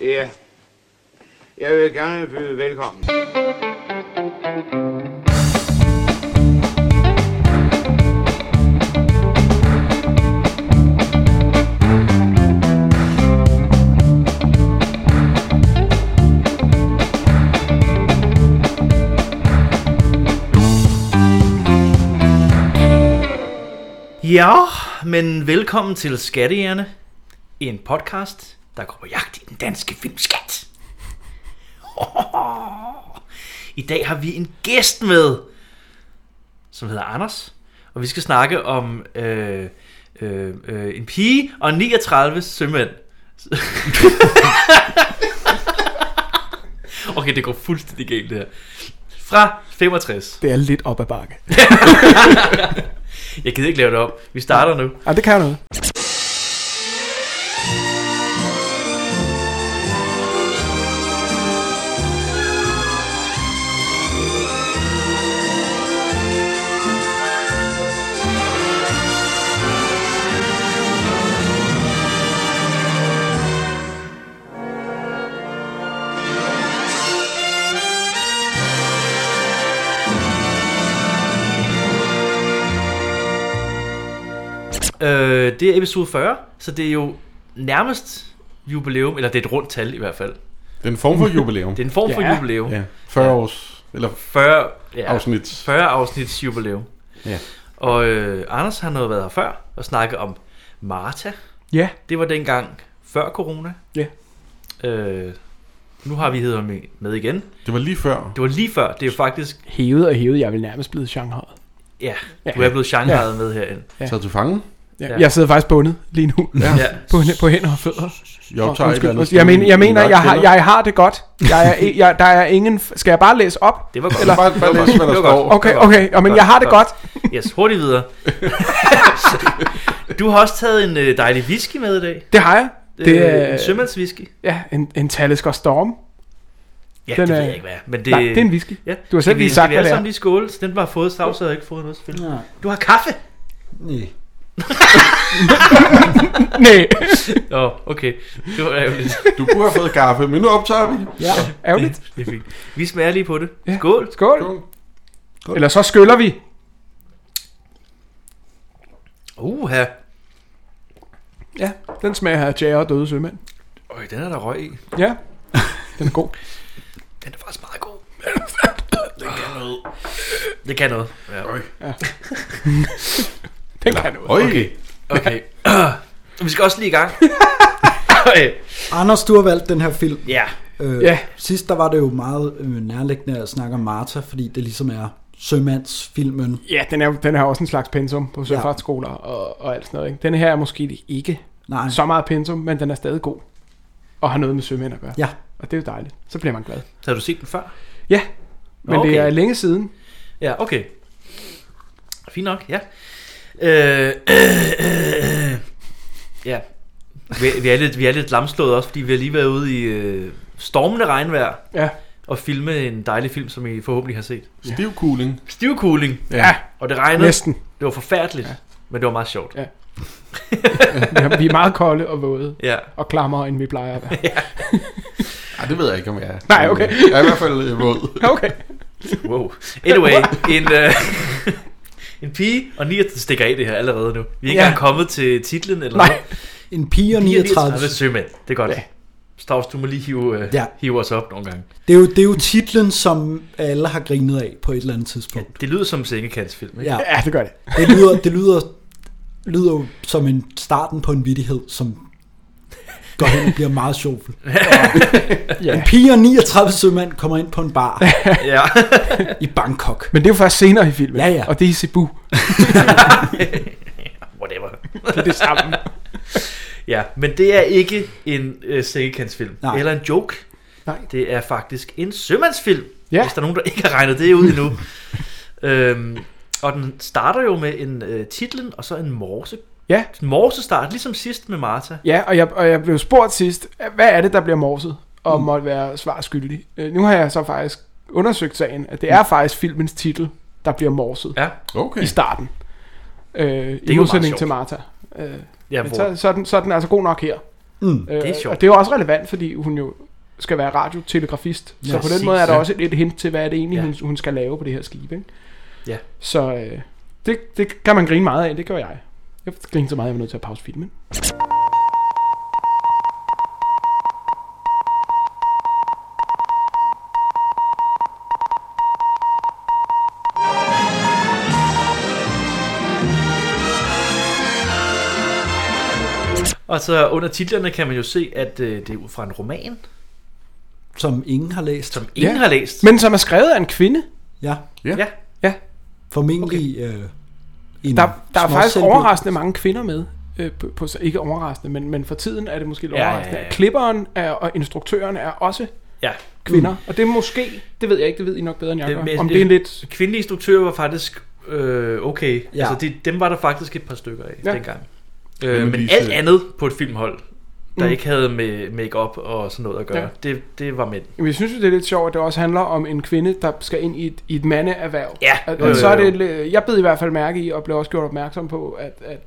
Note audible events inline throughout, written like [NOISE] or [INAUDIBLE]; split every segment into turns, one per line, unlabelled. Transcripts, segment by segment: Ja. Jeg vil gerne byde velkommen.
Ja, men velkommen til Skattejerne, en podcast, der går på jagt i den danske filmskat. I dag har vi en gæst med, som hedder Anders, og vi skal snakke om øh, øh, øh, en pige og 39 sømænd. [LAUGHS] okay, det går fuldstændig galt det her. Fra [LAUGHS] 65.
Det er lidt op ad [LAUGHS] bakke.
Jeg gider ikke lave det om. Vi starter nu.
Ja, det kan jeg noget.
Øh, det er episode 40, så det er jo nærmest jubilæum, eller det er et rundt tal i hvert fald.
Det er en form for jubilæum.
[LAUGHS] Det er en form for
Ja.
jubilæum.
Ja, 40 års, eller
40, ja,
afsnit.
40 afsnits jubilæum.
Ja.
Og øh, Anders har noget været her før og snakke om Marta.
Ja,
Det var dengang før corona.
Ja.
Øh, nu har vi hedder med, med igen.
Det var lige før.
Det var lige før. Det er jo faktisk,
hævet og hævet, jeg er vel nærmest blevet shanghai.
ja,
Ja.
du er blevet shanghajet med herind.
Ja.
Taget til fange.
Ja.
Ja.
Jeg sidder faktisk bundet lige nu.
Ja.
Ja.
[LAUGHS] På, hæ- på hænder og fødder.
Jeg optager
Nå,
et eller andet.
undskyld. jeg, mener, jeg
sted i
mener,
en
jeg har,
kælder.
jeg har det godt. Jeg er, jeg, der er ingen... f- Skal jeg bare læse op?
Det var godt.
Eller, bare, bare læs, hvad der
Det var
står.
godt.
Okay, okay. Ja, men jeg har det godt.
Yes,
[LAUGHS]
hurtigt videre. du har også taget en øh, dejlig whisky med i dag.
Det har jeg. Det
øh, en
er
sømandswhisky.
ja, en, en Talisker Storm.
Ja,
Den
det ved
er-
jeg ikke, hvad er, men det...
Nej, det er en whisky.
Ja.
Du har selv
Skal vi-
lige sagt,
skal vi alle
hvad det
sammen
er.
lige skåle, så den var fået stav, så havde jeg ikke fået noget spil. Du har kaffe!
[LAUGHS] Nej,
[LAUGHS] Nå, okay. Det var ærgerligt.
Du kunne have fået kaffe, men nu optager vi.
ja, ærgerligt.
det, det er fint. Vi smager lige på det.
Ja.
Skål!
Skål. Eller så skyller vi.
Uha!
Ja, den smager af jæger og døde sømænd.
Øj, den er der røg i.
Ja, [LAUGHS] den er god.
Den er faktisk meget god. [LAUGHS] den kan noget. Det kan noget. Ja. [LAUGHS]
Den kan noget.
Øj,
Okay. Okay. [CLEARS THROAT] vi skal også lige i gang. Øj,
Anders, du har valgt den her film.
ja.
Øh,
Ja.
Sidst der var det jo meget øh, nærliggende at snakke om Martha, fordi det ligesom er sømandsfilmen.
Ja, den er, jo- den er også en slags pensum på søfartsskoler og, og alt sådan noget. Ikke? Den her er måske ikke
Nej.
så meget pensum, men den er stadig god. Og har noget med sømænd at gøre.
Ja,
Og det er jo dejligt. Så bliver man glad.
Så har du set den før?
Ja, men okay. det
Okay.
er længe siden.
Ja, okay. Fint nok, ja. Øh, [CLEARS THROAT] øh, øh, ja. Vi, vi, er lidt, vi er lidt lamslået også, fordi vi har lige været ude i øh, stormende regnvejr
Ja.
og filme en dejlig film, som I forhåbentlig har set.
stiv cooling.
Stivkugling,
Ja, ja
og det regnede.
næsten.
Det var forfærdeligt,
Ja.
men det var meget sjovt.
Ja. Vi er- Vi er meget kolde og våde
Ja.
og klammere, end vi plejer at være. [LAUGHS]
Ej, det ved jeg ikke, om jeg er.
Nej, okay.
Jeg er i hvert fald øh, våd.
[LAUGHS] Okay.
Wow. Oh.
[LAUGHS]
Anyway, en, øh, [LAUGHS] en pige og 9 stikker af det her allerede nu. Vi er ikke
Ja.
engang kommet til titlen eller
Nej.
noget.
en pige og 39.
sømænd. Det er godt. Ja.
Ja.
Stavs, du må lige hive, øh, ja.
Ja.
hive os op nogle gange.
Det er, jo, det er jo titlen, som alle har grinet af på et eller andet tidspunkt.
Det lyder som en sengekantsfilm, ikke?
Ja,
Ja, det gør det.
det lyder, det lyder, lyder jo som en starten på en vittighed, som går hen og bliver meget sjov.
[LAUGHS] Ja.
En pige og 39 sømand kommer ind på en
[LAUGHS]
bar
Ja.
i Bangkok.
Men det er jo først senere i filmen.
Ja, ja.
Og det er i Cebu.
Whatever.
Det er det samme.
[LAUGHS] Ja, men det er ikke en øh, sengekantsfilm.
Nej.
Eller en joke.
Nej.
Det er faktisk en sømandsfilm.
Ja.
Hvis der er nogen, der ikke har regnet det ud
[LAUGHS]
endnu. øhm, og den starter jo med en øh, titlen, og så en morse.
Ja.
En morsestart, ligesom sidst med Martha.
Ja, og jeg, og jeg blev spurgt sidst, hvad er det, der bliver morset og mm. måtte være svar skyldig? Øh, nu har jeg så faktisk undersøgt sagen, at det er faktisk filmens titel, der bliver morset
Ja,
Okay.
i starten. Øh,
jo
I
meget
modsætning
sjovt.
til Martha. Øh,
ja
men
hvor,
så, så, er den, så er den altså god nok her.
Mm.
Øh,
Det er sjovt.
Og det er jo også relevant, fordi hun jo skal være radiotelegrafist. Ja, så på
præcis.
den måde er der
Ja.
også et, et hint til, hvad er det egentlig,
Ja.
ja. hun, hun skal lave på det her skib. Ikke?
Ja.
Så øh, det, det kan man grine meget af, det gør jeg. Jeg griner så meget, at jeg var nødt til at pause filmen.
Og så under titlerne kan man jo se, at øh, det er ud fra en roman,
Som ingen har læst.
som ingen
Ja.
har læst.
Men som er skrevet af en kvinde.
Ja,
Ja,
formentlig øh, en
Der, der er
små
faktisk
selvbild.
overraskende mange kvinder med. Øh, på, på, ikke overraskende, men, men for tiden er det måske lidt
Ja, ja,
overraskende.
ja, ja.
Klipperen er, og instruktøren er også
ja.
kvinder. Mm. Og det er måske, det ved jeg ikke, det ved I nok bedre end jeg
Det-
gør,
men-
om det er lidt...
øh, Kvindelige instruktører var faktisk øh, okay. Ja.
Ja.
Altså, det, dem var der faktisk et par stykker af ja.
Ja.
dengang.
Jamen,
Øh, men
lige
alt
så-
andet på et filmhold, der
Mm.
ikke havde med make-up og sådan noget at gøre, ja.
Ja.
det, det var mænd.
Jamen, jeg synes jo, det er lidt sjovt, at det også handler om en kvinde, der skal ind i et, i et mandeerhverv.
Ja,
At,
jo, jo,
at så er
jo.
det, lidt- jeg bed i hvert fald mærke i, og blev også gjort opmærksom på, at, at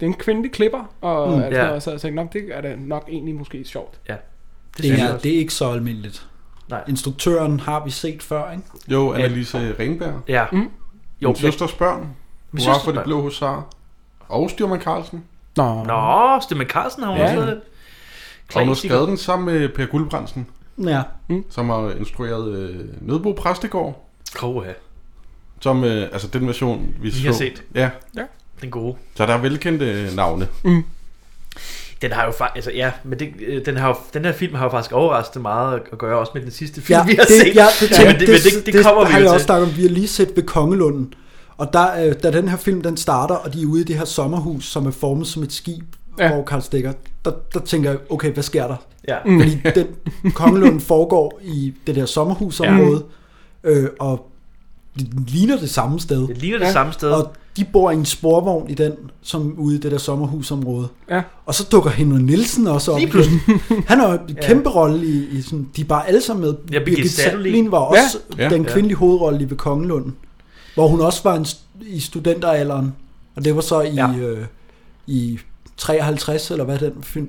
det er en kvindelig klipper, og
Mm,
mm, alt
ja.
yeah. noget, så jeg tænkte, "Nå, det er da nok egentlig måske sjovt.
Det
synes jeg
er,
også.
det er ikke så almindeligt.
Nej.
Instruktøren har vi set før, ikke?
Jo, Annelise Renberg.
Ja.
Mm.
Jo,
Min
men,
søsters børn.
min
Hurra for
søster...
det blå husar. Og Styrman Carlsen.
Nå,
Nå, Stemmen Carlsen har hun
Ja.
også lavet.
Og hun har
Klassiker.
skrevet den sammen med Per Guldbrandsen,
Ja.
som har instrueret øh, Nødbo Præstegård.
Koha,
Som, øh, altså den version, vi,
Vi har
så.
set.
Ja,
den gode.
så der er velkendte øh, navne.
Den har jo faktisk, altså ja, men det, øh, den, har jo, den her film har jo faktisk overrasket meget at gøre, også med den sidste film,
ja,
[LAUGHS] vi har
det,
set.
Ja, det,
men det, men det, det kommer
det, har
vi
jeg
jo [LAUGHS]
også
til.
snakket om. Vi har lige set ved Kongelunden. Og der, øh, da den her film den starter, og de er ude i det her sommerhus, som er formet som et skib, ja.
Ja.
hvor Karl Stikker, der, der tænker jeg, okay, hvad sker der?
Ja.
Mm. Fordi den Kongelunden foregår i det der sommerhusområde, ja. øh, og det ligner det samme sted.
Det ligner det ja. samme sted.
Og de bor i en sporvogn i den, som ude i det der sommerhusområde.
Ja.
Og så dukker Henry Nielsen også op.
Lige pludselig.
igen. Han har jo
[LAUGHS]
en kæmpe rolle i, i sådan, de er bare alle sammen med.
Birgit Sattelin.
var også
Ja, ja,
den
ja.
kvindelige hovedrolle i Ved Kongelunden. Hvor hun også var en, st- i studenteralderen. Og det var så i,
Ja.
ja. øh, i 53, eller hvad den film?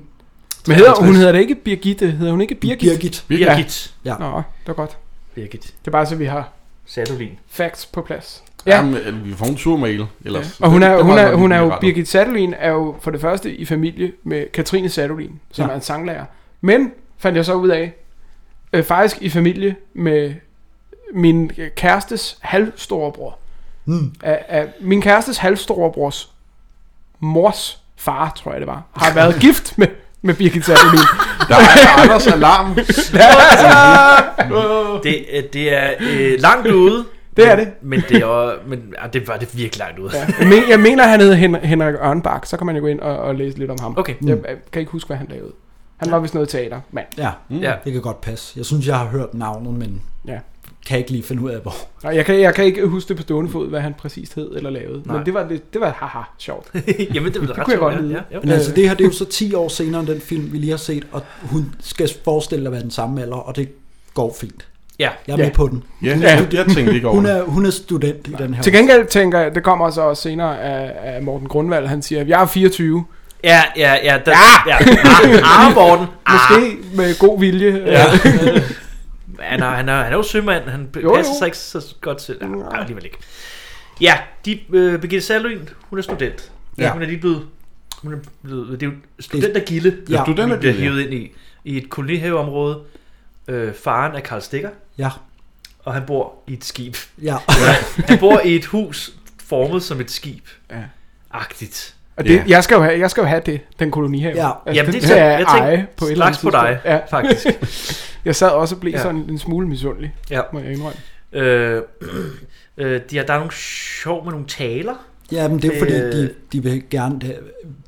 men hedder, hun hedder det ikke Birgitte, hedder hun ikke Birgit?
Birgit.
Birgit.
Nå, det var godt.
Birgit.
Det er bare så, vi har
Satolin.
facts på plads.
Ja.
Ja.
Jamen, øh, vi får en sur mail ellers.
Og hun er,
Det
hun
meget
er,
godt,
hun
vi
er jo,
retter.
Birgit Sattelin er jo for det første i familie med Katrine Sattelin, som
Ja.
ja. er en sanglærer. Men, fandt jeg så ud af, øh, faktisk i familie med min øh, kærestes halvstorebror.
Hmm.
Mm.
Af, af, min kærestes halvstorebrors mors far, tror jeg det var, har været
[LAUGHS]
gift med, med Birgit Sattelin.
Der er Anders
[LAUGHS]
Alarm.
Det, øh, det er øh, langt ude.
Det er
men-
det.
Men det, er, også- men, ah, det var det virkelig langt ude. Ja.
jeg, men, jeg mener, han hed Hen- Henrik Ørnbak, så kan man jo gå ind og, og læse lidt om ham.
Okay.
Jeg, jeg kan ikke huske, hvad han lavede. Han var vist noget teatermand.
Mm. Ja, Mm.
Ja.
det kan godt passe. Jeg synes, jeg har hørt navnet, men
Ja.
kan ikke lige finde ud af, hvor.
Nej, jeg kan, jeg kan ikke huske det på stående fod, hvad han præcist hed eller lavede.
Nej.
Men det var, lidt, det var haha sjovt.
[LAUGHS] [LAUGHS] Jamen, det var ret
kunne jeg
sjovt,
godt lide.
ja. Ja,
Men altså, det her det er jo så 10 år senere end den film, vi lige har set, og hun skal forestille at være den samme alder, og det går fint.
ja.
Jeg er med
Ja.
på den.
Ja,
Ja.
jeg, jeg tænkte ikke over
Hun
det.
er, hun er student i den her.
Til gengæld tænker jeg, det kommer så også senere af, af Morten Grundvald, han siger, jeg er 24.
Ja, ja, ja. Der, ja! Ah, ah, Morten. Ah.
[LAUGHS] Måske med god vilje.
[LAUGHS] Ja.
[LAUGHS]
[LAUGHS]
han, er, han, er, han er jo sømand. Han jo,
Jo,
passer
jo.
sig ikke så godt selv. Nej, nej, alligevel ikke. Ja, de, øh, Birgitte Saløen, hun er student. Ja.
Ja.
Hun er lige blevet... Hun er blevet det er jo studentergilde,
Ja,
Du, den
hun
er
bliver
din, ja.
hivet ind i. I et kolonihaveområde. Øh, faren er Karl Stikker,
Ja,
og han bor i et skib. [LAUGHS]
ja.
Han bor i et hus formet som et skib.
Ja.
Agtigt.
Og det,
Ja.
jeg, skal jo have, jeg skal jo have det, den koloni her.
Ja.
altså, Jamen, det,
tænker-
skal jeg
tænker
eje på et eller
straks
andet
på dig,
tidspunkt.
ja.
Ja,
faktisk.
[LAUGHS] jeg sad også og blev
Ja.
ja. sådan en smule misundelig,
Ja.
må jeg indrømme.
Øh, [CLEARS THROAT] øh, de har, der er nogle sjov med nogle taler.
ja men det er jo fordi,
Øh.
de, de vil gerne have-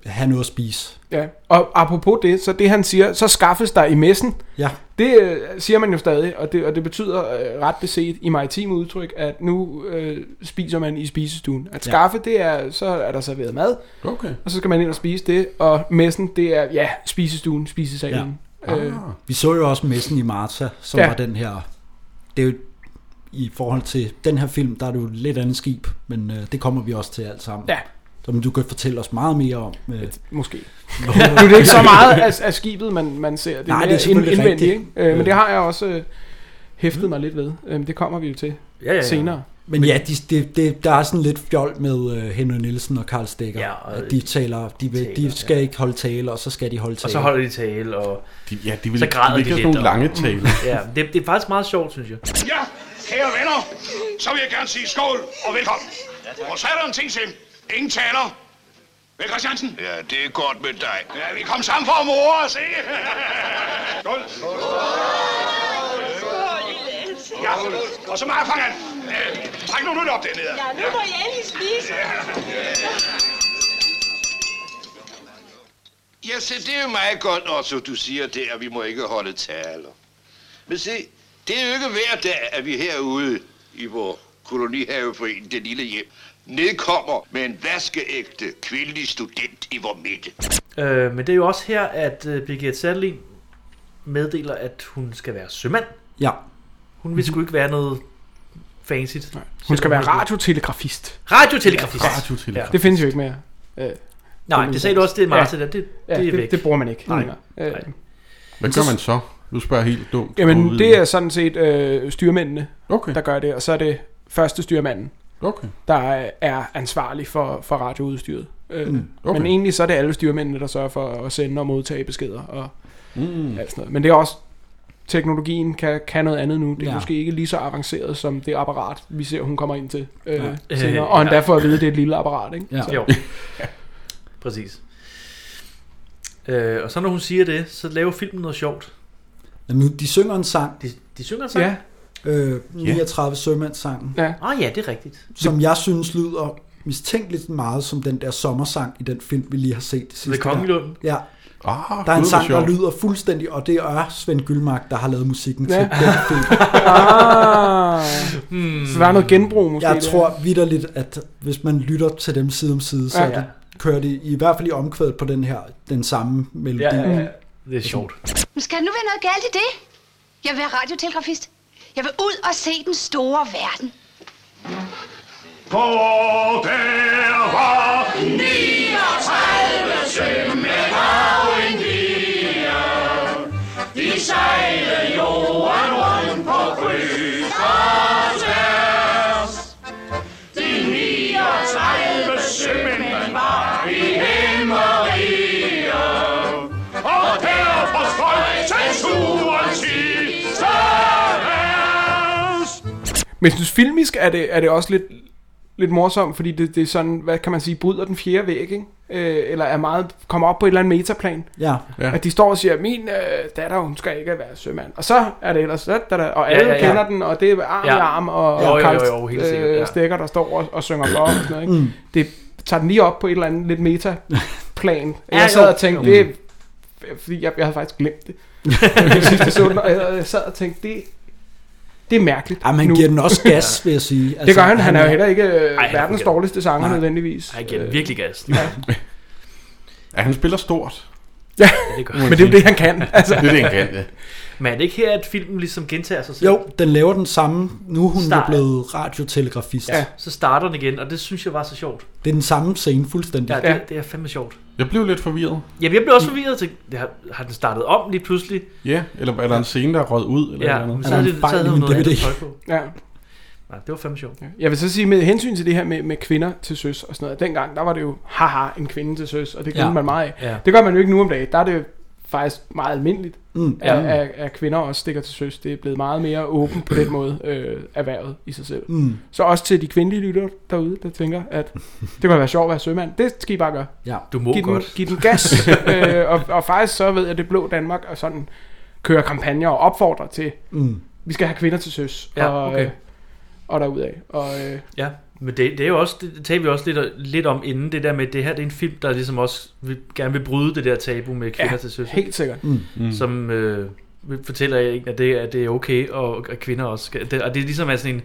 have noget at spise.
Ja. Og apropos det, så det han siger, så skaffes der i messen,
Ja,
Det øh, siger man jo stadig, og det, og det betyder øh, ret beset i maritime udtryk, at nu øh, spiser man i spisestuen. At
Ja.
skaffe, det er, så er der serveret mad,
Okay.
og så skal man ind og spise det, og messen, det er, ja, spisestuen, spisesalen. Ja. Øh,
Ah.
vi så jo også messen i Marta, som ja.
Ja.
var den her... Det er jo i forhold til den her film, der er det jo et lidt andet skib, men øh, det kommer vi også til alt sammen.
Ja.
som du kan fortælle os meget mere om. Øh,
Måske. [LAUGHS] nu er det ikke så meget af, af skibet, man, man ser. Det
Nej, det er
mere
selvfølgelig
indvendigt,
rigtigt.
Ikke? Øh, men det har jeg også øh, hæftet mig lidt ved. Øh, det kommer vi jo til
Mm. Ja, ja, ja.
senere.
Men ja, de, de, de, der er sådan lidt fjol med uh, Henry Nielsen og Karl Stegger.
Ja, og-
at de taler, de,
taler,
vil, de skal
ja.
ikke holde tale, og så skal de holde tale.
Og så holder de tale, og
De, ja, de vil,
Så græder
vil ikke
de
have sådan
lidt,
nogle lange taler.
ja, det, det er faktisk meget sjovt, synes jeg.
Ja, kære venner, så vil jeg gerne sige skål og velkommen. og så er der en ting til. Ingen taler. Vel, Christiansen? Ja, det er godt med dig. Ja, vi kom sammen for at more os, ikke? skål. Ja, og så meget fangeren. Øh, træk nu nyt op dernede.
Ja, nu må jeg endelig spise.
Ja, se, det er jo meget godt også, du siger det, at vi må ikke holde taler. Men se, det er jo ikke hver dag, at vi herude i vores kolonihaveforening, det lille hjem, nedkommer med en vaskeægte kvindelig student i vores midte.
Øh, men det er jo også her, at øh, Birgit Sandlin meddeler, at hun skal være sømand.
Ja,
Hun vil sgu ikke være noget fancy. Nej.
Hun skal være radiotelegrafist.
Radiotelegrafist.
Radiotelegraf.
Det findes jo ikke mere. Øh, det,
Nej, det sagde du også, det er Martin. Ja. Det, det,
ja,
er
det,
væk.
det, det bruger man ikke.
Nej.
længere. Øh,
Nej.
Hvad gør man så? Du spørger helt dumt.
Jamen,
Overviden.
det er sådan set øh, styrmændene,
Okay,
der gør det, og så er det første styrmanden,
okay.
der øh, er ansvarlig for, for radioudstyret. Øh, mm,
okay.
okay. Men egentlig så er det alle styrmændene, der sørger for at sende og modtage beskeder og
Mm.
alt sådan noget. Men det er også, teknologien kan, kan noget andet nu. Det er
Ja.
ja. måske ikke lige så avanceret som det apparat, vi ser, hun kommer ind til øh,
Ja.
ja. senere.
Øh,
Og endda
ja.
får at vide, at det er et lille apparat, ikke?
ja.
Ja.
[LAUGHS]
Jo. Præcis. Øh, og så når hun siger det, så laver filmen noget sjovt.
Jamen, de synger en sang,
De, de synger
Så.
sammen.
Ja,
øh, 39 sømandssangen,
ja.
Ah ja, det er rigtigt.
som jeg synes lyder mistænkeligt meget som den der sommersang i den film, vi lige har set det sidste.
Ved Kongelunden.
Ja,
Ah,
der er en
gud, hvor
sang, der
sjovt.
lyder fuldstændig, og det er Svend Gyldmark, der har lavet musikken til
Ja.
den film.
Ah,
Hmm.
Så der er noget genbrug måske.
Jeg
der.
tror vidderligt, at hvis man lytter til dem side om side, så
Ja.
ja. kører de i hvert fald i omkvædet på den her, den samme melodi.
Ja, ja, ja. Det er sjovt.
Men skal der nu være noget galt i det? Jeg vil være radiotelegrafist. Jeg vil ud og se den store verden.
For der var 39 sømænd og en pige. De sejlede jorden rundt på kryds og tværs. De 39 sømænd var i himmeriger. Og der forsvandt censurens sidste vers.
Men jeg synes, filmisk er det, er det også lidt, lidt morsomt, fordi det, det er sådan, hvad kan man sige, bryder den fjerde væg, ikke? Øh, eller er meget, kommer op på et eller andet metaplan.
ja.
Ja.
Ja. At de står og siger, min øh, datter, hun skal ikke være sømand. Og så er det ellers, da, da, da, og alle ja, ja, ja. kender den, og det er arm ja.
Ja.
i arm, og,
Jo,
og
jo,
Karl
jo, jo, helt sikkert, ja.
øh, Stikker, der står og, og synger for og sådan noget, ikke? Mm. Det tager den lige op på et eller andet lidt metaplan.
Ja,
Ja, jeg sad
jo.
og tænkte, det er, fordi jeg, jeg havde faktisk glemt det. [LAUGHS] Jeg sidste så den, og jeg, jeg sad og tænkte, det, det er mærkeligt.
Ja, man
nu.
Ah, giver den
[LAUGHS]
også gas, vil jeg sige. Altså,
Det gør han. Han er jo heller ikke øh,
han er
verdens
forkert.
dårligste sanger
Nej.
nødvendigvis.
Ej, giver den
Øh,
virkelig gas.
Ja.
Ja, han spiller stort.
Ja, det gør
Men det er jo det, han
[LAUGHS]
[LAUGHS]
kan. Altså,
Det er det, han kan, ja.
Men er det ikke her, at filmen ligesom gentager sig selv?
Jo, den laver den samme. Nu er hun Start.
Start.
blevet radiotelegrafist. Ja.
Ja.
Så starter den igen, og det synes jeg var så sjovt.
Det er den samme scene fuldstændig.
Ja,
Ja.
det,
Ja.
det er fandme sjovt.
Jeg blev lidt forvirret.
Jamen, jeg blev også forvirret til, det har, har den startet om lige pludselig?
Ja, eller er der en scene, der er røget ud? Eller
Ja,
ja.
men
Noget?
så
Er
havde
der
det
en
så
fejl
havde
i
hun
min
noget andet
DVD?
tøj på.
ja.
Nej, det var fandme sjovt.
Jeg vil så sige, med hensyn til det her med, med kvinder til søs og sådan noget, dengang, der var det jo, haha, en kvinde til søs, og det griner
Ja.
ja. man meget af.
Ja.
Det gør man jo ikke nu om dagen. Der er det jo faktisk meget almindeligt,
Mm,
ja. at, at, at kvinder også stikker til søs. Det er blevet meget mere åbent på den måde, øh, erhvervet i sig selv.
Mm,
Så også til de kvindelige lyttere derude, der tænker, at det kunne være sjovt at være sømand. Det skal I bare gøre.
ja.
Du må
giv, den,
godt.
giv den gas. øh, og, og faktisk så ved jeg, at det blå Danmark og sådan kører kampagner og opfordrer til,
Mm.
vi skal have kvinder til søs
Ja,
og,
okay.
øh, og derudad. Og, øh,
Ja, men det, det er jo også, det taler vi også lidt, lidt om inden, det der med, at det her det er en film, der ligesom også vil, gerne vil bryde det der tabu med kvinder
Ja,
ja, til søs,
helt sikkert.
mm. som øh, vil- fortæller ikke, at det, at det er okay, og at kvinder også skal, det, og det er ligesom er sådan en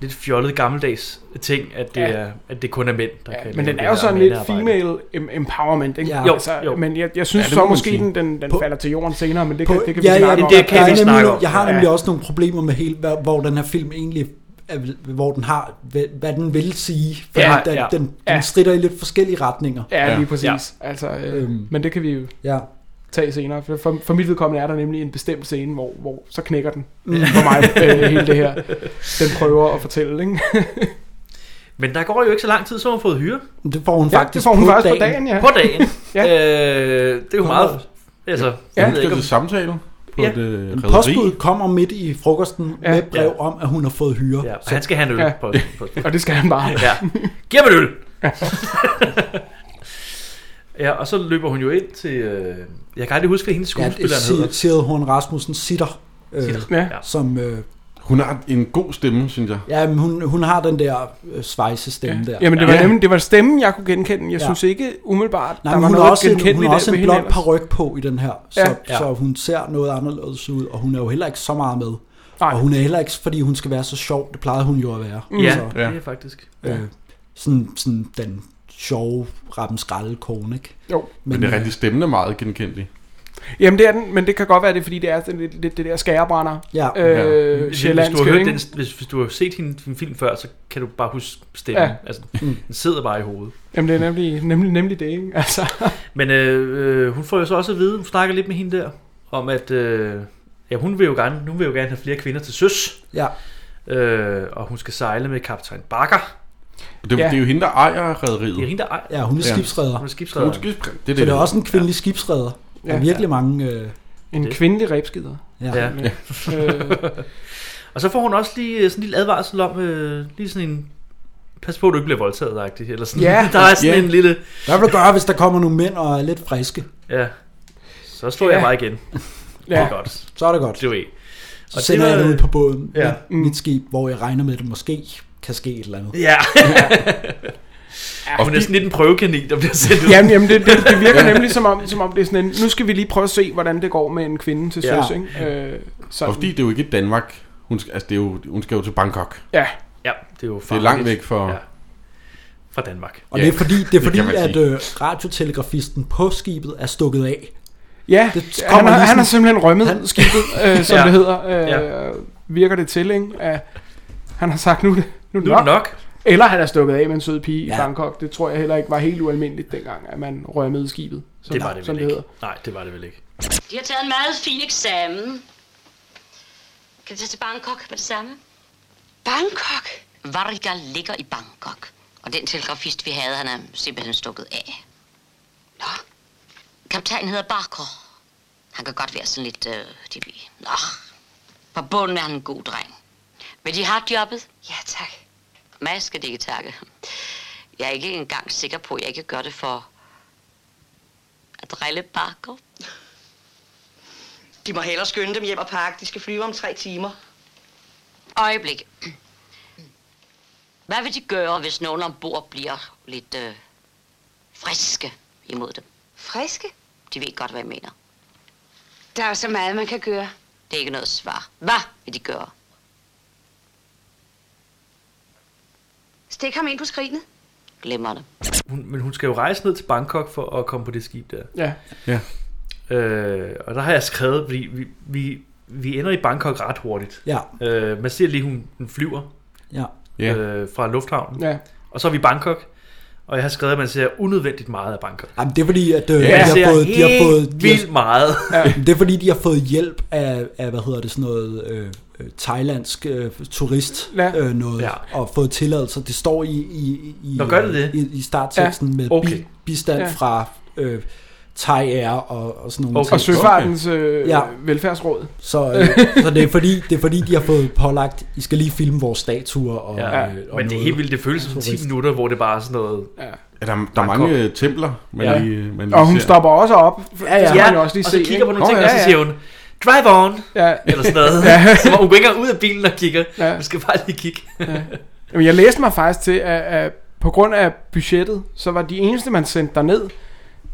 lidt fjollet gammeldags ting, at det,
Ja.
er, at det kun er mænd, der
Ja,
kan
men
lave
den
det
er jo
her
sådan lidt
mandearbejde.
female em- empowerment, ikke? Altså,
Ja. Jo,
jo.
Men jeg, jeg synes
Ja,
ja,
det
så
må man
måske
sige.
den, den, den
På-
falder til jorden senere, men det kan, det kan
ja,
vi
ja,
snakke om.
det kan
jeg,
vi
er
snakke
nemlig,
om.
jeg har
Ja.
nemlig også nogle problemer med helt, hvad- hvor den her film egentlig er vel- hvor den har, hvad, hvad den vil sige. For
Ja,
ja, den,
ja.
ja. Den, den
Ja.
strider i lidt forskellige retninger.
Ja,
Ja.
lige præcis. Ja. Altså, øh,
Øhm.
Men det kan vi jo
Ja.
tage senere. For, for, for mit vedkommende er der nemlig en bestemt scene, hvor, hvor så knækker den
Mm.
for mig øh, hele det her. Den prøver at fortælle, [LAUGHS] ikke?
Men der går jo ikke så lang tid, så har hun fået hyre
Men Det får hun
Ja,
faktisk
det får hun først på dagen, ja.
på
[LAUGHS]
dagen.
Ja.
øh, det er jo meget... Altså,
Ja.
ja.
Hun
jeg ved ikke,
skal
om,
til samtale på
Ja.
et øh,
En
rederi.
postbud kommer midt i frokosten
Ja.
ja. med brev
Ja.
om, at hun har fået hyre.
ja,
Ja.
og han skal have en øl
Ja.
ja. på, på
[LAUGHS] Og det skal han bare.
Ja.
[LAUGHS]
Giv mig et øl! [LAUGHS] ja, og så løber hun jo ind til... Øh, jeg kan aldrig huske, hvad hendes
Ja, det
skuespilleren ja,
er
hedder.
Sil- Horn Rasmussen sitter, øh,
Sitter.
Ja.
Ja.
som... Øh,
Hun har en god stemme, synes jeg.
ja, men hun, hun har den der øh, svejsestemme der.
Jamen, det var,
Ja.
nemlig, det var stemmen, Mm, jeg kunne genkende. Jeg
Ja.
synes ikke umiddelbart,
Nej,
der
men
var
hun har
noget
også en, hun
genkendeligt
har også
ved
en
hende
blond
ellers.
paryk på i den her, så,
Ja.
ja,
Ja.
ja. så hun ser noget anderledes ud, og hun er jo heller ikke så meget med.
Nej. Mm.
Og hun er heller ikke, fordi hun skal være så sjov, det plejede hun jo at være.
Ja,
Så,
det er faktisk.
øh, sådan, sådan den sjove, rappen skralde kone, ikke?
Jo.
Men det er rigtig stemmen er meget genkendelig.
Jamen, det er den, men det kan godt være, det er, fordi det er sådan lidt, lidt det der skærebrænder.
Ja,
Øh,
Hvis, hvis, du
sjællandske,
har hørt
ikke?
den, hvis, hvis du har set hende, din film før, så kan du bare huske stemmen.
Ja.
Ja. Altså, den sidder bare i hovedet.
Jamen, det er nemlig, nemlig, nemlig det, ikke? Altså,
Men øh, øh, hun får jo så også at vide, hun snakker lidt med hende der, om at øh, ja, hun, vil jo gerne, hun vil jo gerne have flere kvinder til søs,
ja.
øh, og hun skal sejle med kaptajn Bakker.
Og Det,
Ja.
ja. det er jo hende, der ejer
Det er
rederiet.
hende, der ejer.
ja, hun er
Ja.
skibsredder.
Hun er
Hun er
skibsredder.
skibspræ- Det er
Så
det.
det er også en kvindelig skibsredder. Der
Ja.
er virkelig mange... Øh,
en
Det-
kvindelig rebskider.
ja.
Ja.
[LAUGHS]
Øh,
[LAUGHS] Og så får hun også lige øh, sådan en lille advarsel om, øh, lige sådan en, pas på, at du ikke bliver voldtaget, agtig, eller sådan.
Ja.
[LAUGHS] der er sådan
Ja.
en lille,
Hvad vil du gøre, hvis der kommer nogle mænd og er lidt friske?
ja, så slår
Ja.
jeg mig
[LAUGHS]
igen. Ja. Det
ja.
er godt,
Så er det godt.
du ved.
Så
Og
sender
det
jeg
var-
dig ud på båden.
Ja.
Ja.
Mm.
Mit skib, hvor jeg regner med, at det måske kan ske et eller andet.
[LAUGHS]
Ja. ja. Hun er sådan lidt en prøvekanin, der bliver sendt ud.
Jamen, jamen det, det, det virker nemlig som om, som om det er sådan en, nu skal vi lige prøve at se, hvordan det går med en kvinde til
Ja.
søs, ikke? Øh,
Og
sådan.
fordi det er jo ikke Danmark. Hun skal, altså det er jo, hun skal jo til Bangkok.
Ja,
Ja, det er jo
Det er langt væk fra...
Ja. fra Danmark.
Og
Ja,
det er fordi, det er
[LAUGHS] det
fordi
kan man
at
sige.
øh, radiotelegrafisten på skibet er stukket af.
ja
Det
han,
kommer
har,
lige
han har
sådan-
simpelthen rømmet han,
Han-
skibet,
[LAUGHS]
øh, som ja.
Ja.
det hedder. Øh, ja.
Ja.
Virker det til, ikke? Ja. Han har sagt, nu, er det- nu,
Nu
nu
er det
nok.
nok.
Eller han er stukket af med en sød pige ja. i
Ja.
Bangkok. Det tror jeg heller ikke var helt ualmindeligt dengang, at man rømmede skibet. Som,
Det var det
som
vel
det hedder.
ikke. Nej, det var det vel ikke.
De har taget en meget fin eksamen. Kan du tage til Bangkok med det samme?
Bangkok?
Varga ligger i Bangkok. Og den telegrafist, vi havde, han er simpelthen stukket af. Nå. Kaptajnen hedder Barker. Han kan godt være sådan lidt, øh, de ved. Nå. På bunden er han en god dreng. Men de har jobbet.
Ja, tak.
Mig skal det ikke takke. Jeg er ikke engang sikker på, at jeg ikke gør det for at drille Barker.
De må hellere skynde dem hjem og pakke. De skal flyve om tre timer.
Øjeblik. Hvad vil de gøre, hvis nogen ombord bliver lidt øh, friske imod dem?
Friske?
De ved godt, hvad jeg mener.
Der er jo så meget, man kan gøre.
Det er ikke noget svar. Hvad vil de gøre?
Stik ham ind på skrinet.
Glemmer det.
Hun, men hun skal jo rejse ned til Bangkok for at komme på det skib der.
Ja.
Øh, og der har jeg skrevet, fordi vi, vi, vi ender i Bangkok ret hurtigt.
Ja,
Øh, man ser lige, hun, hun flyver
ja.
Ja.
øh, fra lufthavnen.
ja.
Og så er vi i Bangkok. Og jeg har skrevet, at man ser unødvendigt meget af Bangkok.
Jamen, det er fordi, at øh,
Ja,
de,
jeg
har
ser
fået, de har
helt
fået... De
vildt
har,
meget.
det er fordi, de har fået hjælp af, af hvad hedder det, sådan noget øh, øh, thailandsk øh, turist
Ja.
øh, noget,
Ja.
ja. og fået tilladelse. Det står i, i, i, øh,
Nå, gør det det?
i, i startteksten ja. med
okay.
bi, bistand
Ja.
ja. fra øh, Thai Air og, og sådan nogle
Okay.
okay.
Og
ting.
Søfartens øh, ja.
Ja.
velfærdsråd.
Så, øh,
[LAUGHS]
så det, er
[LAUGHS]
fordi, det er fordi, de har fået pålagt, I skal lige filme vores statuer. Og,
Ja.
ja.
Ja.
øh, og
Men det er
noget.
helt vildt. Det føles som 10
Turist.
minutter, hvor det bare er sådan noget...
Ja, der, der er mange øh, templer, man,
Ja.
ja. lige, man lige
Og hun
ser.
stopper også op. Ja, ja. Det skal man jo
og
også lige
så
se.
kigger på
ikke?
nogle ting,
Nå,
og så siger hun, drive on,
Ja, [LAUGHS] ja.
eller sådan noget. Så hun går ikke engang ud af bilen og kigger.
Ja.
Du skal bare lige kigge.
Jamen, jeg læste mig faktisk til, at, at på grund af budgettet, så var de eneste, man sendte derned,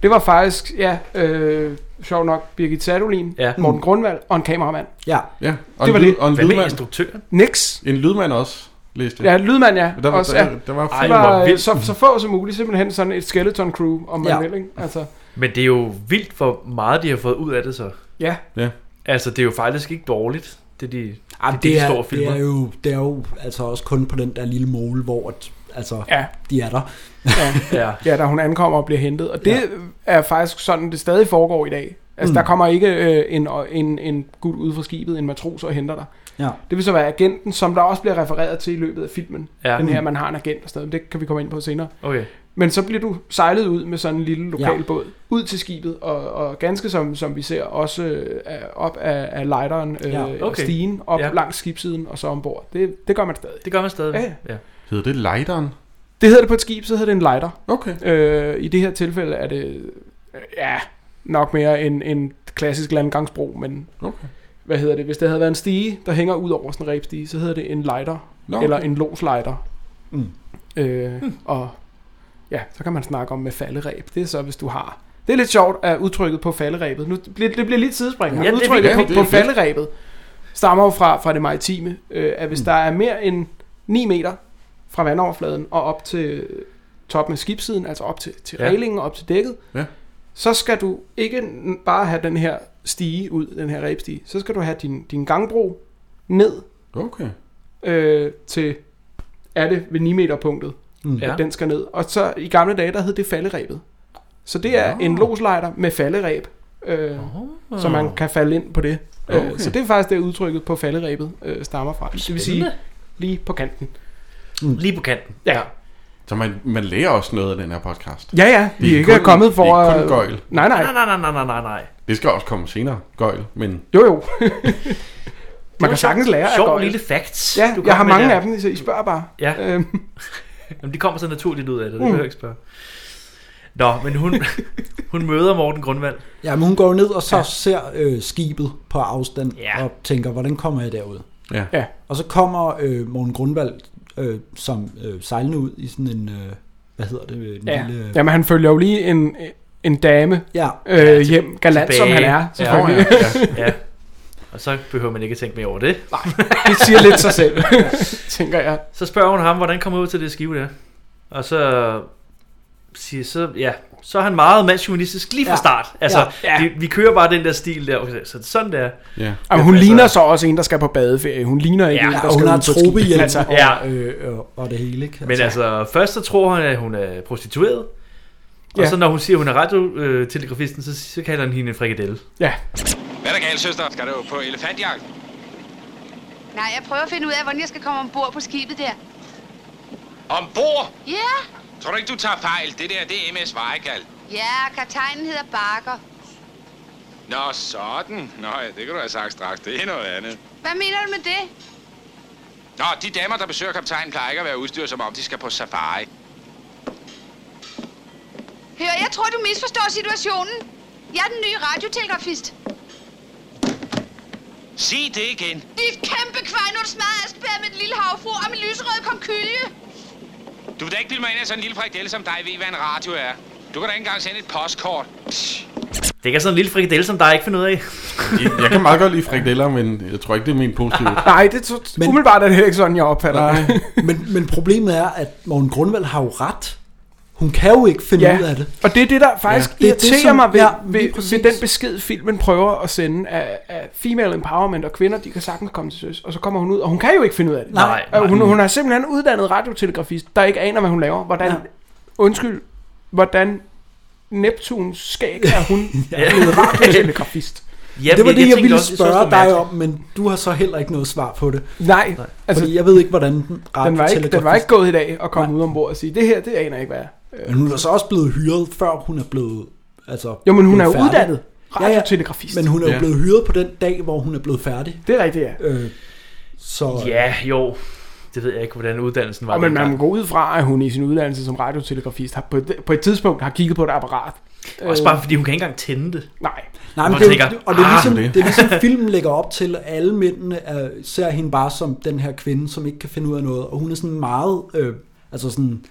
det var faktisk, ja, øh, sjov nok, Birgit Sadolin, ja.
Ja.
Morten Grundvald og en kameramand.
Ja,
Ja,
Det
og det
var
en, lyd,
det.
og en
Hvad med
lydmand.
instruktøren?
Nix.
En lydmand også, læste jeg.
Ja, lydmand, ja.
Der, var,
også,
der,
ja.
der, var
Ej,
Det
flere.
hvor
var øh,
vildt.
så, så få som muligt simpelthen sådan et skeleton crew, om man ja.
Ja.
vil, ikke? Altså,
Men det er jo vildt, hvor meget de har fået ud af det så.
ja.
Ja.
Altså, det er jo faktisk ikke dårligt. Det, de,
Ej,
det,
det,
det, de
er,
står og
det,
filmer.
er jo, det er jo altså også kun på den der lille mole, hvor at, altså, ja.
Ja,
de er der. [LAUGHS]
Ja.
[LAUGHS] ja, da hun ankommer og bliver hentet. Og det ja. er faktisk sådan, det stadig foregår i dag. Altså, mm. der kommer ikke øh, en, en, en gut ud fra skibet, en matros, og henter dig.
Ja.
Det vil så være agenten, som der også bliver refereret til i løbet af filmen.
Ja. Mm.
Den her, man har en agent og sådan noget. Det kan vi komme ind på senere.
Okay.
Men så bliver du sejlet ud med sådan en lille lokal
Ja.
ja. båd, ud til skibet, og, og ganske som, som vi ser, også øh, er op af, af lighteren, øh,
Ja,
ja,
okay.
okay. stigen, op
Ja.
ja. langs skibsiden, og så ombord. Det, det gør man stadig.
Det gør man stadig.
Ja.
ja.
Hedder det lighteren?
Det hedder det på et skib, så hedder det en lighter.
Okay.
Øh, I det her tilfælde er det øh, ja, nok mere en, en klassisk landgangsbro, men
Okay.
hvad hedder det? Hvis det havde været en stige, der hænger ud over sådan en rebstige, så hedder det en lighter,
Nå,
okay.
okay.
eller en loslighter.
Mm.
Øh, mm. Og ja, så kan man snakke om med falderæb. Det er så, hvis du har... Det er lidt sjovt at udtrykket på falderæbet. Nu, det bliver, det bliver lidt sidespring.
Ja,
Ja,
det er
udtrykket
fint.
på,
Ja,
på
det er fint.
falderæbet stammer jo fra, fra det maritime, øh, at hvis mm. der er mere end 9 meter fra vandoverfladen og op til toppen af skibsiden, altså op til, til
Ja.
ja. reglingen, op til dækket,
Ja.
så skal du ikke n- bare have den her stige ud, den her rebstige, så skal du have din, din gangbro ned
okay.
øh, til, er det ved 9 meter punktet,
Ja.
ja. den skal ned. Og så i gamle dage, der hed det falderæbet. Så det er
Nå.
en loslejder med falderæb, øh,
Oh.
så man kan falde ind på det. Okay.
Okay.
Øh, så det er faktisk det udtrykket på falderæbet øh, stammer fra. Det vil sige lige på kanten.
Mm. Lige på kanten.
Ja,
Så man, man lærer også noget af den her podcast.
ja, ja vi er ikke
kun-
kommet for
det er kun
at-
gøjl.
Nej, nej.
Nej, nej, nej, nej, nej, nej, nej.
Det skal også komme senere, gøjl. Men
Jo, jo. man kan sagtens lære af
Sjov
gøjl.
lille facts.
Ja,
du
jeg
kom
har
med
mange
der.
af dem, så I spørger bare.
Ja.
[LAUGHS] Øhm, Mm.
Jamen, de kommer så naturligt ud af det, det behøver jeg ikke spørge. Nå, men
[LAUGHS]
hun, hun møder Morten Grundvald.
ja, men hun går jo ned, og så ja. ser øh, skibet på afstand,
Ja.
ja. og tænker, hvordan kommer jeg derud?
ja.
ja.
Og så kommer øh, Morten Grundvald øh, som øh, sejlende ud i sådan en, øh, hvad hedder det, øh, en
ja.
lille...
Jamen, han følger jo lige en, en dame
Ja,
øh,
Ja,
ja,
til-
hjem, galant som han
tilbage.
er.
Ja.
Nå,
selvfølgelig.
ja. ja.
Ja. Og så behøver man ikke at tænke mere over det.
Det siger lidt sig selv, [LAUGHS] tænker jeg.
Så spørger hun ham, hvordan kommer jeg ud til det skive der? Og så siger så, ja, så er han meget mandsjuvenistisk lige fra
Ja.
start. Altså,
Ja.
Det, vi kører bare den der stil der, okay, så sådan der.
ja.
[LAUGHS] Jamen, hun
Altså-
ligner så også en, der skal på badeferie. Hun ligner ikke
Ja,
ja, en, der
og
skal
hun har
ud på
tropehjelm
skib.
altså,
Altså,
og,
ja.
ja. øh, og, og det hele, ikke?
Men altså, først så tror han, at hun er prostitueret. Og
Ja.
så når hun siger, at hun er radiotelegrafisten, så, så kalder han hende en frikadelle.
ja.
Hvad er der galt, søster? Skal du på elefantjagt?
Nej, jeg prøver at finde ud af, hvordan jeg skal komme ombord på skibet der.
Ombord?
Ja,
Tror du ikke, du tager fejl? Det der, det er MS Vejkald.
ja, kaptajnen hedder Barker.
Nå, sådan. Nå ja, det kan du have sagt straks. Det er noget andet.
Hvad mener du med det?
Nå, de damer, der besøger kaptajnen, plejer ikke at være udstyret, som om de skal på safari.
Hør, jeg tror, du misforstår situationen. Jeg er den nye radiotelegrafist.
Sig det igen.
Dit kæmpe kvejnul smadrer Asbjerg med en lille havfru og min lyserøde komkylje.
Du vil da ikke bilde mig ind, at sådan en lille frikadelle som dig ved, hvad en radio er. Du kan da ikke engang sende et postkort. Psh.
Det er ikke sådan en lille frikadelle, som der ikke finder ud af.
Jeg- Jeg kan meget godt lide frikadeller, men jeg tror ikke, det er min positive.
[LAUGHS] Nej, det er så,
Men-
umiddelbart er det heller ikke sådan, jeg opfatter det.
[LAUGHS] men, men problemet er, at Morten Grundvald har jo ret. Hun kan jo ikke finde
Ja,
ud af det.
og det er det, der faktisk ja,
det er det,
irriterer det,
som-
som, mig ved,
ja,
ja,
lige
ved,
præcis.
ved den besked, filmen prøver at sende af, af female empowerment og kvinder, de kan sagtens komme til søs, og så kommer hun ud, og hun kan jo ikke finde ud af det.
Nej.
Og Hun, hun er simpelthen en uddannet radiotelegrafist, der ikke aner, hvad hun laver. Hvordan,
Ja.
ja. Undskyld, hvordan Neptuns skæg er
[LAUGHS]
hun
[LAUGHS]
blevet radiotelegrafist?
Jamen,
det var det, jeg,
tænkte
ville
også, synes, det var
spørge dig
mærkeligt.
om, men du har så heller ikke noget svar på det.
Nej,
Altså,
altså
fordi jeg ved ikke, hvordan den radio
den var, ikke, den var ikke gået i dag at komme ud ombord og sige, det her, det aner jeg ikke, hvad er.
Men hun er så også blevet hyret, før hun er blevet... Altså,
Jo, men hun er jo
færdig.
uddannet
Ja, ja.
radiotelegrafist.
Men hun er jo
Ja.
blevet hyret på den dag, hvor hun er blevet færdig.
Det er rigtigt, ja.
Øh, så øh,
Ja, jo. Det ved jeg ikke, hvordan uddannelsen var.
Og men man
dengang.
må gå ud fra, at hun i sin uddannelse som radiotelegrafist har på, et- på et tidspunkt har kigget på et apparat.
Også bare fordi hun kan ikke engang tænde det.
Nej.
Nej,
Og
men det, er jo-
tænker,
og det er
ah,
ligesom,
det.
det. er ligesom
[LAUGHS]
filmen lægger op til, at alle mændene er, ser hende bare som den her kvinde, som ikke kan finde ud af noget, og hun er sådan meget, øh, altså sådan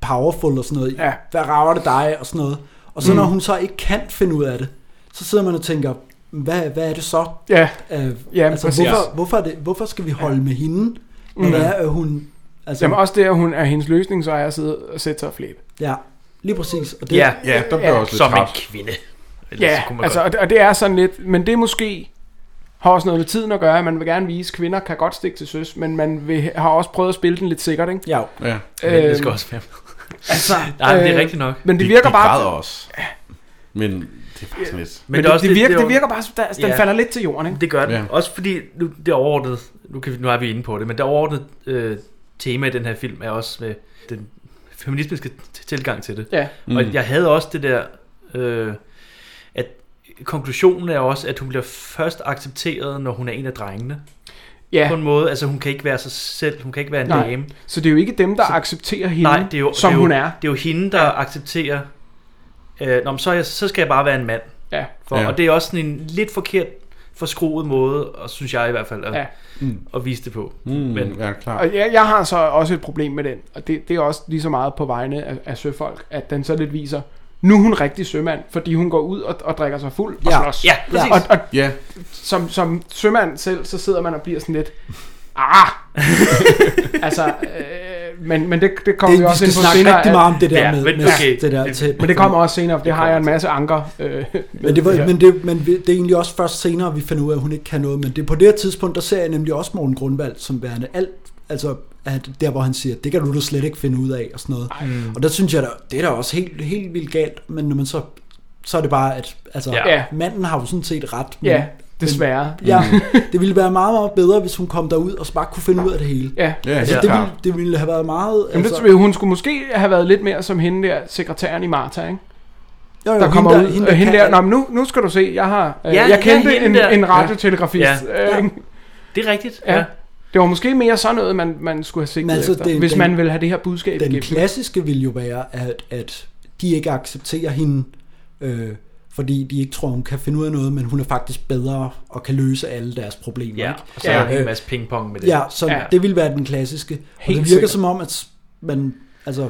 powerful og sådan noget,
Ja.
hvad rager det dig og sådan noget. Og så mm. når hun så ikke kan finde ud af det, så sidder man og tænker, hvad, hvad er det så?
Ja,
Øh,
ja altså,
altså,
præcis.
hvorfor, hvorfor, er det, hvorfor skal vi holde med hende, når mm. det er, at hun... Altså,
Jamen også det, at hun er hendes løsning, så er jeg siddet og sætte sig og flæbe.
ja, lige præcis. Og det,
Ja,
Ja, der bliver jeg også lidt
som en
træt.
kvinde. Ellers
Ja,
kunne man
altså,
godt-
og det, og det er sådan lidt, men det er måske har også noget med tiden at gøre. Man vil gerne vise, at kvinder kan godt stikke til søs, men man vil, har også prøvet at spille den lidt sikkert, ikke?
Ja,
Ja.
Men det skal også være med.
Øhm, altså,
[LAUGHS] Nej, men det er
øh,
rigtigt nok.
Men det
de,
virker
de
bare...
græder også. Men det er faktisk lidt...
Men, det,
er
det, det, virker,
er
det
jo-
virker bare, som- der, altså, den
Ja.
falder lidt til jorden, ikke?
Det gør den.
Ja.
Ja. Også fordi, nu, det overordnede, nu, kan vi, nu er vi inde på det, men det overordnede øh, tema i den her film er også med den feministiske t- tilgang til det.
Ja.
Mm. Og jeg havde også det der, øh, at konklusionen er også, at hun bliver først accepteret, når hun er en af drengene. Ja. På
ja.
en måde, altså hun kan ikke være sig selv, hun kan ikke være en
Nej.
dame.
Så det er jo ikke dem, der accepterer hende,
Nej, det er jo,
som
det er jo,
hun er.
Det er jo hende, der ja. accepterer, øh, Nå, men så, er jeg, så skal jeg bare være en mand.
Ja.
For,
Ja.
ja. Og det er også sådan en lidt forkert forskruet måde, og synes jeg i hvert fald, at,
Ja.
ja. at vise det på.
Mm,
Men-
men, ja, klart.
Og jeg, jeg har så også et problem med den, og det, det er også lige så meget på vegne af, af søfolk, at den så lidt viser, nu er hun rigtig sømand, fordi hun går ud og, og drikker sig fuld og
Ja.
slås.
Ja, præcis.
Og, og
Ja,
som, som sømand selv, så sidder man og bliver sådan lidt,
[LAUGHS]
ah! altså, øh, men, men det, det kommer
det,
vi
vi
også
skal
ind på
snakke
senere.
rigtig
at-
meget om det der
Ja,
med,
men
med
okay.
det der til.
Men det kommer også senere, for det, har jeg en masse anker. Øh, med
Men det, var,
her.
men, det, men det er egentlig også først senere, vi finder ud af, at hun ikke kan noget. Men det er på det her tidspunkt, der ser jeg nemlig også Morten Grundvald som værende alt. Altså at der, hvor han siger, det kan du da slet ikke finde ud af, og sådan noget. Ej. Og der synes jeg, da, det er da også helt, helt vildt galt. Men når man så, så er det bare, at altså,
Ja.
ja. manden har jo sådan set ret. Men,
ja, desværre. Mm.
ja, [LAUGHS] det ville være meget, meget bedre, hvis hun kom derud og bare kunne finde ud af det hele.
Ja.
ja,
Altså,
helt
det,
klart.
ville, det ville have været meget...
Jamen, det,
altså,
tror jeg, hun skulle måske have været lidt mere som hende der, sekretæren i Marta, ikke?
jo, jo,
der kommer
hende
ud. Hende der, hende
kan
der,
alt.
Nå, men nu, nu skal du se, jeg har... Øh,
Ja,
jeg kendte
ja, hende der.
en, en radiotelegrafist.
Ja.
Ja. Øh,
Det er rigtigt.
ja. Det var måske mere sådan noget, man, man skulle have sigtet
Men altså,
altså, efter,
den-
hvis
den-
man ville have det her budskab
Den
igennem.
klassiske vil jo være, at, at de ikke accepterer hende, øh, fordi de ikke tror, hun kan finde ud af noget, men hun er faktisk bedre og kan løse alle deres problemer.
Ja,
ikke?
og så er der
Ja.
en hel masse pingpong med det.
ja så ja.
Ja.
det vil være den klassiske. Og
Helt
det virker
sikkert.
som om, at man, altså,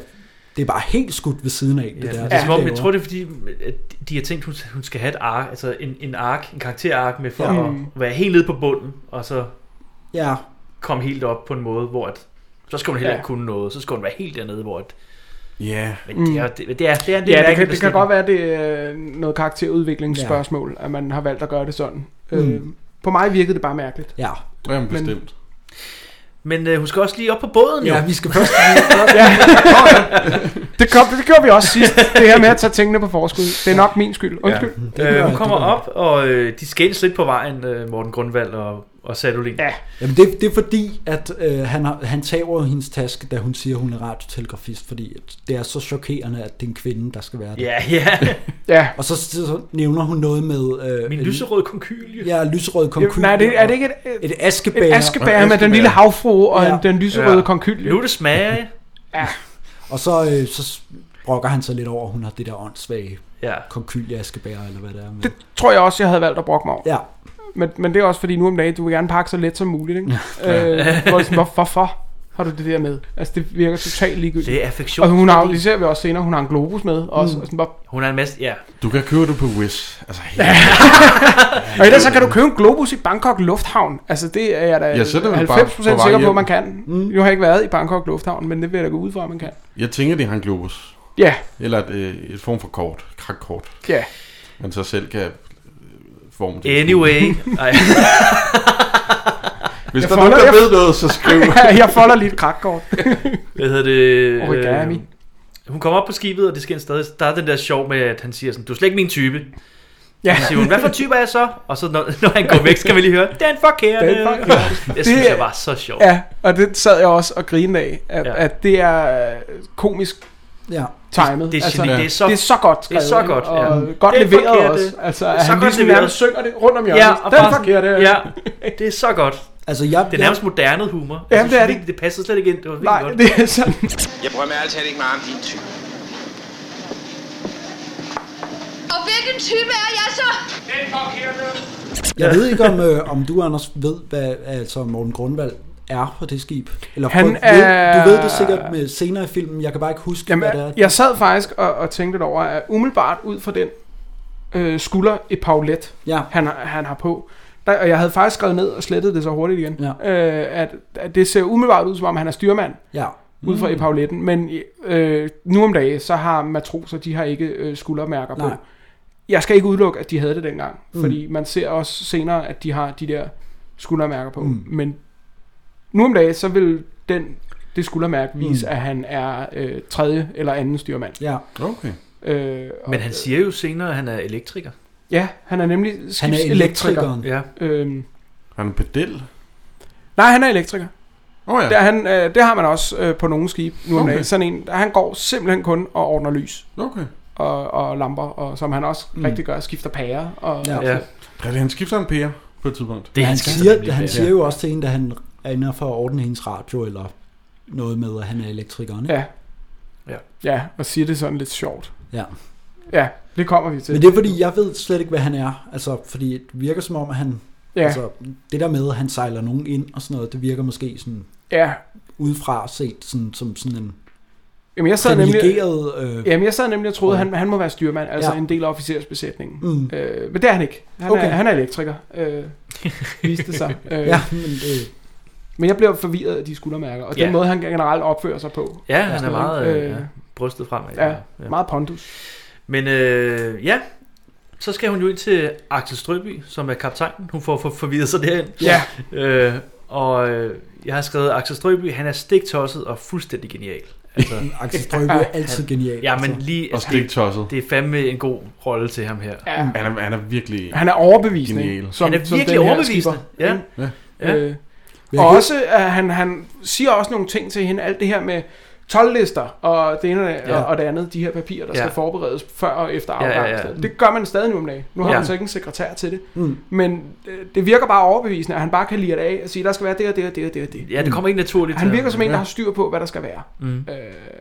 det er bare helt skudt ved siden af det
Ja,
der.
det er som om, jeg
derovre.
tror det er fordi, at de har tænkt, hun, hun skal have et ark, altså en, en ark, en karakterark med for
Ja.
ja. at være helt nede på bunden, og så
Ja,
komme helt op på en måde, hvor at, så skal hun heller
Ja.
ikke kunne noget, så skal hun være helt dernede, hvor at,
Ja,
men det er, det, det er, det er en
Mm. Ja, det
mærkelig
kan, det kan
beslutning.
godt være, det er øh, noget karakterudviklingsspørgsmål, ja. at man har valgt at gøre det sådan. Mm. Øh, på mig virkede det bare mærkeligt.
ja.
jamen, bestemt.
Men øh, hun skal også lige op på båden, jo.
ja, vi skal
[LAUGHS]
først...
[LAUGHS] Det, kom, det gjorde vi også sidst, det her med at tage tingene på forskud. Det er nok min skyld. Undskyld.
Øh, hun
Ja,
kommer
det var-
op, og øh, de skændes lidt på vejen, øh, Morten Grundvald og, og Sadolin.
Ja.
Jamen det, det er fordi, at øh, han, har, han tager hendes taske, da hun siger, hun er radiotelegrafist, fordi at det er så chokerende, at det er en kvinde, der skal være det.
Ja, ja.
[LAUGHS] Ja.
Og så, så nævner hun noget med... Øh,
Min
en-
lyserød konkylie.
Ja, lyserød
Jo,
konkyl.
nej, det, er det ikke et,
Et
et,
askebær.
et askebær med den lille havfru og
Ja.
ja. den lyserøde
Ja.
ja. konkylie?
Nu er det smager.
Og så, øh, så brokker han sig lidt over, at hun har det der åndssvage
Ja.
konkylie askebær, eller hvad det er. Med.
Det tror jeg også, jeg havde valgt at brokke mig over.
Ja,
Men, men det er også fordi nu om dagen, du vil gerne pakke så let som muligt. Ikke? øh, hvor, sådan, hvor, hvorfor har du det der med? Altså det virker totalt ligegyldigt.
Det er affektion.
Og hun har, det ser vi også senere, hun har en globus med. Også, mm. og, sådan, hvor,
Hun er en masse... Ja.
Du kan købe det på Wish. Altså, helt
og ellers så kan du købe en globus i Bangkok Lufthavn. Altså det er jeg da
Ja, så er det vel bare
90%
på vej
sikker på,
hjem.
at man kan. Mm. Nu har jeg ikke været i Bangkok Lufthavn, men det vil jeg da gå ud fra, at man kan.
Jeg tænker, det har en globus.
Ja,
Eller et, øh, et form for kort. Krakkort.
ja.
Man så selv kan øh, forme det. [LAUGHS]
Anyway. Ej.
Hvis
Jeg
der er nogen,
folder-
der
jeg-
ved noget, så
[LAUGHS]
skriv.
jeg folder lige et
[LAUGHS]
krakkort.
Hvad hedder det?
Origami.
Øh, hun kommer op på skibet, og det sker stadig. Der er den der sjov med, at han siger sådan, du er slet ikke min type.
Ja.
Så siger hun, hvad for type er jeg så? Og så når, når han går væk, skal vi lige høre, det er en forkerte.
Det er en
[LAUGHS] Jeg synes,
Det-
jeg var så sjov.
Ja, og det sad jeg også og grinede af, at,
Ja.
ja. at det er øh, komisk
ja.
timet.
Det er, altså, det er så...
det er så godt
Det er
skrevet,
så godt,
ikke? og
ja.
godt
Det er
leveret
forkert,
også.
det.
Altså,
Det er
at
så
han
godt
ligesom
leveret.
nærmest synger det rundt om hjørnet.
ja,
Ja,
og
den
bare-
forkerte.
Ja, det er så godt.
Altså, jeg,
Det er nærmest moderne humor. Jeg
Ja,
synes
det er
virkelig, Det passer slet ikke ind. Det var virkelig
Nej,
godt.
det er sådan.
Jeg prøver med altid ikke meget om din type.
Og hvilken type er jeg så?
Den forkerte.
jeg ved ikke, om, øh, om du, Anders, ved, hvad altså, Morten Grundvald er på det skib. Eller
Han
prøv-
er-
Du ved det sikkert med senere i filmen. Jeg kan bare ikke huske, Jamen, hvad det er.
Jamen, jeg sad faktisk og, og tænkte lidt over, at umiddelbart ud fra den øh, skulder et paulet,
Ja.
han, har- han har på, der, og jeg havde faktisk skrevet ned og slettet det så hurtigt igen,
Ja.
øh, at, at det ser umiddelbart ud, som om han er styrmand.
ja. Mm.
ud fra epauletten, men øh, nu om dagen, så har matroser, de har ikke øh, skuldermærker
Nej.
på. jeg skal ikke udelukke, at de havde det dengang. Mm. Fordi man ser også senere, at de har de der skuldermærker på. Mm. Men nu om dagen, så vil den, det skuldermærke vise, mm. at han er øh, tredje eller anden styrmand.
Ja.
Okay.
Øh, og,
Men han siger jo senere, at han er elektriker.
Ja, han er nemlig skibselektriker.
Han er elektrikeren.
Ja.
Øhm,
Han er en pedel.
nej, han er elektriker.
Åh oh, ja.
Det, er han, øh, det har man også øh, på nogle skibe nu om
Okay.
dagen. Sådan en, han går simpelthen kun og ordner lys
Okay.
og, og lamper, og som han også mm. rigtig gør, skifter pærer. Og,
Ja.
ja.
Er det, han skifter en pære på et tidspunkt?
Det
Men han,
skal
siger,
nemlig
han
være.
siger jo også til en, da han er inde for at ordne hendes radio, eller noget med, at han er elektrikeren. ikke?
ja.
Ja.
Ja, og siger det sådan lidt sjovt.
ja.
Ja, det kommer vi til.
Men det er fordi, jeg ved slet ikke, hvad han er. Altså, fordi det virker som om, at han...
ja,
Altså, det der med, at han sejler nogen ind og sådan noget, det virker måske sådan
ja.
udefra set sådan, som sådan en
Jamen, jeg sad nemlig,
privilegeret... Øh,
jamen, jeg sad nemlig og troede, at han, han må være styrmand, altså
Ja.
ja. en del af officersbesætningen.
Mm.
Øh, men det er han ikke. Han, okay.
Okay.
er, han er elektriker, øh, viste det
[LAUGHS]
sig. Øh,
ja, men det,
Men jeg blev forvirret af de skuldermærker, og den
Ja.
måde, han generelt opfører sig på.
Ja, han er meget øh,
Øh,
ja, brystet fremad.
Ja, ja. meget pondus.
Men øh, ja, så skal hun jo ind til Axel Strøby, som er kaptajnen. Hun får for, forvirret sig derind.
Ja.
Øh, og øh, jeg har skrevet, Axel Strøby, han er stiktosset og fuldstændig genial. Altså,
[LAUGHS] Axel Strøby er altid genial.
ja, men
altså.
lige,
Og
altså, det,
stiktosset.
det er fandme en god rolle til ham her.
Ja.
Han er, han er virkelig...
Han er overbevisende.
Genial.
ikke? Som,
Han er
som
virkelig
den her
overbevisende.
skipper,
Ja.
ikke?
Ja.
Øh,
Men
og
jeg-
også, at han, han siger også nogle ting til hende, alt det her med 12-lister og det ene og,
Ja.
ja. og det andet, de her papirer, der
Ja.
ja. skal forberedes før og efter
Ja, ja,
afgang.
ja.
Ja, ja, ja. Det gør man stadig nu om dagen. Nu har
Ja.
ja. man så ikke en sekretær til det.
Mm.
Men øh, det virker bare overbevisende, at han bare kan lide det af og sige, der skal være det og det og det og det og det.
Ja, det kommer ikke naturligt
Han
til
virker
ham.
som en, der
Ja.
har styr på, hvad der skal være.
Mm.
Øh,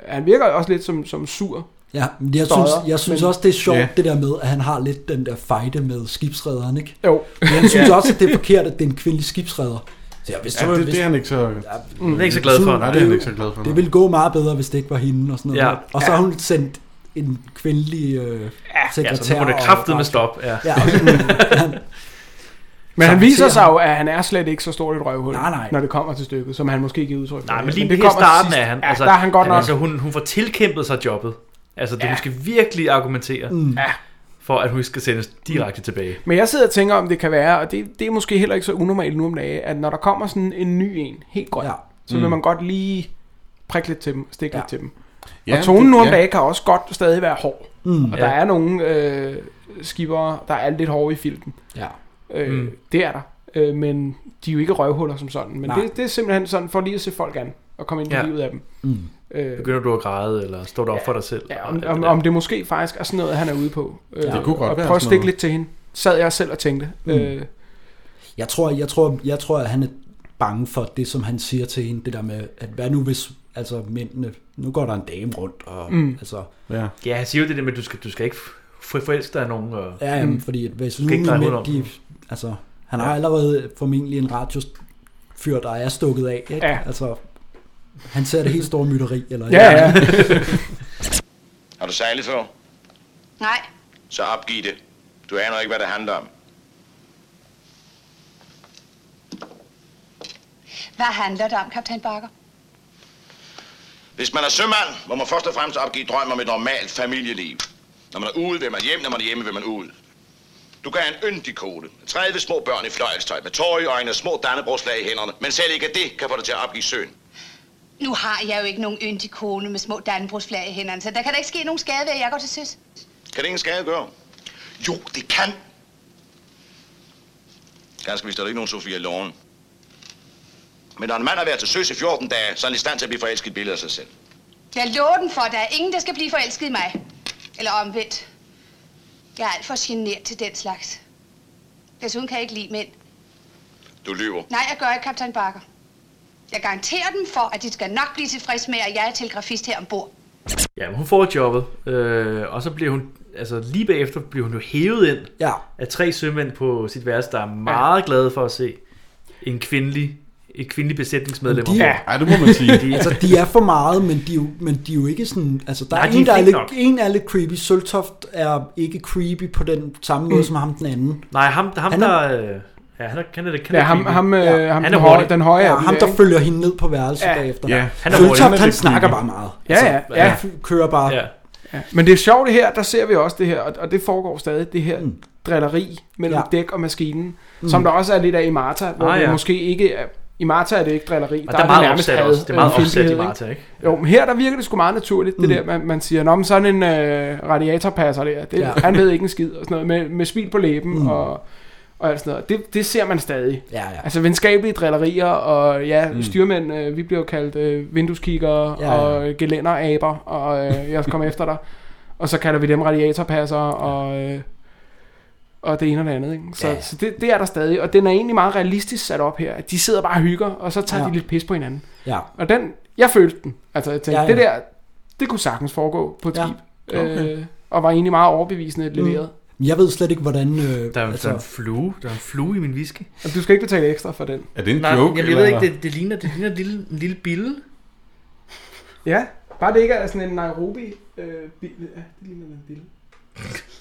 han virker også lidt som, som sur.
Ja, men jeg
Stodder,
synes, jeg synes
men-
også, det er sjovt,
Ja.
yeah. det der med, at han har lidt den der fejde med skibsredderen, ikke?
Jo.
[LAUGHS]
Men jeg synes også, at det er forkert, at det er en kvindelig skibsredder. Så jeg, hvis
Ja, det, det er han ikke så...
Han er ikke så glad for.
Nej,
Nej.
det er han ikke så glad for.
det ville gå meget bedre, hvis det ikke var hende og sådan noget.
Ja.
Og så har hun sendt en kvindelig øh, sekretær.
Ja, så nu må det
og-
kraftet med stop. Ja.
Ja, og
[LAUGHS]
sådan,
[LAUGHS]
Men han
Samtidig
viser sig
har-
jo, at han er slet ikke så stort et røvhul,
Nej, nej.
når det kommer til stykket, som han måske giver udtryk for.
Nej, men lige
det
her i
kommer
starten
sidst.
er han.
Ja, altså, der er han godt nok.
Altså, hun, hun får tilkæmpet sig jobbet. Altså, det, hun skal virkelig argumentere,
Mm.
for at hun skal sendes direkte tilbage.
Men jeg sidder og tænker, om det kan være, og det, det er måske heller ikke så unormalt nu om dagen, at når der kommer sådan en ny en, helt grøn, ja.
ja.
så
Mm.
vil man godt lige prikke lidt til dem, stikke
Ja.
ja. lidt til dem.
Ja,
og tonen
det-
nu om
ja.
dagen kan også godt stadig være hård.
Mm.
Og der
Ja.
er nogle øh, skibere, der er lidt hårde i filten.
ja.
Øh,
Mm.
mm. Det er der. Øh, men de er jo ikke røvhuller som sådan. Men
Nej.
det, det er simpelthen sådan for lige at se folk an og komme ind i
Ja.
livet af dem.
Mm.
Øh,
Begynder du at græde, eller står du op for dig selv?
Ja,
og
om,
alt
om,
der.
om det måske faktisk er sådan noget, han er ude på. Øh,
Det
kunne godt
og
være
prøv at
sådan
stikke
noget.
lidt til hende. Sad jeg selv og tænkte. Mm. Øh,
Jeg tror, jeg tror, jeg tror, at han er bange for det, som han siger til hende, det der med, at hvad nu hvis altså mændene, nu går der en dame rundt, og mm. altså,
Ja.
Ja, han siger jo det der med, at du skal, du skal ikke for- forelske dig i nogen. Og...
ja,
Mm.
jamen, fordi at hvis nu
Mm. ikke dreje
mine
hovedet om.
mænd, de, altså, han har allerede formentlig en radiofyr, der er stukket af, ikke?
Ja.
altså, han ser det helt store mytteri, eller
ja, ja.
[LAUGHS]
Har du sejlet før?
Nej,
Så opgiv det. Du aner ikke, hvad det handler om.
hvad handler det om, kaptajn Bakker?
Hvis man er sømand, må man først og fremmest opgive drømmen om et normalt familieliv. Når man er ude, vil man hjem. Når man er hjemme, vil man ud. Du kan have en yndig kone. 30 små børn i fløjelstøj med tårer i øjnene og små dannebroslag i hænderne. Men selv ikke af det kan få dig til at opgive søen.
Nu har jeg jo ikke nogen yndig kone med små dannebrugsflag i hænderne, så der kan da ikke ske nogen skade ved, at jeg går til søs.
Kan det ingen skade gøre? Jo, det kan. Ganske vist er der ikke nogen Sofia Loven. Men når en mand har været til søs i 14 dage, så er han i stand til at blive forelsket i et billede af sig selv.
Jeg lover den for, at der er ingen, der skal blive forelsket i mig. Eller omvendt. Jeg er alt for genert til den slags. Desuden kan jeg ikke lide mænd.
Du lyver.
Nej, jeg gør ikke, kaptajn Bakker. Jeg garanterer dem for, at de skal nok blive tilfredse med, at jeg er telegrafist her ombord.
Ja, men hun får jobbet, øh, og så bliver hun, altså lige bagefter bliver hun jo hævet ind
ja,
af tre sømænd på sit værelse, der er meget ja. glade for at se en kvindelig, et kvindelig besætningsmedlem.
De-
ombord.
Ja.
Ej, det må man sige.
altså, [LAUGHS] de er for meget, men de, er jo- men de er jo ikke sådan, altså, der
Nej,
er
de
en,
er
der er
fint
lidt,
nok.
en er lidt creepy, Søltoft er ikke creepy på den samme måde, som ham den anden,
Mm. Nej, ham, ham
Han
han
er-
er, der... Øh, ja, han er, han er, han er
ja, ham,
creepy.
ham, øh,
Ja,
ham
han
den,
er
høje,
hurtig.
den høje
ja,
af dem
ham
der,
der
ikke?
følger hende ned på værelset
Ja.
bagefter.
Ja,
han er
Søltoft,
hurtig.
Altså, han snakker bare meget.
Ja, ja, ja.
kører bare.
Ja.
Ja. Men det er sjovt det her, der ser vi også det her, og, og det foregår stadig, det her mm. drilleri mellem
Ja.
ja. dæk og maskinen, mm. som der også er lidt af i Marta, hvor
Ah,
ah, ja.
ja.
det måske ikke er, i Marta er det ikke drilleri,
Og der, er meget opsat
had,
også. Det er meget
øh,
opsat i
fjendtlighed,
Marta, ikke?
ikke? Jo, men her der virker det sgu meget naturligt,
Mm.
det der, man, man siger, Nå, men sådan en øh, radiatorpasser der, det,
Ja.
ja. han ved ikke en skid, og sådan noget, med, med smil på læben, mm. og, og alt sådan noget. Det, det ser man stadig.
Ja, ja.
Altså venskabelige drillerier, og ja, mm. styrmænd, øh, vi bliver jo kaldt øh, vindueskikkere,
Ja,
ja,
ja.
ja. og øh, gelænderaber, og øh, jeg skal komme efter dig. Og så kalder vi dem radiatorpasser, og, øh, og det ene og det andet. Ikke? Så,
Ja,
ja,
ja.
så det, det er der stadig, og den er egentlig meget realistisk sat op her. at De sidder bare og hygger, og så tager
Ja.
ja. de lidt pis på hinanden.
Ja.
Og den, jeg følte den. Altså jeg tænkte,
Ja,
ja,
ja.
ja. det der, det kunne sagtens foregå på et
Ja.
ja. skib. Okay. Øh, og var egentlig meget overbevisende leveret. Mm.
Men jeg ved slet ikke, hvordan... Øh,
Der er, altså, der er en
altså,
flue. Der er en flue i min whisky.
Og du skal ikke betale ekstra for den.
Er det en
Nej,
joke?
jamen, jeg ved ikke, det, det ligner, det ligner en lille, en lille bille.
Ja, bare det ikke er sådan en Nairobi... Øh, bil, ja, det ligner en bil.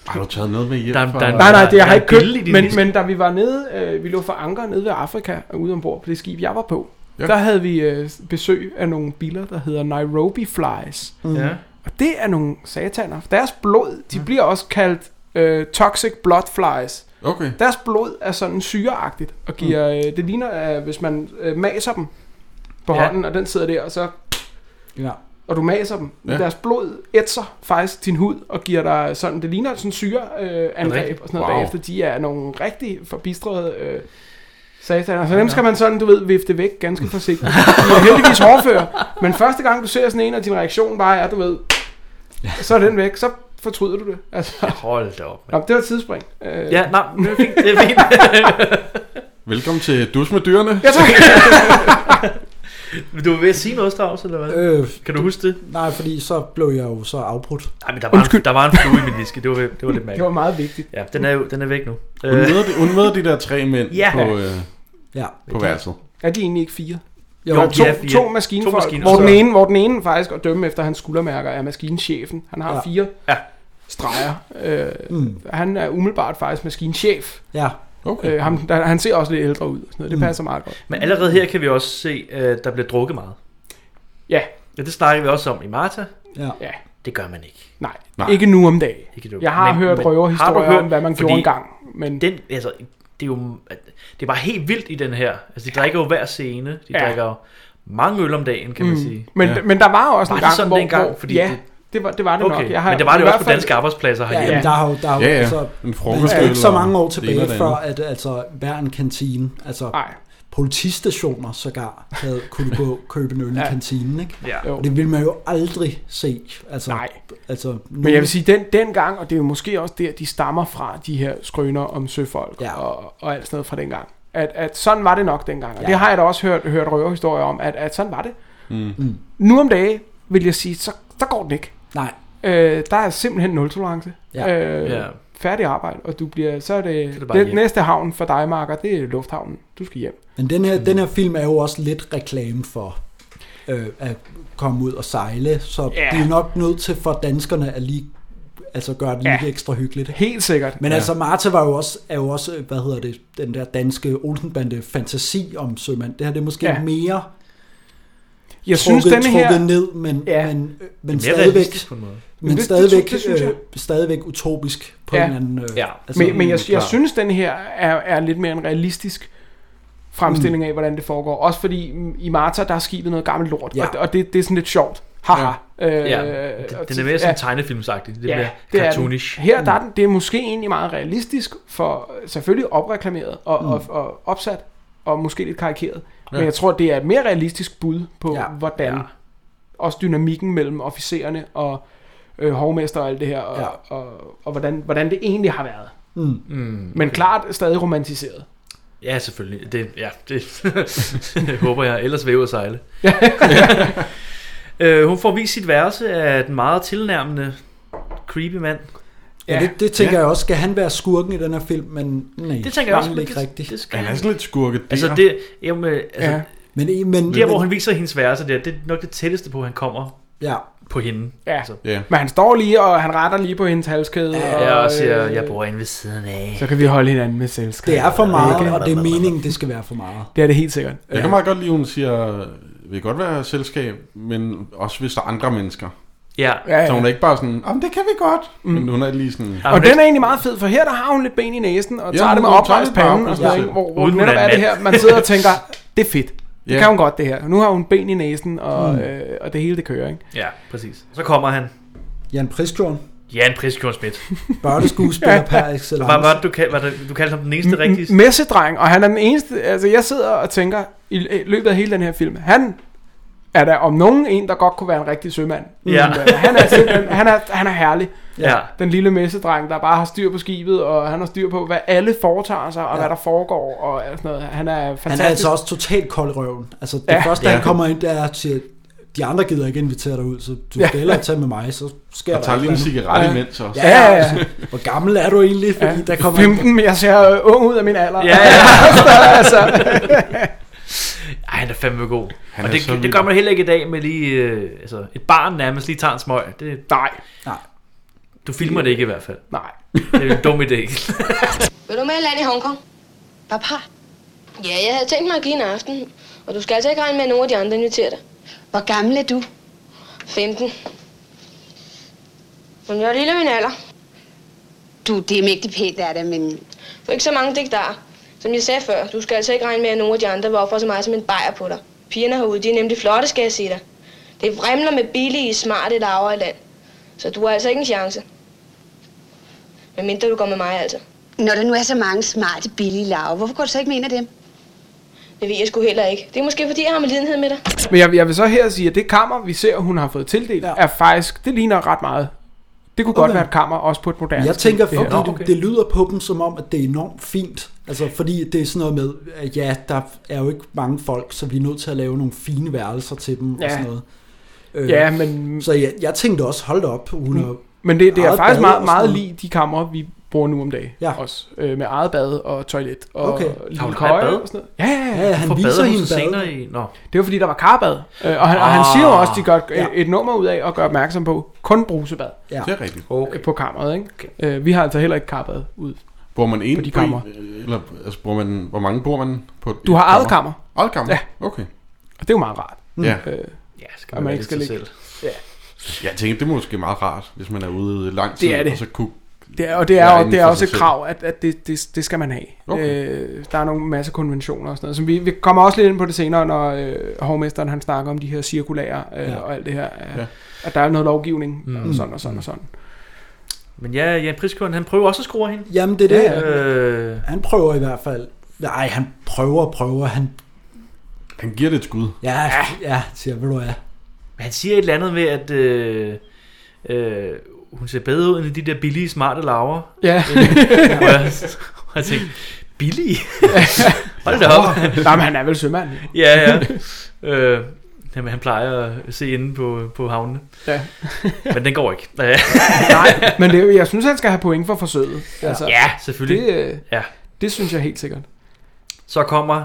Har du taget noget med hjem?
Der er-
fra-
der er-
Nej, nej, det jeg har
er
jeg ikke
en bille i
købt,
din
men,
liste.
men da vi var nede, øh, vi lå for anker nede ved Afrika, og ude ombord på det skib, jeg var på,
Ja.
ja. der havde vi øh, besøg af nogle biler, der hedder Nairobi Flies.
Mm. Ja.
Og det er nogle sataner. Deres blod, de bliver også kaldt øh, toxic blood flies.
Okay.
Deres blod er sådan syreagtigt, og giver, øh, det ligner, øh, hvis man øh, maser dem på
Mm. Ja.
ja. hånden, og den sidder der, og så
ja.
og du maser dem.
Ja.
Ja. Deres blod ætser faktisk din hud og giver dig sådan, det ligner sådan syre øh, angreb
rigtigt?
og sådan noget
Wow.
wow. bagefter. De er nogle rigtig forbistrede øh, sataner. Så dem skal man sådan, du ved, vifte væk
[LAUGHS]
ganske forsigtigt. De er heldigvis hårdføre, men første gang du ser sådan en, og din reaktion bare er, du ved, så er den væk, så fortryder du det. Altså,
Hold da op. mand.
Nå, det var et tidsspring. Øh,
Ja, nej, det er fint. Det er fint.
[LAUGHS] Velkommen til Dus med dyrene.
Jeg tror,
Men du var ved at sige noget, Strauss, eller hvad?
Øh,
Kan du huske det?
nej, fordi så blev jeg jo så afbrudt.
Nej, men der var,
Undskyld.
en, der var en flue i min whisky. Det var, det var lidt
[LAUGHS] det
mærkeligt.
var meget vigtigt.
Ja, den er, jo, den er væk nu.
Hun
Øh,
møder, de, hun møder de der tre mænd
Ja.
på, øh,
Ja.
på værelset.
Er de egentlig ikke fire?
Jo,
Jo,
to,
de er
ja,
fire.
to maskinfolk,
To
to
maskiner.
hvor, den
Så-
ene, hvor den ene faktisk at dømme efter hans skuldermærker er maskinchefen. Han har
Ja.
ja. fire
Ja.
streger. Øh,
Mm.
han er umiddelbart faktisk maskinchef.
Ja.
Okay.
Øh, ham, der, han ser også lidt ældre ud. og Sådan noget. Det
Mm.
passer meget godt.
men allerede her kan vi også se, at der bliver drukket meget.
Ja,
Ja, det snakker vi også om i Marta.
Ja.
ja.
Det gør man ikke.
Nej,
Nej.
Nej, ikke nu om dagen.
ikke du.
Jeg har
Men-
men, hørt
men har
røverhistorier
du hørt-
om, hvad man
fordi
gjorde engang. Men det,
Den, altså, det er jo det er bare helt vildt i den her. Altså, de drikker jo hver scene. De ja.
Ja. Mm.
drikker jo mange øl om dagen, kan man sige.
men,
Ja.
ja. men der var jo også
Var
en
det
gang,
sådan
hvor,
dengang?
hvor
Fordi
ja,
det-
det var det, var det
Okay,
nok. Jeg har,
men det var
i
det jo
hvert
også på
fald-
danske arbejdspladser
Ja,
herhjemme.
jamen, der har jo, der har jo,
Ja, ja.
altså,
En
man
frokost.
skal ikke så
eller
mange år
det ene
tilbage
og det andet.
for, at altså, hver en kantine, altså Ej.
Nej,
politistationer sågar, havde kunne gå og købe en øl i
Ja.
kantinen, ikke?
Ja.
jo.
Og det ville man jo aldrig se. Altså,
Nej.
Altså, nu,
Men jeg vil sige, den, dengang, og det er jo måske også der, de stammer fra, de her skrøner om søfolk
Ja.
ja. og, og alt sådan noget fra dengang. At, at sådan var det nok dengang. Og ja. det har jeg da også hørt, hørt røverhistorier om, at, at sådan var det.
Mm.
Nu om dage, vil jeg sige, så, så går det ikke.
Nej,
Øh, der er simpelthen nul tolerance.
Ja.
Øh,
Ja.
Færdig arbejde, og du bliver, så er det,
er det
det,
bare
det
hjem.
næste havn for dig, Marker, det er lufthavnen. Du skal hjem.
men den her, mm. den her film er jo også lidt reklame for øh, at komme ud og sejle, så
Ja.
de er nok nødt til for danskerne at lige altså gøre det lidt
Ja.
ekstra hyggeligt. ikke?
Helt sikkert.
Men ja. altså Marta var jo også, er jo også, øh, hvad hedder det, den der danske Olsenbande fantasi om sømand. Det her det er måske ja.
Ja.
mere
jeg
trukket,
synes, denne her...
trukket ned, men,
Ja.
ja. men, øh, men
Mere
stadigvæk,
realistisk på en måde.
men
det- det
stadigvæk,
synes- det synes jeg.
øh, stadigvæk utopisk på
Ja.
en eller anden... Øh,
Ja.
Men, men jeg,
mm,
jeg
klar.
synes, den her er, er lidt mere en realistisk fremstilling
Mm.
af, hvordan det foregår. Også fordi mm, i Marta, der er skibet noget gammelt lort,
Ja.
ja. og, og det, det er sådan lidt sjovt. Haha. Øh,
Ja,
og
den, den
til-
er mere sådan tegnefilmsagtig. Det bliver
er den.
cartoonish. Mm.
Her der er den, det er måske egentlig meget realistisk, for selvfølgelig opreklameret og, mm. og, og opsat, og måske lidt karikeret. Ja. Men jeg tror, det er et mere realistisk bud på,
Ja.
ja. hvordan
Ja.
ja. også dynamikken mellem officererne og øh, hovmester og alt det her, og,
Ja.
ja. og, og, og hvordan, hvordan det egentlig har været.
Mm.
Mm,
Men klart stadig romantiseret.
Ja, selvfølgelig. Det, ja, det [LAUGHS] håber jeg. Ellers vil jeg ud at
[LAUGHS]
sejle. øh, hun får vist sit værelse af den meget tilnærmende creepy mand.
Ja,
Ja.
det, det tænker ja. jeg også. Skal han være skurken i den her film? Men nej,
Det tænker jeg også.
egentlig
men
ikke
det,
rigtigt.
Det skal
Han er
han.
sådan lidt skurket der.
Altså, det, jamen, øh, altså
Ja.
Men, men, men
der, hvor han viser hendes værelse der, det er nok det tætteste på, at han kommer
ja,
på hende.
Ja.
Altså,
Ja.
Men han står lige, og han retter lige på hendes halskæde.
Ja,
jeg
og,
også siger,
øh,
jeg bor inde ved siden af.
Så kan vi holde hinanden med selskab.
det er for meget,
Ikke?
og det er meningen, det skal være for meget.
Det er det helt sikkert.
Jeg kan meget godt lide, at hun siger, vil godt være selskab, men også hvis der er andre mennesker.
Ja.
Ja, ja.
Så hun er ikke bare sådan, om det kan vi godt. Mm. Men hun er lige sådan,
Jamen,
Og den er egentlig meget fed, for her der har hun lidt ben i næsen, og
Ja,
tager det med
hun tager
oprejst
lidt med
panden, og
oprejst
sådan noget,
pande.
ikke? hvor, hvor
Uden hun
netop
er
er det
en
her,
mand.
man sidder og tænker, det er fedt. Det
Ja. Mm.
kan hun godt det her. Nu har hun ben i næsen, og, øh, og det hele det kører, ikke?
Ja, præcis. Så kommer han.
Jan Priskjorn,
Jan Priskjorn Schmidt. [LAUGHS]
børneskuespiller per excellence.
Hvad var det, du kaldte, var det, du kaldte ham den eneste rigtige?
M- messedreng, og han er den eneste, altså jeg sidder og tænker, i l- i løbet af hele den her film, han er der om nogen en, der godt kunne være en rigtig sømand.
Ja.
Men, øh, han, er simpelthen, han, er, han er herlig.
Ja.
Den lille messedreng, der bare har styr på skibet, og han har styr på, hvad alle foretager sig, og ja. hvad der foregår, og alt sådan noget. Han er fantastisk.
Han er altså også totalt kold i røven. Altså det
Ja.
ja. første,
Ja.
han kommer ind, der er og siger, de andre gider ikke invitere dig ud, så du skal hellere tage med mig, så sker
jeg
der
tager lige en
andet.
cigaret imens også.
Ja, ja, ja. Hvor gammel er du egentlig? Fordi ja. der kommer
15, men jeg ser øh, ung ud af min alder.
Ja, ja.
[LAUGHS] altså.
Ej, han er fandme god.
Han
og
er
det,
så
det
vild.
gør man heller ikke i dag med lige... Øh, altså, et barn nærmest lige tager en smøg. Det,
Nej,
du filmer det ikke i hvert fald.
nej.
Det er jo en dum idé.
Vil du med land i Hongkong?
Papa,
Ja, jeg havde tænkt mig at give en aften. Og du skal altså ikke regne med, at nogen af de andre inviterer dig.
hvor gammel er du?
15. Men jeg er lille af min alder.
Du, det er mægtig pænt af det, men
Du er ikke så mange digtarer. Som jeg sagde før, du skal altså ikke regne med, at nogen af de andre vil ofre så meget som en bajer på dig. Pigerne herude, de er nemlig flotte, skal jeg sige dig. Det vrimler med billige, smarte laver i land. Så du har altså ikke en chance. Men mindre du går med mig, altså.
når der nu er så mange smarte, billige lave, hvorfor går du så ikke med en af dem?
Det ved jeg sgu heller ikke. Det er måske, fordi jeg har med lidenhed med dig.
Men jeg, jeg vil så her sige, at det kammer, vi ser, hun har fået tildelt, ja. er faktisk, det ligner ret meget. Det kunne okay. godt
Okay.
være et kammer, også på et moderne
Jeg
skib,
tænker,
det her.
fordi okay. det lyder på dem som om, at det er enormt fint. Altså, fordi det er sådan noget med, at ja, der er jo ikke mange folk, så vi er nødt til at lave nogle fine værelser til dem
Ja.
og sådan noget. Øh,
Ja, men, Mm.
Så jeg, jeg tænkte også, hold da op, hun er,
men det, det er
Eget
faktisk
bad
meget,
og sådan
meget
noget.
lige de kammer, vi bruger nu om dagen.
Ja.
Også, øh, med eget bad og toilet og
Okay.
Har hun
lille
eget
køje
bad?
og sådan noget. Ja, ja, ja.
ja, han
For
viser
bader hun
hende
sig senere
badet.
i... Nå.
Det var fordi, der var karbad. Øh, og han, ah, og han
Ah.
siger jo også, at de gør et,
Ja.
et nummer ud af at gøre opmærksom på kun brusebad
Ja.
Det er rigtigt.
okay. på kammeret. Ikke? Okay. Øh, vi har altså heller ikke karbad ud.
Bruger man en
På de
på en-
kamre.
Eller, altså, bruger man, hvor mange bruger man på et
Du har eget
kammer?
kammer,
Eget kammer?
Ja.
Okay.
og det er jo meget rart.
Ja.
Øh,
Ja, skal
Og man
man, man
ikke
ikke
skal
skal sig
ligge.
selv.
Jeg tænker, det er måske meget rart, hvis man er ude lang tid,
Det er det.
og så kunne...
Det er, og det er,
være
og
inden
det er
for
også
sig
et
selv.
krav, at, at det, det, det skal man have.
Okay.
Øh, der er nogle masse konventioner og sådan noget. Som vi, vi kommer også lidt ind på det senere, når øh, hovmesteren han snakker om de her cirkulære øh, ja. og alt det her. Øh, ja.
Ja.
At der er noget lovgivning mm. og sådan og sådan og sådan.
Men ja, Jan Priskjorn, han prøver også at skrue af hende.
Jamen, det er det.
Ja, ja.
Øh,
Han prøver i hvert fald. Nej, han prøver og prøver. Han,
Han giver det et skud.
ja, ja, ja siger, ved du hvad.
han siger et eller andet med, at... Øh, øh, hun ser bedre ud end i de der billige, smarte laver.
Ja,
[LAUGHS] Hvor jeg, hvor jeg tænkte,
[LAUGHS]
billige? Hold da op.
Nej, men han er vel sømand.
Ja,
[LAUGHS]
ja. Øh, jamen, han plejer at se inde på, på havnene.
Ja.
[LAUGHS] Men den
[LAUGHS]
går ikke. Ja,
Nej, men det, jeg synes, han skal have point for forsøget. Ja. Altså,
ja selvfølgelig.
det, øh,
Ja.
det synes jeg helt sikkert.
Så kommer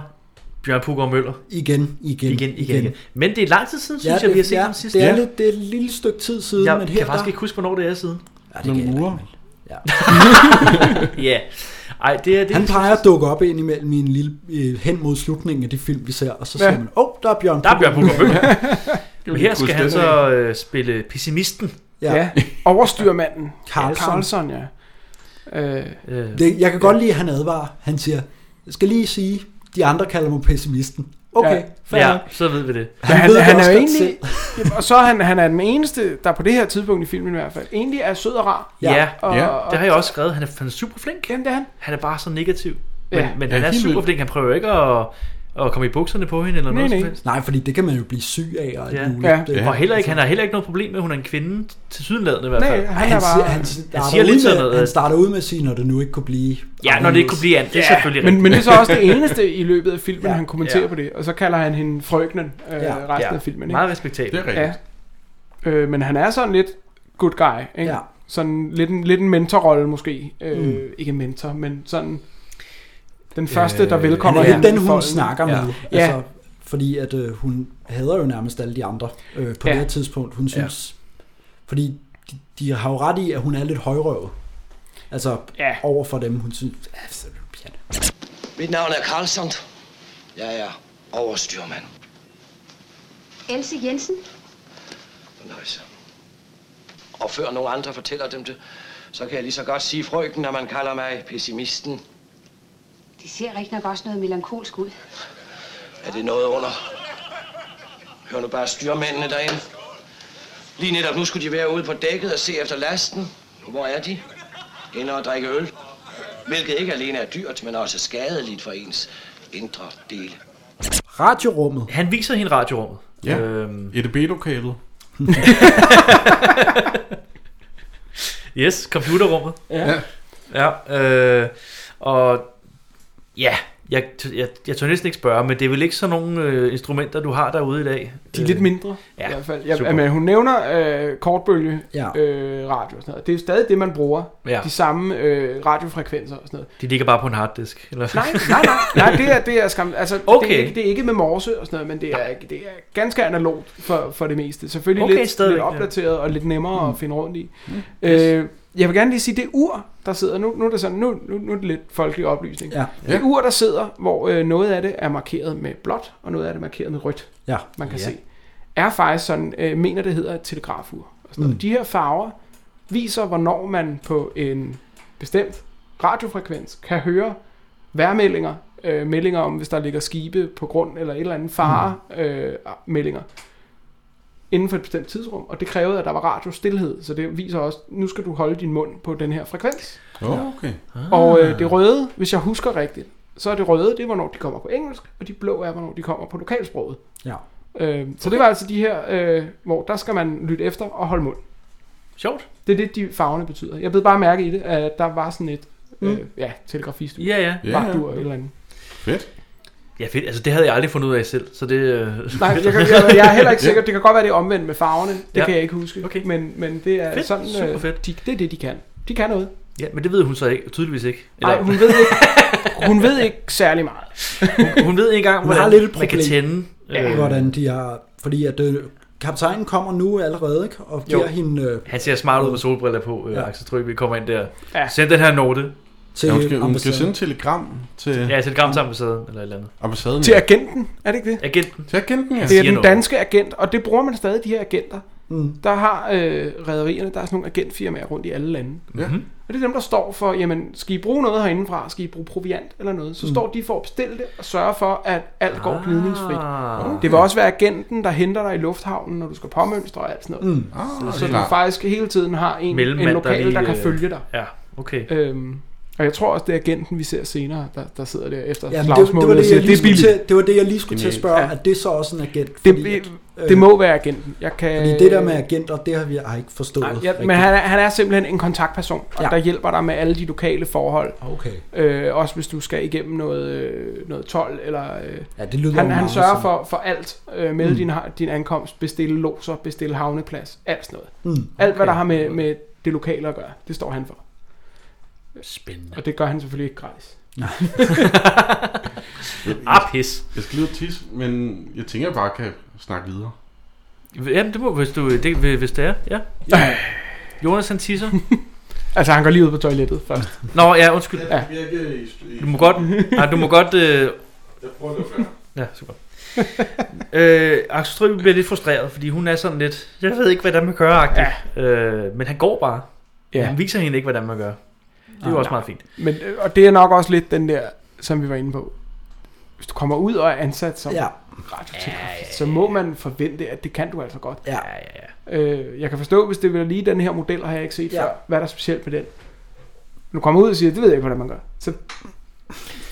Bjørn Puggaard Møller
Igen, igen,
igen, igen, igen, igen. Men det er lang tid siden, synes ja,
Ja,
jeg, vi har set
ja,
ham sidst.
Det er,
ja.
lidt, det er et lille stykke tid siden,
Jeg
men
kan
her
faktisk
der...
ikke huske, hvornår det er siden.
Ja, det
Nogle
kan jeg
uger.
ikke.
[LAUGHS] Ja. Ej, det er det.
Han
Han
plejer at dukke op ind imellem i en lille, øh, hen mod slutningen af de film, vi ser, og så siger
Ja.
man, åh, oh, der er Bjørn.
der er Bjørn Puggaard Møller.
[LAUGHS]
Men her
huske
skal han
det,
så øh, spille pessimisten.
Ja. ja. øh, Overstyrmanden.
Carlson.
Carlson, ja. Øh,
Øh,
Det, jeg kan godt lide, at han advarer. Han siger, jeg skal lige sige, de andre kalder mig pessimisten. Okay,
Ja.
fair.
ja,
nok.
så ved vi det.
Men han,
ved det
han, han
også
er jo
godt
egentlig, Jamen, og så er han, han er den eneste, der på det her tidspunkt i filmen i hvert fald, egentlig er sød og rar.
Ja,
Ja.
ja
Og,
Ja.
og,
det har jeg også skrevet. Han er, han er super flink.
Jamen, det er han.
Han er bare så negativ. Men,
Ja.
ja. men
Ja,
han er
helt
super
vildt.
flink. Han prøver ikke at, at komme i bukserne på hende eller
Nej,
noget
nej.
som helst.
Nej, fordi det kan man jo blive syg af og alt
Ja.
muligt.
Ja.
Det-
Og heller ikke, han har heller ikke noget problem med, at hun er en kvinde, til sydenladende i hvert
altså- Nej, han,
fald.
Han,
er
han,
bare...
siger, han, starter
siger lidt
ud
sådan
med,
noget,
han
at-
starter ud med at sige, når det nu ikke kunne blive...
Ja, når det ikke kunne blive andet, det er selvfølgelig
men,
rigtigt.
men det er så også det
[LAUGHS]
eneste i løbet af filmen, ja.
Ja.
han kommenterer ja.
Ja.
på det. Og så kalder han hende frøknen øh, ja.
Ja.
resten ja. af filmen. Ikke?
Meget respektabelt.
Det er rigtigt.
Ja. Øh, men han er sådan lidt good guy. Ikke?
Ja.
Sådan lidt en, lidt en mentorrolle måske. Øh, mm. Ikke en mentor, men sådan den første, der
Øh, Han
velkommer
er
hende
lidt den,
i
hun
folden.
snakker
Ja.
med.
Ja.
Altså, fordi at øh, hun hader jo nærmest alle de andre øh, på
Ja.
det her tidspunkt. Hun synes... Fordi de, de har jo ret i, at hun er lidt højrøvet. Altså,
Ja.
over for dem, hun synes... Ja, så er det pjat.
Mit navn er Carlsson. Jeg er overstyrmand.
Else Jensen?
Nice.
Og før nogen andre fortæller dem det, så kan jeg lige så godt sige frøken, når man kalder mig pessimisten.
Det ser rigtig nok også noget melankolsk ud.
Er det noget under? Hør nu bare styrmændene derinde. Lige netop nu skulle de være ude på dækket og se efter lasten. Hvor er de? Inde og drikke øl. Hvilket ikke alene er dyrt, men også skadeligt for ens indre dele.
Radiorummet.
Han viser hende radiorummet.
Ja,
Øhm.
EDB-lokalet.
[LAUGHS] Yes, computerrummet.
Ja.
ja øh, og ja, jeg, t- jeg, jeg tør næsten ikke spørge, men det er vel ikke sådan nogle øh, instrumenter, du har derude i dag?
De er lidt mindre,
Øh, ja,
i hvert fald.
super.
Ja, men hun nævner øh, kortbølge
Ja.
øh, radio og sådan noget. Det er jo stadig det, man bruger.
Ja.
De samme øh, radiofrekvenser og sådan noget.
De ligger bare på en harddisk. Eller?
Nej, nej, nej. nej det er, det er skam... Altså, det,
Okay.
er ikke, det er ikke med morse og sådan noget, men det er, det er ganske analogt for, for det meste. Selvfølgelig
Okay,
lidt,
stadigvæk,
lidt
ja.
opdateret og lidt nemmere
Mm.
at finde rundt i. Øh, jeg vil gerne lige sige, det ur, der sidder, nu, nu er det sådan, nu, nu, nu er det lidt folkelig oplysning.
Ja.
Det ur, der sidder, hvor øh, noget af det er markeret med blåt, og noget af det er markeret med rødt,
Ja.
man kan
Ja.
se, er faktisk sådan, øh, mener det hedder et telegrafur. Og sådan noget.
Mm.
De her farver viser, hvornår man på en bestemt radiofrekvens kan høre værmeldinger, øh, meldinger om, hvis der ligger skibe på grund eller et eller andet fare, øh, meldinger inden for et bestemt tidsrum, og det krævede, at der var radiostillhed, så det viser også, nu skal du holde din mund på den her frekvens.
Oh, okay.
Og øh, det røde, hvis jeg husker rigtigt, så er det røde, det er, hvornår de kommer på engelsk, og de blå er, hvornår de kommer på lokalsproget.
Ja.
Øh, så det var altså de her, øh, hvor der skal man lytte efter og holde mund.
Sjovt.
Det er det, de farverne betyder. Jeg blev bare mærke i det, at der var sådan et, øh, ja, telegrafist.
Mm. Ja, ja.
Ja,
Vagtur
ja. [LAUGHS]
eller et eller andet.
Fedt.
Ja, fedt. Altså, det havde jeg aldrig fundet ud af selv, så det... Øh...
Nej, jeg, kan, jeg, jeg er heller ikke sikker. Det kan godt være, det er omvendt med farverne. Det
Ja.
ja. kan jeg ikke huske.
Okay.
Men, men det er
Fedt.
sådan,
Super
øh,
fedt.
De, det er det, de kan. De kan noget.
Ja, men det ved hun så ikke, tydeligvis ikke.
Nej, hun ved ikke, hun ved ikke særlig meget.
hun ved ikke engang,
Hun har
hvordan
lidt et
man kan
problem.
tænde.
Øh.
Øh,
Hvordan de har... Fordi at øh, kaptajnen kommer nu allerede, ikke? Og giver
Jo.
jo. hende øh,
han ser smart ud med solbriller på, øh,
Ja.
Axel Trygge kommer ind der.
Ja.
Send den her note.
til
Ja, hun, skal, hun skal
ambassaden.
sende et telegram til
Ja, et telegram til ambassaden, eller et eller andet.
ambassaden.
Til agenten, er det ikke det?
Agenten.
til agenten, ja.
Han
Det
siger
er den
noget.
danske agent, og det bruger man stadig, de her agenter.
Mm.
Der har øh, rædderierne, der er sådan nogle agentfirmaer rundt i alle lande.
Ja.
Mhm.
Og det er dem, der står for, jamen, skal I bruge noget herindefra? Skal I bruge proviant eller noget? Så står de for at bestille det og sørge for, at alt går gnidningsfrit.
Ah.
Det vil også være agenten, der henter dig i lufthavnen, når du skal påmønstre og alt sådan noget. Mm.
Ah,
Så
det er
du
klart.
faktisk hele tiden har en, en
Mellemmand, der
lokal, der,
lige,
der kan
øh,
følge dig.
Ja, okay.
Øhm, og jeg tror også, det er agenten, vi ser senere, der, der sidder der efter ja,
Ja, men det, det, var
slagsmålet og
det,
siger,
jeg
det
lige
er
skulle
billigt.
til, det var det, jeg lige skulle til at
Genialt.
spørge.
Ja.
Ja. Er det så også en agent?
Det,
Fordi, at, øh,
det må være agenten. Jeg kan,
fordi det der med agenter, det har vi jeg har ikke forstået.
Nej,
rigtigt.
ja, men han er, han er simpelthen en kontaktperson, og
Ja.
ja. der hjælper dig med alle de lokale forhold.
Okay.
Øh, også hvis du skal igennem noget, øh, noget 12, eller... Øh,
Ja, det lyder
han,
jo
han
meget
sørger
sådan.
for, for alt. Øh, melde mm. din, ha- din ankomst, bestille loser, bestille havneplads, alt sådan noget.
Mm.
Alt, hvad der har med, med det lokale at gøre, det står han for.
Spændende.
Og det gør han selvfølgelig ikke gratis. [LAUGHS]
Ah, pis.
Jeg skal lige ud og tisse, men jeg tænker, jeg bare kan snakke videre.
Jamen, det må, hvis, du, Øh, det, hvis det er, ja.
Ja.
Jonas, han tisser.
Altså, han går lige ud på toilettet først.
[LAUGHS]
Nå, ja, undskyld.
Ja.
Jeg virker i...
Du må godt... Nej, du må godt... Øh,
Jeg prøver at lade
ja, super. øh, Axel Strøby bliver lidt frustreret, fordi hun er sådan lidt... Jeg ved ikke, hvordan man gør, ja. øh, Men han går bare. Ja. Han viser hende ikke, hvordan man gør. Det er jo
Ah,
også meget fint.
Men, øh, og det er nok også lidt den der, som vi var inde på. Hvis du kommer ud og er ansat som
Ja,
radiotelegrafist, så må man forvente, at det kan du altså godt.
ja.
Ja, ja, ja.
Øh, jeg kan forstå, hvis det er lige den her model, har jeg ikke set
Ja.
ja. før. Hvad er der specielt med den? Nu kommer ud og siger, det ved jeg ikke, hvordan man gør. Så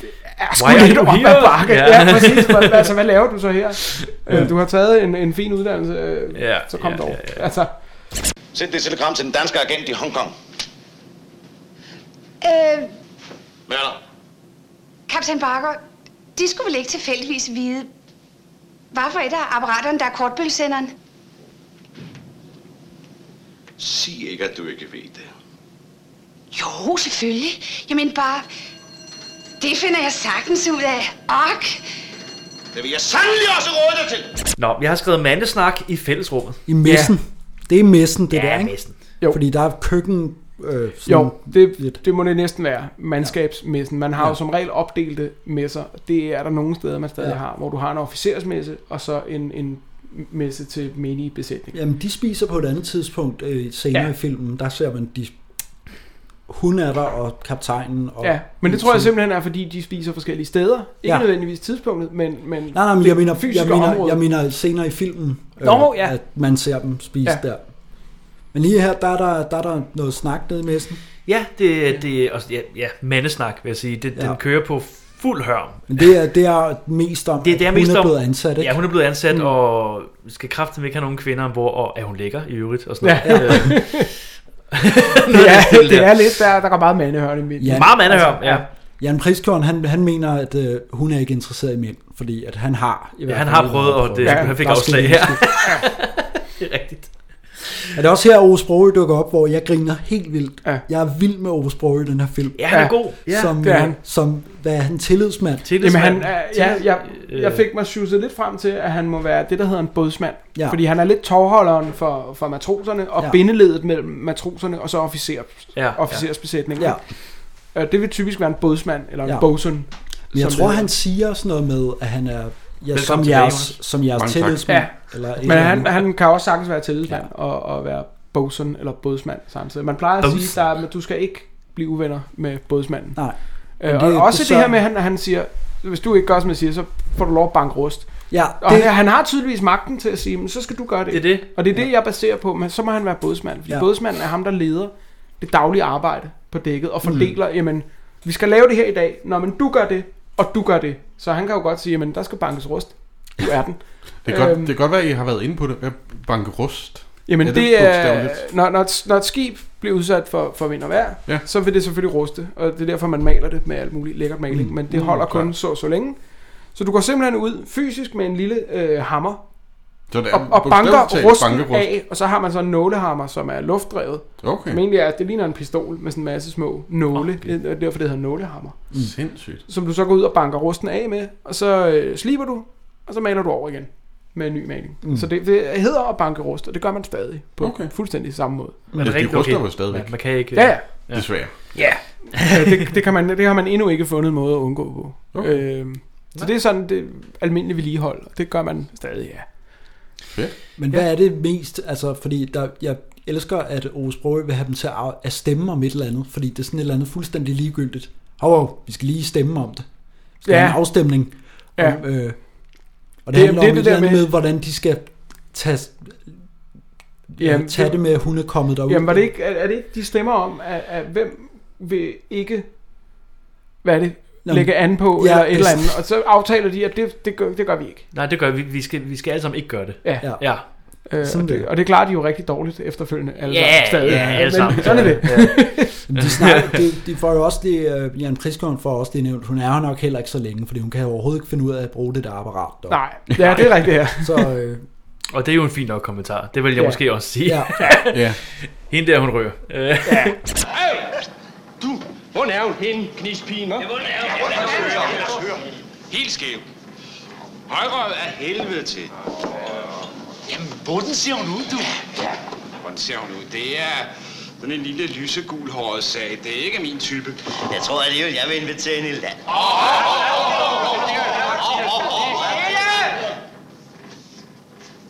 det er sgu
Why are
lidt
you
op ad
here?
bakke.
Ja.
Ja. ja, præcis. Hvad, altså, hvad laver du så
[LAUGHS]
her? Øh, du har taget en, en fin uddannelse, øh,
Ja,
så kom
ja,
ja, dog.
ja,
Ja,
ja.
ja. Altså,
Send det telegram til den danske agent i Hongkong.
Øh,
Hvad er der?
kaptajn Barker, de skulle vel ikke tilfældigvis vide, hvad for et af apparaterne, der er kortbølgesenderen?
Sig ikke, at du ikke ved det.
Jo, selvfølgelig. Jamen bare, det finder jeg sagtens ud af. Ok.
Det vil jeg sandelig også råde dig til.
Nå, jeg har skrevet mandesnak i fællesrummet.
I messen. Det er messen, det der, ikke?
messen.
Jo.
Fordi der er køkken... Øh, sådan,
jo,
lidt.
det, det må det næsten være. Mandskabsmessen. Man har ja. jo som regel opdelte messer. Det er der nogle steder, man stadig
Ja.
ja. har, hvor du har en officersmesse, og så en, en messe til menige besætning.
Jamen, de spiser på et andet tidspunkt øh, senere ja.
Ja.
i filmen. Der ser man, de, hun er der, og kaptajnen. Og
Ja, men det tror jeg simpelthen er, fordi de spiser forskellige steder. Ikke
Ja.
ja. nødvendigvis tidspunktet, men, men
Nej, nej, men
det
jeg mener,
fysiske
jeg, mener,
område.
jeg mener senere i filmen, øh,
Nå, ja.
at man ser dem spise ja.
Ja.
der. Men lige her, der er der, der, er der noget snak nede i messen.
Ja, det, det og, ja, ja, mandesnak, vil jeg sige. Det, ja.
Ja.
Den kører på fuld hørm.
Men det er, det er mest om,
Det er der
at
mest
hun er
om-
blevet ansat, ikke?
Ja, hun er blevet ansat, mm. og skal kraften ikke have nogen kvinder ombord, og er hun lækker i øvrigt? Og sådan
Ja.
noget. Øh,
det, er, [LAUGHS]
stil
det
der.
er lidt, der, der er meget mandehørende i midten.
Meget mandehørm, ja.
Altså, Jan Priskjorn, han, han mener, at øh, hun er ikke interesseret i mænd, fordi at han har...
[LAUGHS]
i
Ja,
hvert
han
fald
har
en
prøvet,
måde
og
at
det,
prøve.
ja, han fik
Der skal
afslag
det
her.
lige
[LAUGHS]
ske.
det er rigtigt.
Er det også her, Ove Sprogøe dukker op, hvor jeg griner helt vildt.
Ja.
Jeg er vild med Ove Sprogøe i den her film.
Ja, han er Ja. god. Ja,
som,
det er
øh,
han.
Som, hvad er han, tillidsmand?
Jamen, han, er- ja, jeg, jeg fik mig sjusset lidt frem til, at han må være det, der hedder en bådsmand.
Ja.
Fordi han er lidt tovholderen for, for matroserne, og
Ja.
ja. bindeledet mellem matroserne og så officer,
Ja,
ja,
ja.
officersbesætningen.
Ja.
Øh, Det vil typisk være en bådsmand, eller en
Ja.
ja. bosun.
Men jeg
som
tror,
det
han siger sådan noget med, at han er ja, som,
tilbage,
jeres,
Jonas.
som jeres
Mange tak.
tillidsmand.
Ja,
Eller et
men
eller
han,
andet.
han kan også sagtens være tillidsmand ja. og, og være bosun eller bådsmand samtidig. Man plejer at
Bosun.
sige, der, er- at du skal ikke blive uvenner med bådsmanden.
Nej.
Øh,
Men
og
det-
også
det
det,
så-
her med, at han, han siger, hvis du ikke gør, som jeg siger, så får du lov at banke rust.
Ja,
Og
det-
det... han, han har tydeligvis magten til at sige, men så skal du gøre det.
Det er det.
Og det er det, jeg baserer på, men så må han være bådsmand. Fordi
Ja.
ja. bådsmanden er ham, der leder det daglige arbejde på dækket og fordeler, mm. jamen, vi skal lave det her i dag. Nå, men du gør det, og du gør det. Så han kan jo godt sige, jamen, der skal bankes rust. Du er den.
Det kan, godt,
Øhm.
det kan godt være, at I har været inde på det. Hvad banke rust?
Jamen
Er
det, det er,
bogstaveligt?
når, når, et, når et skib bliver udsat for, for vind og vejr,
Ja.
ja. så vil det selvfølgelig ruste, og det er derfor, man maler det med alt muligt lækkert maling,
Mm.
mm. men det
Mm,
holder kun
klart.
så så længe. Så du går simpelthen ud fysisk med en lille øh, hammer,
Så det er
og, og
bogstaveligt
banker
talt
rusten
bankerust.
af, og så har man så en nålehammer, som er luftdrevet.
Okay.
Som egentlig er, det ligner en pistol med sådan en masse små nåle,
Okay.
okay. det er derfor det hedder nålehammer.
Sindssygt.
Som du så går ud og banker rusten af med, og så øh, sliber du, og så maler du over igen med en ny maling.
Mm.
Mm. Så det, det hedder at banke rust, og det gør man stadig på
Okay.
okay. fuldstændig samme måde.
Men
de
rigtigt,
ruster jo stadigvæk.
Ja, man kan ikke...
Ja, ja.
Desværre.
Ja, det, det, kan man, det har man endnu ikke fundet en måde at undgå på. Okay. Øhm, så det er sådan det almindelige vedligehold, og det gør man stadig, ja.
Men hvad er det mest, altså fordi der, jeg elsker, at Ove Sprogøe vil have dem til at, af- at stemme om et eller andet, fordi det er sådan et eller andet fuldstændig ligegyldigt. Hov, hov vi skal lige stemme om det. Vi skal
Ja.
ja. have en afstemning.
Ja.
Om, øh, og det, det
Det-
handler
det
det,
er
om det
det
et eller
der
andet med,
med-
med, hvordan de skal tage,
Jamen,
Jamen, tage
det-
det med, at hun er kommet derud.
Jamen var det ikke, er, er det ikke, de stemmer om, at, at hvem vil ikke, hvad er det,
Nå,
lægge an på,
ja,
ja, eller et
det-
eller andet, og så aftaler de, at det, det, gør, det gør vi ikke.
Nej, det gør vi. Vi skal, vi skal alle sammen ikke gøre det.
Ja.
Ja.
Ja.
Øh,
Sådan
og,
det.
det, og det klarer de jo rigtig dårligt efterfølgende. Alle
Ja,
sammen, stadig.
ja, alle
Men
sammen.
Sådan er det.
Jamen, De, snakker,
[LAUGHS]
de, de får jo også det, øh, Jan Priskon får også det nævnt, hun er her nok heller ikke så længe, fordi hun kan overhovedet ikke finde ud af at bruge det der apparat. Dog.
Nej, ja, det er rigtigt, ja.
Så øh,
Og det er jo en fin nok kommentar. Det vil jeg ja.
Ja.
måske også sige.
ja,
Ja.
[LAUGHS] Hende der, hun rører. Øh, [LAUGHS]
Du, hvor er hun henne, knispigen, hva'?
Helt skæv. Højrød er helvede til. Jamen, hvordan ser hun ud, du? Hvordan ser hun ud? Det er sådan en lille lysegul håret sag. Det er ikke min type.
Jeg tror alligevel, jeg vil invitere hende i land.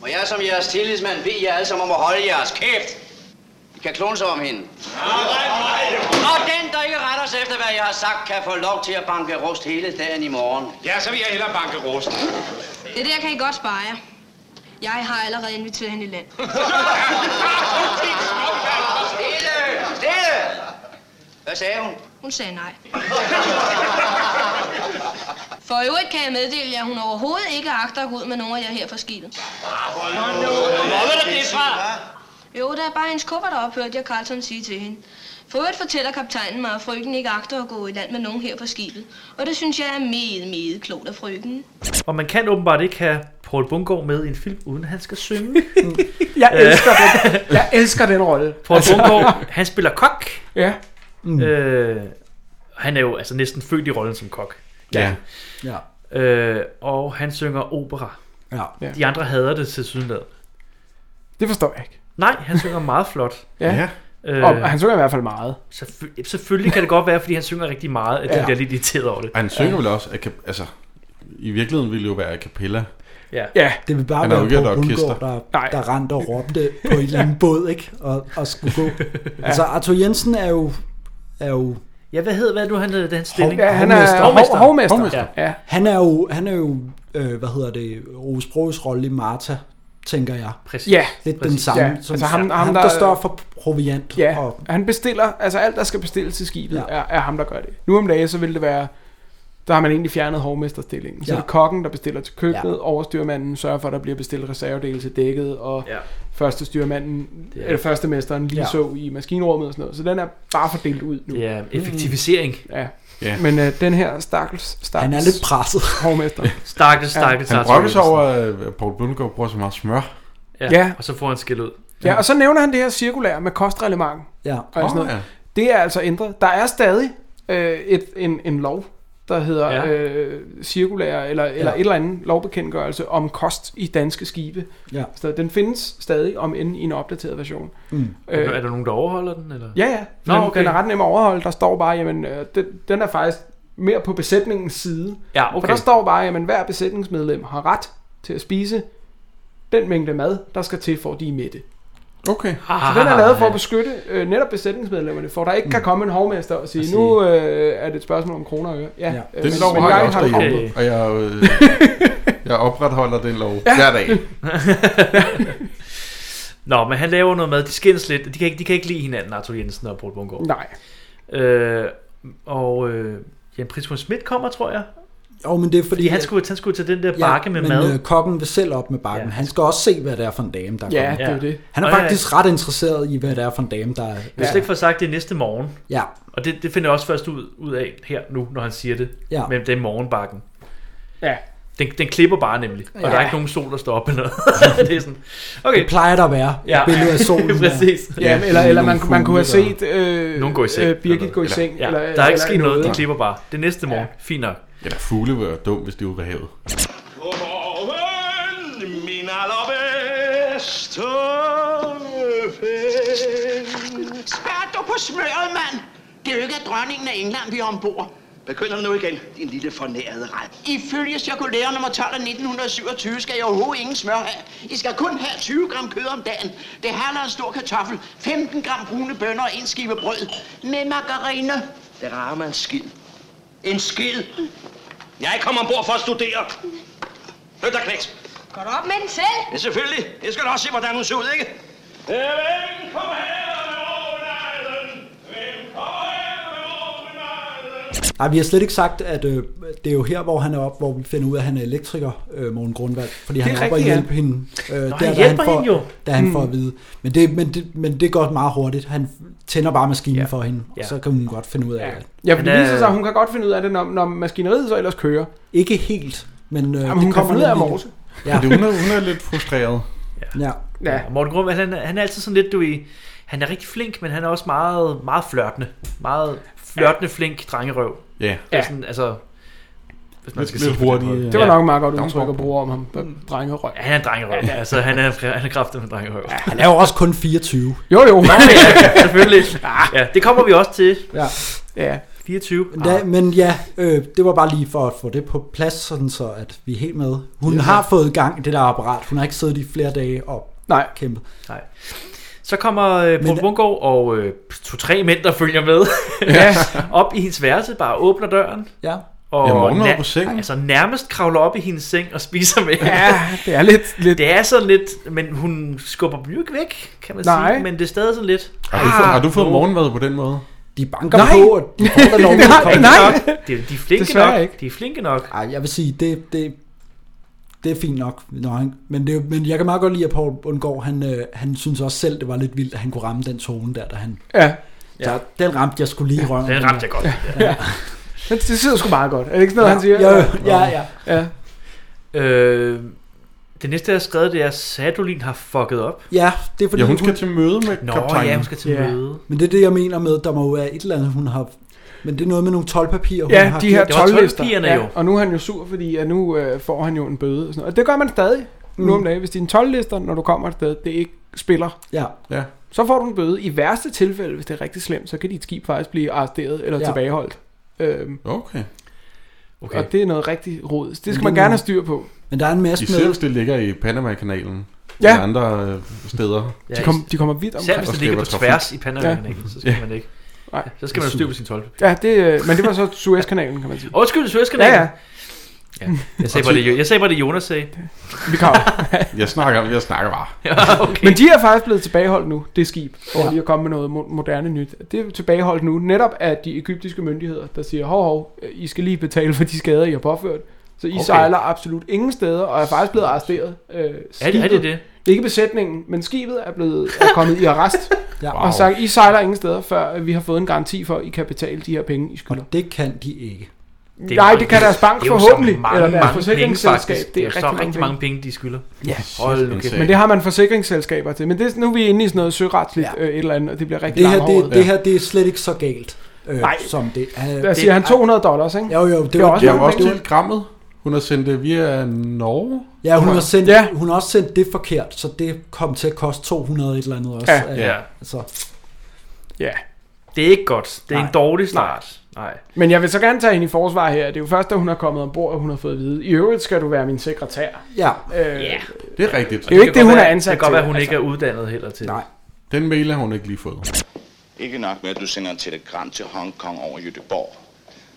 Og jeg som jeres tillidsmand ved jer alle sammen om at holde jeres kæft. I kan klone sig om hende. Og den, der ikke retter sig efter, hvad jeg har sagt, kan få lov til at banke rust hele dagen i morgen.
Ja, så vil jeg hellere banke rosten.
Det der kan I godt spare jer. Jeg har allerede inviteret hende i land.
Stille! Stille! Hvad sagde hun?
Hun sagde nej. For i øvrigt kan jeg meddele jer, at hun overhovedet ikke agter at gå ud med nogen af jer her fra skibet.
Hvor vil der det fra?
Jo, der er bare hendes kuffert op, hørte jeg Carlton sige til hende. For øvrigt fortæller kaptajnen mig, at frøken ikke agter at gå i land med nogen her på skibet. Og det synes jeg er meget, meget klogt af frøken.
og man kan åbenbart ikke have Paul Bungård med i en film, uden han skal
[LAUGHS]
synge.
Jeg elsker den, jeg elsker den rolle.
Paul Bungård, han spiller kok.
Ja,
Mm. Øh, han er jo altså næsten født i rollen som kok.
Ja.
ja,
Øh, og han synger opera.
ja.
De andre hader det til sydenlad.
det forstår jeg ikke.
Nej, han synger meget flot.
Ja.
Ja.
Øh,
Og han synger i hvert fald meget.
[LAUGHS]
selvfø- selvfølgelig kan det godt være, fordi han synger rigtig meget, at de
Ja.
bliver lidt irriteret over det.
Og han synger vel også, at, kap- altså, i virkeligheden ville jo være a cappella.
Ja.
ja.
Det vil bare
Han har jo
være
ikke et
Poul
orkester.
Bundgaard, der, der rendte og råbte på en eller anden
[LAUGHS]
båd, ikke? Og, og skulle gå. ja. Altså, Arthur Jensen er jo... Er jo
Ja, hvad hedder, hvad er nu han hedder, den stilling?
Ja, han er hov- hovmester.
Ja.
Ja.
Han er jo, han er jo øh, hvad hedder det, Rose Broges rolle i Marta, tænker jeg.
Præcis. Ja.
Lidt den
Præcis.
samme.
Ja.
Som,
Altså ham- ham,
ham,
der-
der, står for proviant.
Ja,
Og,
han bestiller, altså alt, der skal bestilles til skibet, ja. er, er ham, der gør det. Nu om dagen, så vil det være, der har man egentlig fjernet hovmesterstillingen. Så
Ja.
er det kokken, der bestiller til køkkenet,
Ja.
ja. overstyrmanden sørger for, at der bliver bestilt reservedele til dækket, og
Ja.
ja. første styrmanden,
Det er-
eller førstemesteren lige ja.
Ja.
så i maskinrummet og sådan noget. Så den er bare fordelt ud nu.
Ja, effektivisering.
Ja.
Ja.
Men øh, den her stakkels, stakkels...
Han er lidt presset.
Hovmester.
Stakkels, stakkels.
Han brokker sig over, at Paul Bundgaard bruger så meget
Øh,
smør.
Ja.
Ja.
ja. Og så får han skæld ud.
Ja, og så nævner han det her cirkulære med kostreglement.
Ja.
Og oh,
Åh,
sådan noget.
ja.
Det er altså ændret. Der er stadig øh, et, en, en lov, der hedder ja.
Ja.
øh, cirkulære, eller, eller
Ja.
et eller andet lovbekendtgørelse om kost i danske skibe.
Ja.
Så den findes stadig, om end i en opdateret version.
Mm.
Øh. Er der nogen, der overholder den? Eller?
Ja, ja.
Nå,
Den,
okay.
den er ret nem at overholde. Der står bare, jamen, øh, den, den er faktisk mere på besætningens side.
Ja,
For
okay.
der står bare, jamen, hver besætningsmedlem har ret til at spise den mængde mad, der skal til, for at de er mætte.
Okay. Ah.
Så den er lavet for at beskytte øh, netop besætningsmedlemmerne, for der ikke
Mm.
kan komme en hovmester og sige,
sige-
nu øh, er det et spørgsmål om kroner og øre. Ja,
Ja.
øh,
Den
men-
lov
men
har jeg også
har det
derhjemme,
kommet.
og jeg, øh, jeg opretholder den lov hver dag.
[LAUGHS] Nå, men han laver noget mad. De skændes lidt. De kan ikke, de kan ikke lide hinanden, Arthur Jensen og Paul Bungård.
Nej.
Øh, og øh, Jan Prismus Schmidt kommer, tror jeg.
Jo, men det er fordi...
Fordi han skulle, han skulle til den der bakke med
men,
mad.
Øh, kokken vil selv op med bakken. Ja. Han skal også se, hvad det er for en dame, der
Ja,
kommer.
det er jo det.
Han er
Og ja,
faktisk ret interesseret i, hvad det er for en dame, der er.
Jeg har slet ikke fået sagt det er næste morgen.
Ja.
Og det, det finder jeg også først ud, ud af her nu, når han siger det.
Ja.
Men det er morgenbakken.
Ja.
Den, den klipper bare nemlig. Og
Ja.
der er ikke nogen sol, der står op eller noget.
[LAUGHS]
det er sådan, okay.
Det plejer der at være. Et billede af
[LAUGHS]
solen. der.
Præcis.
Ja, eller, eller man, man kunne have set øh,
Nogen går i seng.
øh, Birgit
eller-
gå i
eller-
seng.
Ja,
eller,
der er ikke
eller
sket noget, de
der-
klipper bare. Det er næste morgen. Fint nok.
Ja, der fugle vil være dum, hvis de er ude ved havet.
Oven, min allerbedste ven.
Spær du på smøret, mand! Det er jo ikke at dronningen af England, vi er ombord.
Begynder nu igen, din lille fornærede ret.
Ifølge cirkulære nummer 12 af 1927 skal jeg overhovedet ingen smør have. I skal kun have 20 gram kød om dagen. Det handler en stor kartoffel, 15 gram brune bønner og en skive brød. Med margarine. Det rammer en skid.
En skid. Jeg kommer ombord for at studere. Hørt dig, knæs.
Går du op med den selv?
Ja, selvfølgelig. Jeg skal da også se, hvordan hun ser ud, ikke? Hvem kommer her med overnejlen? Hvem kommer her med
Nej, vi har slet ikke sagt, at øh, det er jo her, hvor han er op, hvor vi finder ud af, at han er elektriker, øh, Morten Grundvald. Fordi han
Det
er
er
oppe og
rigtigt, ja.
hjælpe hende. Øh, Nå,
han hjælper
får,
hende jo.
Da han
Mm.
får at vide. Men det, men, det, men det går meget hurtigt. Han tænder bare maskinen ja. for hende, og
Ja.
så kan hun godt finde ud af det.
[LAUGHS] Ja, øh, for det
Han er-
øh,
viser sig, at hun kan godt finde ud af det, når, når maskineriet så ellers kører.
Ikke helt, men øh,
Jamen, hun
det
kan
kommer
finde ud af at
nemlig-
morse.
Ja,
Fordi hun er, hun er lidt frustreret.
ja.
Ja.
Og Morten Grum, han, er- han er altid sådan lidt, du i, han er rigtig flink, men han er også meget, meget flørtende. Meget flørtende, flink drengerøv.
Ja,
Ja.
Ja.
Sådan, altså, hvis man
lidt,
skal sige
lidt
det på den måde.
hurtigt.
Det var
Ja.
nok meget godt
Down
udtryk
bump.
at bruge om ham. Drengerøg.
Ja, han er en drengerøv. Ja. Altså, han er, han er kraftig med drengerøv. Ja.
Han er jo også kun 24.
Jo, jo. [LAUGHS]
Selvfølgelig. Ja, det kommer vi også til.
Ja.
Ja.
24.
Men, da, men ja, øh, det var bare lige for at få det på plads, sådan så at vi er helt med. Hun har fået gang i det der apparat. Hun har ikke siddet i flere dage og
Nej.
kæmpet.
Nej. Så kommer øh, Paul
Men-
Bungård og øh, to-tre mænd, der følger med, [LAUGHS] op i hendes værelse, bare åbner døren.
Ja.
Og
Ja, Morten er
na-
på sengen.
altså nærmest kravler op i hendes seng og spiser med hende.
Ja, det er lidt... lidt
Det er sådan lidt, men hun skubber dem jo ikke væk, kan man
Nej.
sige. Men det er stadig sådan lidt. Ah.
Har du, fået- har du fået morgenmad på den måde?
De banker
Nej.
på, og
[LAUGHS]
de får da lov til at komme.
Nej,
De, de er flinke
Desværre
nok.
ikke.
De er flinke nok.
Ej, jeg vil sige, det, det, det er fint nok. Når han, men, det, er jo- men jeg kan meget godt lide, at Paul Bundgaard, han, øh, han synes også selv, det var lidt vildt, at han kunne ramme den tone der, da han...
ja.
Ja.
Ja. Så den ramte jeg skulle lige i røven.
Den ramte jeg godt.
Det sidder sgu meget godt. Er det ikke sådan noget,
Ja,
han siger?
ja, ja, ja.
ja.
Øh, det næste, jeg har skrevet, det er, Sadolin har fucket op.
ja, det er fordi...
Ja, hun skal til møde med
Nå,
kaptajnen.
ja, hun skal til
Ja.
møde.
Men det er det, jeg mener med, der må jo være et eller andet, hun har... Men det er noget med nogle tolvpapirer, hun
ja
har
de her
gjort.
Det var
12 lister.
12-pigerne jo.
Ja, og nu er han jo sur, fordi at nu øh, får han jo en bøde. Og, sådan noget. og det gør man stadig mm. nu om dagen. Hvis dine 12 lister, når du kommer et sted, det ikke spiller,
Ja,
Ja.
så får du en bøde. I værste tilfælde, hvis det er rigtig slemt, så kan dit skib faktisk blive arresteret eller ja.
Ja.
tilbageholdt. Øhm,
Okay.
Okay. Og det er noget rigtig råd. Det skal man gerne have styr på.
Men der er en masse
med-
Især hvis det ligger i Panama-kanalen.
Ja.
Eller andre øh, steder.
De kom- de kommer vidt
Selv
omkring.
hvis
Og
det ligger på
skaber
tværs i
trafik.
Panama-kanalen,
Ja.
så skal
Ja.
man ikke.
Nej.
Så skal man styre på sin tolv.
Ja, det, øh, men det var så Suezkanalen, kan man sige.
Undskyld, Suezkanalen.
Ja, ja.
Ja. Jeg sagde, bare det, jeg sagde bare det, Jonas sagde.
Vi
[LAUGHS]
kan.
Jeg snakker, jeg snakker bare.
Ja, okay.
Men de er faktisk blevet tilbageholdt nu, det skib, for
Ja.
ja. lige at komme med noget mo- moderne nyt. Det er tilbageholdt nu, netop af de egyptiske myndigheder, der siger, hov, hov, øh, I skal lige betale for de skader, I har påført. Så I
Okay.
okay. sejler absolut ingen steder, og er faktisk blevet arresteret. Øh, skibet-
er det det?
Ikke besætningen, men skibet er blevet er kommet i
[LAUGHS]
arrest.
Ja.
ja.
Wow.
Og sagt, I sejler ingen steder, før øh, vi har fået en garanti for, at I kan betale de her penge, I skylder.
Og det kan de ikke.
Det Nej, det kan deres bank forhåbentlig, eller deres forsikringsselskab.
Det er, det er så rigtig, rigtig mange penge, de skylder. Ja, hold nu kæft.
Men det har man forsikringsselskaber til. Men det, er- nu er vi inde i sådan noget søretsligt ja. øh, et eller andet, og det bliver rigtig
Det her,
langhåret.
det, det her, det er slet ikke så galt, øh,
Nej.
som det er.
Hvad siger han? 200 dollars, ikke?
Jo, jo, det,
Det er
var,
også
det
Jeg
var
har også
det var-
til grammet. Hun har sendt det via Norge.
Ja, hun har, sendt, ja. hun har også sendt det forkert, så det kom til at koste 200 et eller andet også.
Ja.
Øh,
Ja.
Altså.
Ja.
Det er ikke godt. Det er en dårlig start. Nej.
Men jeg vil så gerne tage hende i forsvar her. Det er jo først, da hun er kommet ombord, at hun har fået at vide. I øvrigt skal du være min sekretær.
Ja.
Øh,
Ja.
Det er rigtigt.
Det er jo ikke det,
kan
hun
godt
er
være-
ansat
Det kan godt
til,
være, hun
altså.
ikke er uddannet heller til. Nej.
Den mail har hun ikke lige fået.
Ikke nok med, at du sender et telegram til Hongkong over Jødeborg.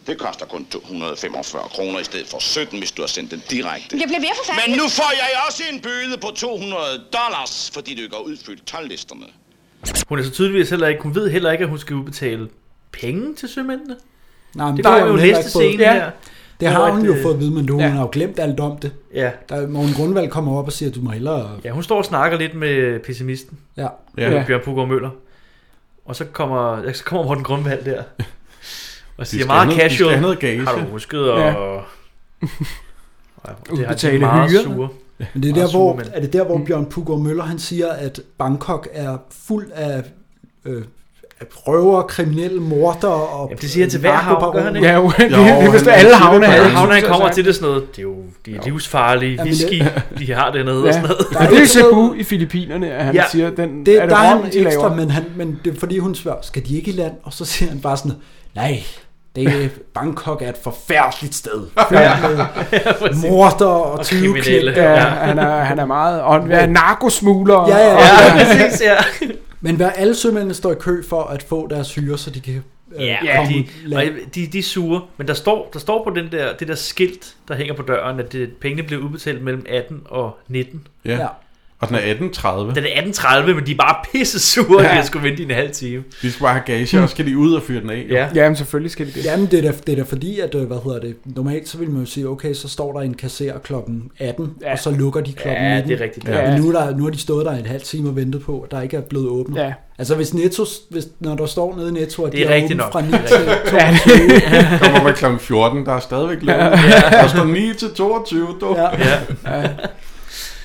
Det koster kun 245 kroner i stedet for 17, hvis du har sendt den direkte.
Jeg bliver ved for fanden.
Men nu får jeg også en bøde på 200 dollars, fordi du ikke har udfyldt tollisterne.
Hun er så tydeligvis heller ikke, hun ved heller ikke, at hun skal udbetale penge til sømændene.
Nej, men
det
har
kommer jo
hun heller
næste
ikke fået-
scene ja. her.
Det
hvor
har hun
at,
jo
øh,
fået at vide, men du, ja. hun har jo glemt alt om det.
Ja.
Der, Morgen Grundvald kommer op og siger, at du må hellere...
Ja, hun står og snakker lidt med pessimisten.
Ja.
ja.
Ja.
Med Bjørn Puggaard Møller. Og så kommer, ja, så kommer Morten Grundvald der. Og siger
skal
meget
have noget- de skal
casual.
have noget gage."
Har du husket at...
Ja.
[LAUGHS]
Ja.
Udbetale
meget
hyrerne.
sure.
Men det
Meget
er, der, hvor,
sure Mm. mænd.
er det der, hvor Bjørn Puggaard Møller han siger, at Bangkok er fuld af øh, af røver, kriminelle, morder og...
Jamen, det siger han til hver havn, gør han ikke? [LAUGHS]
[LAUGHS]
Alle havne, han kommer til det er sådan noget. Det er jo de er livsfarlige
Jamen, det-
whisky, de har dernede og sådan noget.
Men det er i Cebu i Filippinerne, at han
Ja.
ja. siger, den,
det,
er det
der er
rom,
han
de laver?
ekstra, men, han, men det er fordi, hun spørger, skal de ikke i land? Og så siger han bare sådan, nej, det
[LAUGHS]
er, Bangkok er et forfærdeligt sted.
Ja.
Fyldt med morder og,
Og
tyveknægte.
Ja, han er, han er meget... Og han er narkosmugler.
Ja, ja,
og-
Men hvad alle sømændene står i kø for at få deres hyre, så de kan øh,
Ja,
komme
de,
i
og
land.
jeg- de, de er sure, men der står, der står på den der, det der skilt, der hænger på døren, at det, pengene bliver udbetalt mellem 18 og 19.
Ja. ja. Og den er 18.30.
Den er 18.30, men de er bare pisse sure, ja.
Ja.
at jeg skulle vente i en halv time.
De skal bare have gage, og så skal de ud og fyre den af. jo.
Ja, men selvfølgelig skal de det.
Jamen, det er, da, det er da fordi, at, øh, hvad hedder det, normalt så ville man jo sige, okay, så står der en kasserer klokken 18, ja. og så lukker de klokken
Ja,
19.
det er rigtigt.
Ja.
Ja.
Men nu, er der, nu har de stået der en halv time og ventet på, at der ikke er blevet åbnet.
Ja.
Altså, hvis Netto, hvis, når der står nede i Netto, at
Det er
de
rigtigt nok.
åbent fra 9
Det er
til
rigtigt.
22.
[LAUGHS]
[LAUGHS]
Ja. Kommer med klokken 14, der er stadigvæk lavet. Der står 9 til 22, du.
Ja.
Ja.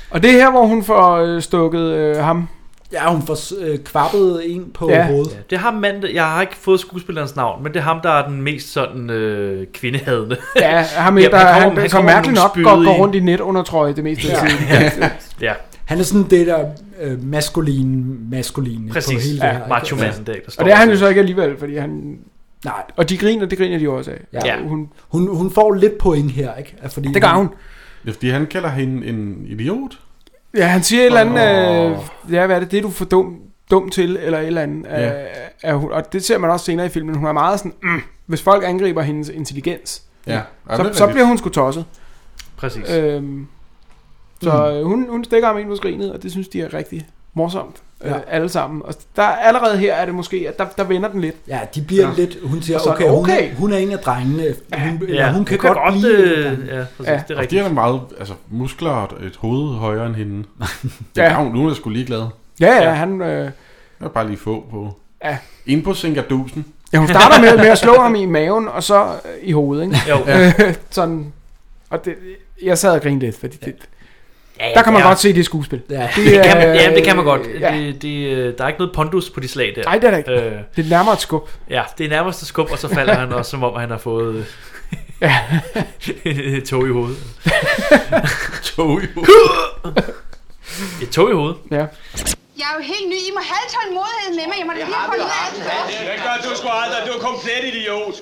Og det er her, hvor hun får øh, stukket øh, ham.
Ja, hun får øh, kvappet en på
Ja.
hovedet.
Ja, det er ham mand, der- jeg har ikke fået skuespillerens navn, men det er ham, der er den mest sådan øh, kvindehadende. [LAUGHS]
Ja, ham, ja, der, han, han, han, han mærkeligt nok går, går rundt i netundertrøje det meste af
[LAUGHS] Ja.
tiden.
Ja.
[LAUGHS]
Ja.
Han er sådan det der øh, maskuline, maskuline
Præcis.
på hele
Ja,
det her.
macho-manden der, der står
Og det er han jo så ikke alligevel, fordi han...
Nej.
Og de griner, det griner de også af.
Ja.
Ja.
Hun,
hun, hun får lidt point her, ikke? Ja, Fordi
Det gør hun.
Ja, fordi han kalder hende en idiot.
Ja, han siger et eller andet...
Åh.
Øh, ja, hvad er det? Det er du for dum, dum til, eller et eller andet.
Ja.
Øh, er hun, og det ser man også senere i filmen. Hun er meget sådan... Mm, hvis folk angriber hendes intelligens,
Ja. Ja, det
så,
er
så bliver
rigtigt.
hun sgu tosset.
Præcis.
Øhm, så
Mm.
øh, hun, hun stikker ham ind på skrinet, og det synes de er rigtig morsomt.
Ja.
Ja. Øh, alle sammen. Og der, allerede her er det måske, at der, der vender den lidt.
Ja, de bliver ja. lidt... Hun siger,
Og så er
okay,
det
hun,
okay.
er, hun er en af drengene. Hun, ja, eller, hun, kan, godt, blive...
blive- øh, ja, præcis, det er
Og
rigtigt.
Fordi han er meget altså, muskler og et hoved højere end
[LAUGHS]
hende. Det er
Ja.
ja. hun, hun er sgu ligeglad.
Ja, ja, han... Øh,
Jeg er bare lige få på.
Ja.
Ind på Singadusen.
ja, hun starter med, med at slå ham i maven, og så øh, i hovedet, ikke?
Jo.
[LAUGHS] Øh, Sådan. Og det, jeg sad og grinede lidt, fordi det,
Ja, ja,
der kan man
det er-
godt se det er skuespil.
Ja,
det, det kan man, ja, det kan man godt. Ja. Det, det, øh, der er ikke noget pondus på de slag der.
Nej, det er der ikke.
Øh,
Det er nærmere et skub.
ja, det er nærmest et skub, og så falder han også, som om han har fået øh, [LAUGHS] et tog i hovedet.
[LAUGHS] tog i
hovedet. [LAUGHS] et tog i hovedet.
Ja.
Jeg er jo helt ny. I må have tålmodighed med mig. Jeg må da lige få ud af det.
Det gør du sgu aldrig. Du er komplet idiot.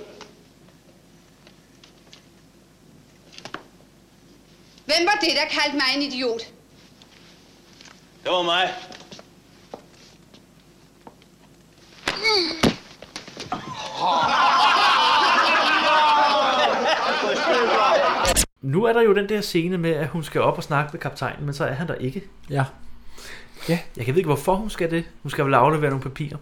Hvem var det, der kaldte mig en idiot?
Det var mig. [LAUGHS]
Nu er der jo den der scene med, at hun skal op og snakke med kaptajnen, men så er han der ikke.
Ja.
Ja.
Jeg kan ikke, hvorfor hun skal det. Hun skal vel aflevere nogle papirer.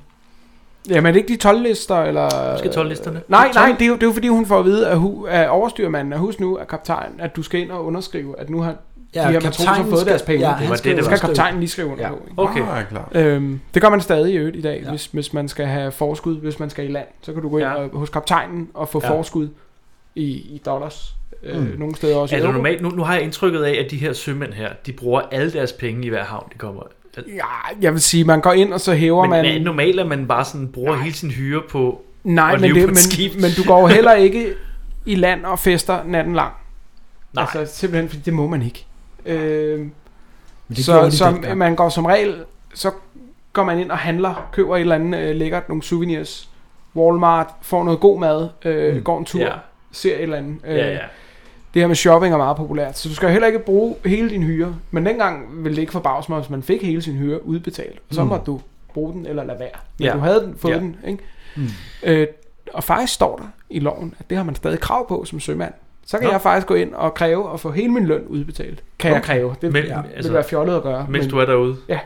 Jamen er det ikke de 12 lister, eller...
Måske 12-listerne.
Nej, nej, det er, jo, det er jo fordi, hun får at vide af, hu, af overstyrmanden, at husk nu, at kaptajnen, at du skal ind og underskrive, at nu har
Ja,
de her matroser
kaptajnen
fået
skal-
deres penge.
ja, han
det var
skal
det, det
underskrive.
skal kaptajnen lige skrive under
Ja.
på. ikke?
Okay. Ah, klart.
Øhm, det gør man stadig i øvrigt i dag, ja. hvis, hvis man skal have forskud, hvis man skal i land. Så kan du gå ind ja. og, hos kaptajnen og få
Ja.
ja. forskud i, i dollars. Øh,
Mm.
Nogle steder også i
er det
euro.
normalt? Nu, nu har jeg indtrykket af, at de her sømænd her, de bruger alle deres penge i hver havn, de kommer.
Ja, jeg vil sige, man går ind, og så hæver
men,
man...
Men normalt er man bare sådan, bruger hele sin hyre på
Nej,
at
men,
leve
det,
på et skib.
men, men du går jo
[LAUGHS]
heller ikke i land og fester natten lang.
Nej.
Altså simpelthen, fordi det må man ikke. Øh,
det
så
gjorde de
så
dengang.
man går som regel, så går man ind og handler, køber et eller andet øh, lækkert, nogle souvenirs, Walmart, får noget god mad, øh,
Mm.
går en tur,
Ja.
ser et eller andet. Øh,
Ja, ja.
Det her med shopping er meget populært, så du skal jo heller ikke bruge hele din hyre. Men dengang ville det ikke forbavse mig, hvis man fik hele sin hyre udbetalt. Og så
Mm.
måtte du bruge den eller lade være. Men
Ja.
du havde den, fået
Ja.
ja. den, ikke?
Mm.
Øh, og faktisk står der i loven, at det har man stadig krav på som sømand. Så kan
Nå.
Nå. jeg faktisk gå ind og kræve at få hele min løn udbetalt. Kan jeg
Okay.
kræve. Det
Men-
men, ja,
altså,
vil være fjollet at gøre.
mens du er derude.
Ja,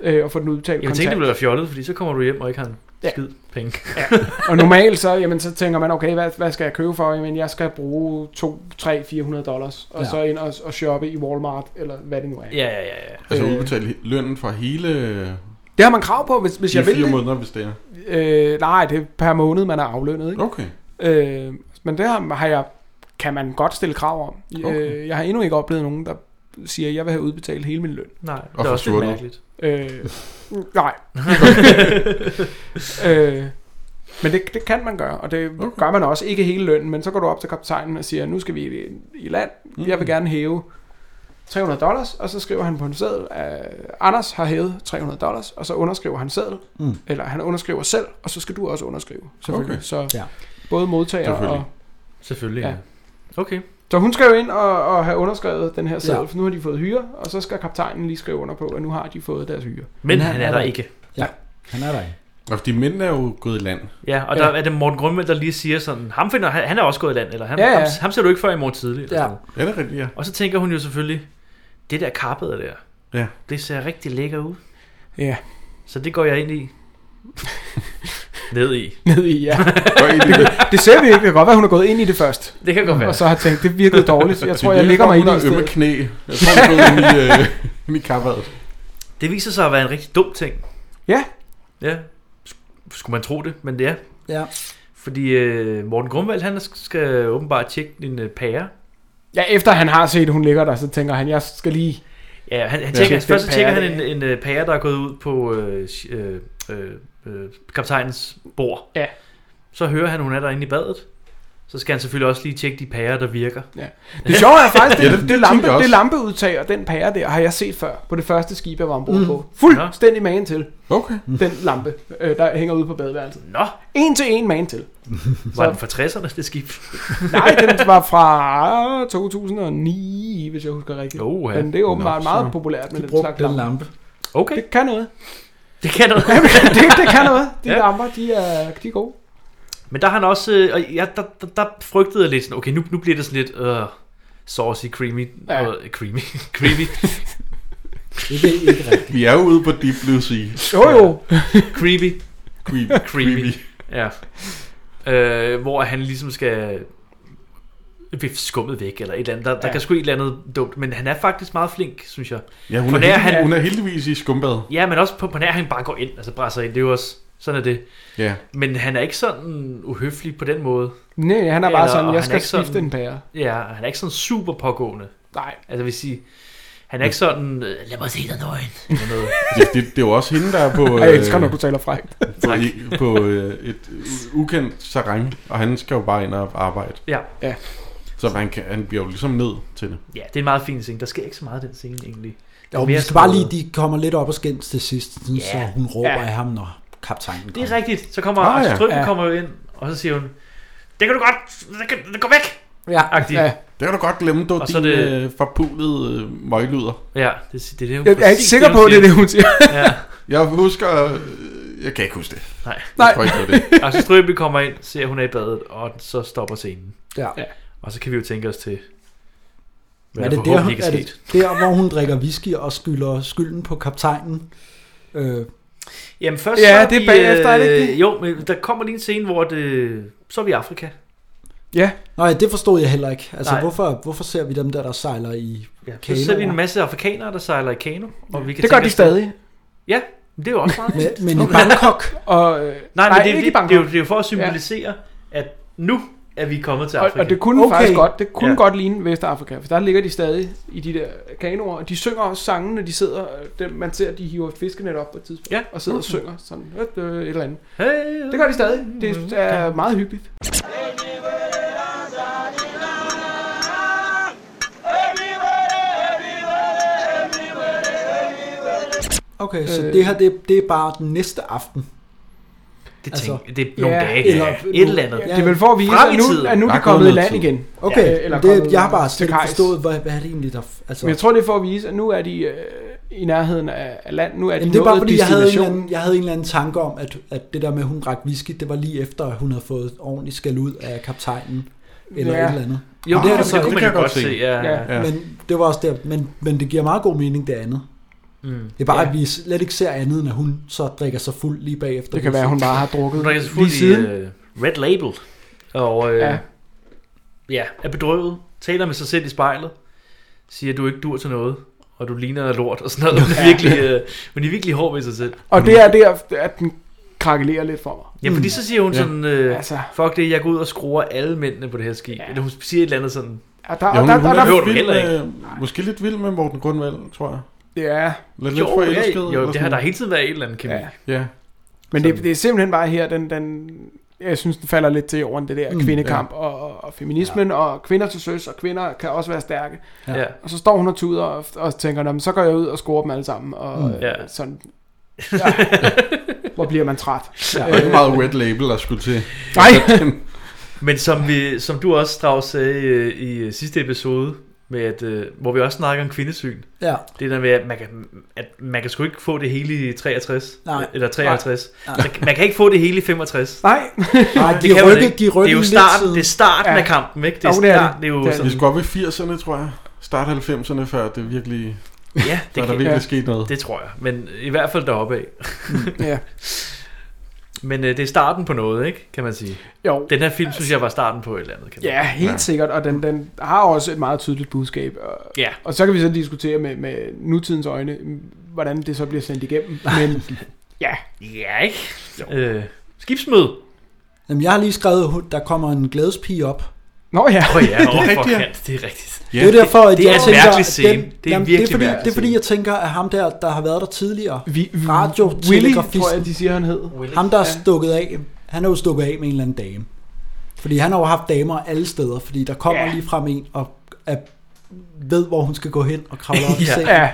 øh, og få den udbetalt
Jeg tænkte, det ville være fjollet, fordi så kommer du hjem og ikke har en
Ja.
skid penge.
Ja. og normalt så, jamen, så tænker man, okay, hvad, hvad skal jeg købe for? Jamen, jeg skal bruge 2, 3, 400 dollars, og
Ja.
ja. så ind og, og shoppe i Walmart, eller hvad det nu er.
Ja, ja, ja, ja.
Altså
Øh.
udbetale he- lønnen for hele...
Det har man krav på, hvis, hvis
de
jeg vil
fire
det.
måneder, hvis det er.
Øh, nej, det er per måned, man er aflønnet. Ikke?
Okay.
Øh, men det har, har jeg, kan man godt stille krav om.
Okay.
Okay. Øh, jeg har endnu ikke oplevet nogen, der siger, at jeg vil have udbetalt hele min løn.
Nej, Og det er også lidt forsvundet. mærkeligt.
Øh, nej. øh, men det, det kan man gøre, og det okay. gør man også. Ikke hele lønnen, men så går du op til kaptajnen og siger, nu skal vi i, i land, jeg vil gerne hæve 300 dollars, og så skriver han på en seddel, at Anders har hævet 300 dollars, og så underskriver han seddel,
Mm.
mm. eller han underskriver selv, og så skal du også underskrive, selvfølgelig.
Okay.
Okay. Så ja.
Ja.
både modtager
Selvfølgelig.
og...
Selvfølgelig, ja. Okay.
Så hun skal jo ind og, og have underskrevet den her seddel,
Ja.
ja. for nu har de fået hyre, og så skal kaptajnen lige skrive under på, at nu har de fået deres hyre. [LAUGHS]
Men han er der ikke.
Ja, han er der ikke.
Og fordi mændene er jo gået i land.
Ja, og der er det Morten Grundvald, der lige siger sådan, ham, finder, han, han er også gået i land, eller ham,
Ja,
ja,
ja.
ja. ham, ham ser du ikke før i morgen tidlig. altså. Eller
Ja.
sådan
Ja, det er rigtigt, ja.
Og så tænker hun jo selvfølgelig, det der karpet der,
Ja.
det ser rigtig lækker ud.
Ja.
Så det går jeg ind
[LAUGHS]
i. Ned i.
Ned i, ja.
Går I det?
det, det ser vi ikke. Det kan godt være, hun er gået ind i det først.
Det kan godt være.
Og så har tænkt, det virkede dårligt. Jeg
Det
tror, jeg
virker,
ligger mig i
hun har
det i
ømme
stedet.
knæ.
[LAUGHS]
Jeg tror, hun er gået ind i, øh, i kappadet.
[LAUGHS] Det viser sig at være en rigtig dum ting.
Ja.
Ja. Sk- Skulle man tro det, men det er.
Ja.
Fordi øh, Morten Grumvald, han skal åbenbart tjekke din øh, pære.
Ja, efter han har set, at hun ligger der, så tænker han, jeg skal lige...
Ja, han,
Ja.
han tjekker, ja.
Den
først så
pære
tjekker han
der.
en, en øh, pære, der er gået ud på øh, sh- øh, øh, øh, kaptajnens bord.
Ja.
Så hører han, hun er derinde i badet. Så skal han selvfølgelig også lige tjekke de pærer, der virker.
Ja. Det sjove er faktisk, det,
Ja,
det,
det
det,
tænker
lampe,
jeg også.
det lampeudtag og den pære der, har jeg set før på det første skib, jeg var ombord
Mm.
mm. på. Fuldstændig magen til. Okay. Den lampe, øh, der hænger ude på badeværelset.
Nå.
En til en magen til.
Var den fra 60'erne,
[LAUGHS]
det skib?
Nej, den var fra 2009, hvis jeg husker rigtigt.
Oha.
Men det er åbenbart
Nå,
meget
så
populært med
de
den
brugte
slags
den
lampe.
lampe.
Okay.
Det kan noget.
Det kan noget.
[LAUGHS] det, det kan noget. De
Ja.
ja. lamper, de er, de er gode.
Men der har han også, øh, og jeg, der, der, der frygtede jeg lidt sådan, okay, nu, nu bliver det sådan lidt øh, saucy, creamy, ja. øh, creamy, [LAUGHS] creamy.
[LAUGHS]
det er ikke rigtigt.
Vi er jo ude på Deep Blue Sea.
Jo jo.
[LAUGHS] creepy.
Creepy.
[LAUGHS] creepy. Ja. Øh, hvor han ligesom skal blive skummet væk, eller et eller andet. Der, ja. der
Ja.
kan sgu et eller andet dumt, men han er faktisk meget flink, synes jeg.
Ja, hun
På
er,
nær
heldig, han... hun er heldigvis i skumbad.
Ja, men også på, på nær, han bare går ind, altså brænder ind. Det er jo også, sådan er det.
Ja.
Men han er ikke sådan uhøflig på den måde.
Nej, han er bare sådan,
og
jeg
han
skal
er ikke
skifte en pære.
Ja, og han er ikke sådan super pågående.
Nej.
Altså, vil sige, han er ikke sådan, øh, lad mig se dig nøgen. Eller noget.
Det, det, det er jo også hende, der er
[LAUGHS]
på... øh,
Jeg elsker, når du taler frækt.
På, i- på øh, et u- ukendt terræn, og han skal jo bare ind og arbejde.
Ja.
ja.
Så han, kan, han bliver jo ligesom nødt til det.
Ja, det er en meget fin scene. Der sker ikke så meget i den scene, egentlig. Det er
Jo,
mere
vi skal
sådan
bare lige,
noget-
de kommer lidt op og skændes til sidst, sådan,
Ja.
så hun råber
Ja.
af ham, når kaptajnen kommer.
Det er rigtigt. Så kommer
Ah,
ah,
ja.
Strøm
Ja.
kommer jo ind, og så siger hun, det kan du godt, det, kan, det går væk.
Ja.
Agtigt.
Ja.
Det kan du godt glemme, du
Og så
din
er det-
det... forpulede øh, møgluder.
Ja, det, det, det er jo
Jeg er ikke sikker på, at det er det, hun siger.
[LAUGHS] Ja.
Jeg husker... øh, Jeg kan ikke huske det.
Nej.
Jeg tror ikke, det var
[LAUGHS]
det.
Og så Strøby kommer ind, ser at hun er i badet, og så stopper scenen.
Ja.
Ja.
Og så kan vi jo tænke os til, hvad
Er
der
det, der,
forhåbentlig
hun,
ikke
er
er sket.
det der, hvor hun drikker whisky og skylder skylden på kaptajnen? Øh,
Jamen først
Ja,
så
det er
vi,
bagefter, er det ikke det?
øh, Jo, men der kommer lige en scene, hvor det, så er vi i Afrika.
Ja.
Nej, det forstod jeg heller ikke. Altså,
Nej.
hvorfor, hvorfor ser vi dem der, der sejler i ja,
Så ser vi en masse afrikanere, der sejler i kano. Og vi kan
Det gør
tænke
de
os-
stadig.
Ja, men det er jo også meget
Men- men i Bangkok.
og, øh,
Nej, men
nej,
det, er-
ikke i
det,
Bangkok.
det, er jo, det er jo for at symbolisere, ja. at nu er vi kommet til
Og,
Afrika.
og det kunne okay. faktisk godt, det kunne
Ja.
ja. godt ligne Vestafrika, for der ligger de stadig i de der kanoer, og de synger også sange, når de sidder, øh, dem, man ser, at de hiver et fiskenet op på et tidspunkt, ja. og sidder og
Okay.
synger sådan øh, øh, et eller andet.
Hey,
det gør de stadig, det er meget hyggeligt.
Okay, så
Øh.
det her, det, det er bare den næste aften. Altså,
Det tænker- det er nogle dage, ja. Et
nu-
eller andet.
ja.
Det er vel for at vise, Frem i at nu- tiden. at nu er de
Der
kommet
gået
i land
noget
igen.
tid. Okay,
Ja. Eller
eller det,
kommet
jeg har bare
til
slet ikke
kajs.
forstået, hvad, hvad er det egentlig, der... f- Altså,
Men jeg tror, det er for at vise, at nu er de øh, i nærheden af, af land, nu er de
Jamen, det er bare
nået
fordi, jeg havde, en eller
destinationen.
anden, jeg havde en eller anden tanke om, at, at det der med, at hun drak whisky, det var lige efter, at hun havde fået ordentligt skæld ud af kaptajnen. Eller
Ja.
et eller andet.
Jo,
Men
det-
er
det
så
kunne
ikke.
man jo godt se, ja, ja. Ja.
Men det var også der, men, men det giver meget god mening, det andet.
Mm.
Det er bare,
Ja.
at vi slet ikke ser andet, end at hun så drikker sig fuld lige bagefter.
Det kan være, hun bare har drukket
Hun drikker sig
lige
fuld
siden.
i uh, Red Label. Og øh, ja.
Ja.
ja, er bedrøvet. Taler med sig selv i spejlet. Siger, at du ikke dur til noget. Og du ligner noget lort og
[LAUGHS]
sådan noget. Hun er virkelig, øh, hun er virkelig hård ved sig selv.
Og det er der, at den krakelerer lidt for mig.
Ja,
Mm.
fordi så siger hun
Ja.
sådan, øh,
Altså.
fuck det, jeg går ud og skruer alle mændene på det her skib. Ja. Eller hun siger et eller andet sådan.
Ja, der-
Ja, hun, hun
Det
er
behøver du
vild
heller ikke.
med, måske lidt vild med Morten Grundvald, tror jeg.
Ja.
Lidt, lidt forelsket.
jo,
eller
det har
sådan.
der hele tiden været et eller andet kemi.
Ja.
Ja.
Men det, det er simpelthen bare her, den, den, jeg synes, den falder lidt til jorden, det der
Mm,
mm, kvindekamp ja. og, og- og feminismen, ja. og kvinder til søs, og kvinder kan også være stærke.
Ja.
Og så står hun og tuder og, og tænker, "Nå, men så går jeg ud og scorer dem alle sammen, og
Mm.
mm.
Ja.
ja. sådan... Ja. Hvor bliver man træt?
Der er ikke meget red label, der skulle til.
[LAUGHS]
Nej.
Men som, vi, som du også, Strauss, sagde øh, i øh, sidste episode, med at, øh, hvor vi også snakker om kvindesyn.
Ja.
Det der med, at man, kan, at man kan sgu ikke få det hele i 63.
Nej.
Eller 53.
Nej.
Man, man kan ikke få det hele i 65.
Nej.
Nej, de
det kan man
rykkede-
ikke.
de rykkede
det er jo
lidt
starten,
siden.
det er starten
Ja.
ja. af kampen, ikke? Det er,
Jo, det er
start,
det.
det. er jo
Det er
sådan,
Vi skal op i 80'erne, tror jeg. Start 90'erne, før det virkelig...
Ja,
før der virkelig skete noget.
Det tror jeg, men i hvert fald deroppe af.
Mm, ja.
[LAUGHS] Men øh, det er starten på noget, ikke? Kan man sige.
Jo.
Den her film, synes jeg, var starten på et eller andet. Kan man
Ja, helt ja. sikkert, og den, den har også et meget tydeligt budskab. Og,
Ja.
og så kan vi så diskutere med, med nutidens øjne, hvordan det så bliver sendt igennem. Men ja.
Ja, ikke? Øh, skibsmød.
Jamen, jeg har lige skrevet, hun- der kommer en glædespige op.
Nå ja.
Åh
[LAUGHS]
ja, åh, for kant, det er rigtigt.
Ja, det er derfor, at
det, det er
jeg
en
tænker,
mærkelig
at
scene.
den-
det er
jamen,
en virkelig
det er, fordi,
mærkelig
det er fordi, jeg tænker, at ham der, der har været der tidligere,
Vi,
radio
Willy, tror jeg, de siger, han hed.
ham der er stukket af, han er jo stukket af med en eller anden dame. Fordi han har jo haft damer alle steder, fordi der kommer lige frem en og er, ved, hvor hun skal gå hen og kravle
[LAUGHS]
op i sengen.
ja.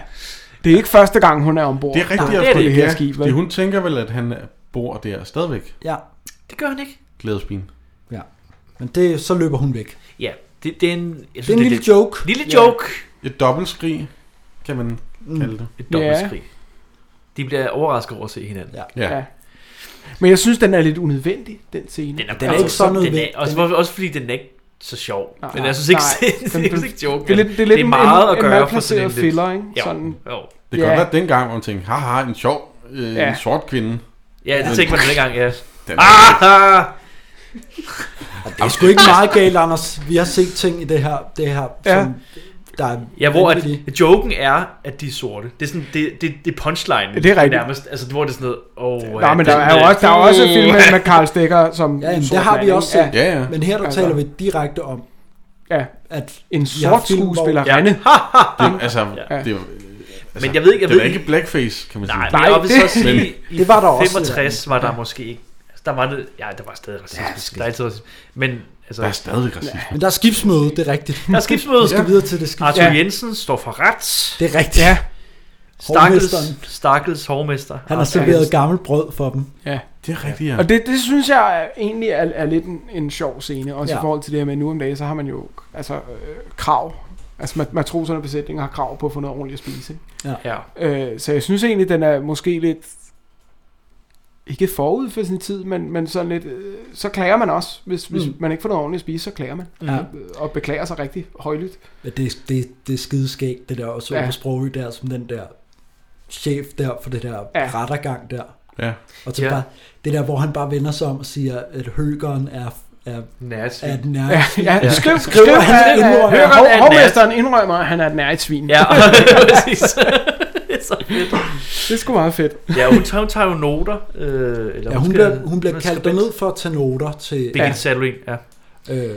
Det er ikke første gang, hun er ombord.
Det er rigtigt,
Nej,
jeg
på det her
ja.
skib.
Fordi hun tænker vel, at han bor der stadigvæk.
Ja.
Det gør han ikke.
Glædespin.
Ja. Men det, så løber hun væk.
Ja, det, det er en... Jeg
Det er en lille joke.
Lille
Ja.
joke.
Et dobbeltskrig, kan man
Mm.
kalde det.
Et dobbeltskrig. De bliver overrasket over at se hinanden.
Ja. ja.
Men jeg synes, den er lidt unødvendig, den scene.
Den er,
Altså,
ikke så den
nødvendig.
er, også, den er, også fordi den er ikke så sjov.
Nej.
den er, jeg synes ikke,
Nej.
[LAUGHS] det er
Den-
ikke joke.
det er lidt- det er lidt en-
meget
en-
at
en
gøre for
malplaceret
sådan en lidt-
filler, ikke?
Jo,
Sådan-
jo.
Det
Ja.
kan godt være dengang, hvor man tænkte, haha, en sjov, øh,
Ja.
en sort kvinde.
Ja, det
Men-
tænkte man dengang, ja.
Den er-
Ah!
Det er sgu ikke meget galt, Anders. Vi har set ting i det her, det her
Ja.
som der er
Ja, hvor at,
vanvittige.
joken er, at de er sorte. Det er sådan, det, det, det er punchline.
Det er rigtigt.
Nærmest, altså, hvor det er sådan noget, oh,
Nej, men der er jo også, der er også en film med, med
[LAUGHS]
Carl Stikker som
Ja, jamen,
sort
det har
mand,
vi
ikke?
også set. Men her der
Altså,
taler vi direkte om,
ja.
at
En
vi har
sort
film, hvor-
skuespillerinde.
Det, altså,
Ja. [LAUGHS]
ja. det, er- altså,
Men jeg ved ikke- jeg
det er
ved
ikke blackface, kan man sige.
Nej, men jeg vil så sige,
Men-
i
Det var der også.
65 var der måske ikke. Altså, der var det, ja, der var stadig racisme. Der er altid racisme. Men, altså,
Der er stadig racisme.
Men der er skibsmøde, det er rigtigt.
Der er skibsmøde.
Vi skal videre til det skib.
Arthur Jensen står for ret.
Det er rigtigt. Ja.
Stakkels,
Hovmesteren.
stakkels hovmester.
Han har serveret gammelt brød for dem.
Ja.
Det er rigtigt,
Og det, det synes jeg egentlig er, er lidt en, en sjov scene, også ja.
Ja.
i forhold til det her med, at nu om dagen, så har man jo altså, øh, krav. Altså mat- matroserne og besætningen har krav på at få noget ordentligt at spise.
Ja.
Ja.
Øh, så jeg synes egentlig, den er måske lidt, ikke forud for sin tid, men, men sådan lidt, øh, så klager man også. Hvis, mm.
Mm.
hvis man ikke får noget ordentligt at spise, så klager man.
Ja.
Øh, Og beklager sig rigtig højlydt.
Men det, det, det er skideskægt, det der, og så
Ja.
ja. på Sprogø der, som den der chef der for det der
Ja.
ja. rettergang der.
Ja.
Og så
Ja.
ja. bare, det der, hvor han bare vender sig om og siger, at høgeren er, er,
Nærsvin.
er et
Ja, [LAUGHS]
nærsvin.
ja. Skriv, skriv, øh,
skriver han,
at, at,
indrømmer.
at,
er
hov-
en
hovmesteren indrømmer, at han er et nært svin. [LAUGHS]
Ja, [LAUGHS] præcis. det er så fedt.
det er sgu meget fedt.
Ja, hun tager, hun tager jo noter. Øh, eller
Ja, hun
skal-
bliver, hun bliver
skal-
kaldt derned for at tage noter til...
Birgit Salween, ja.
Øh,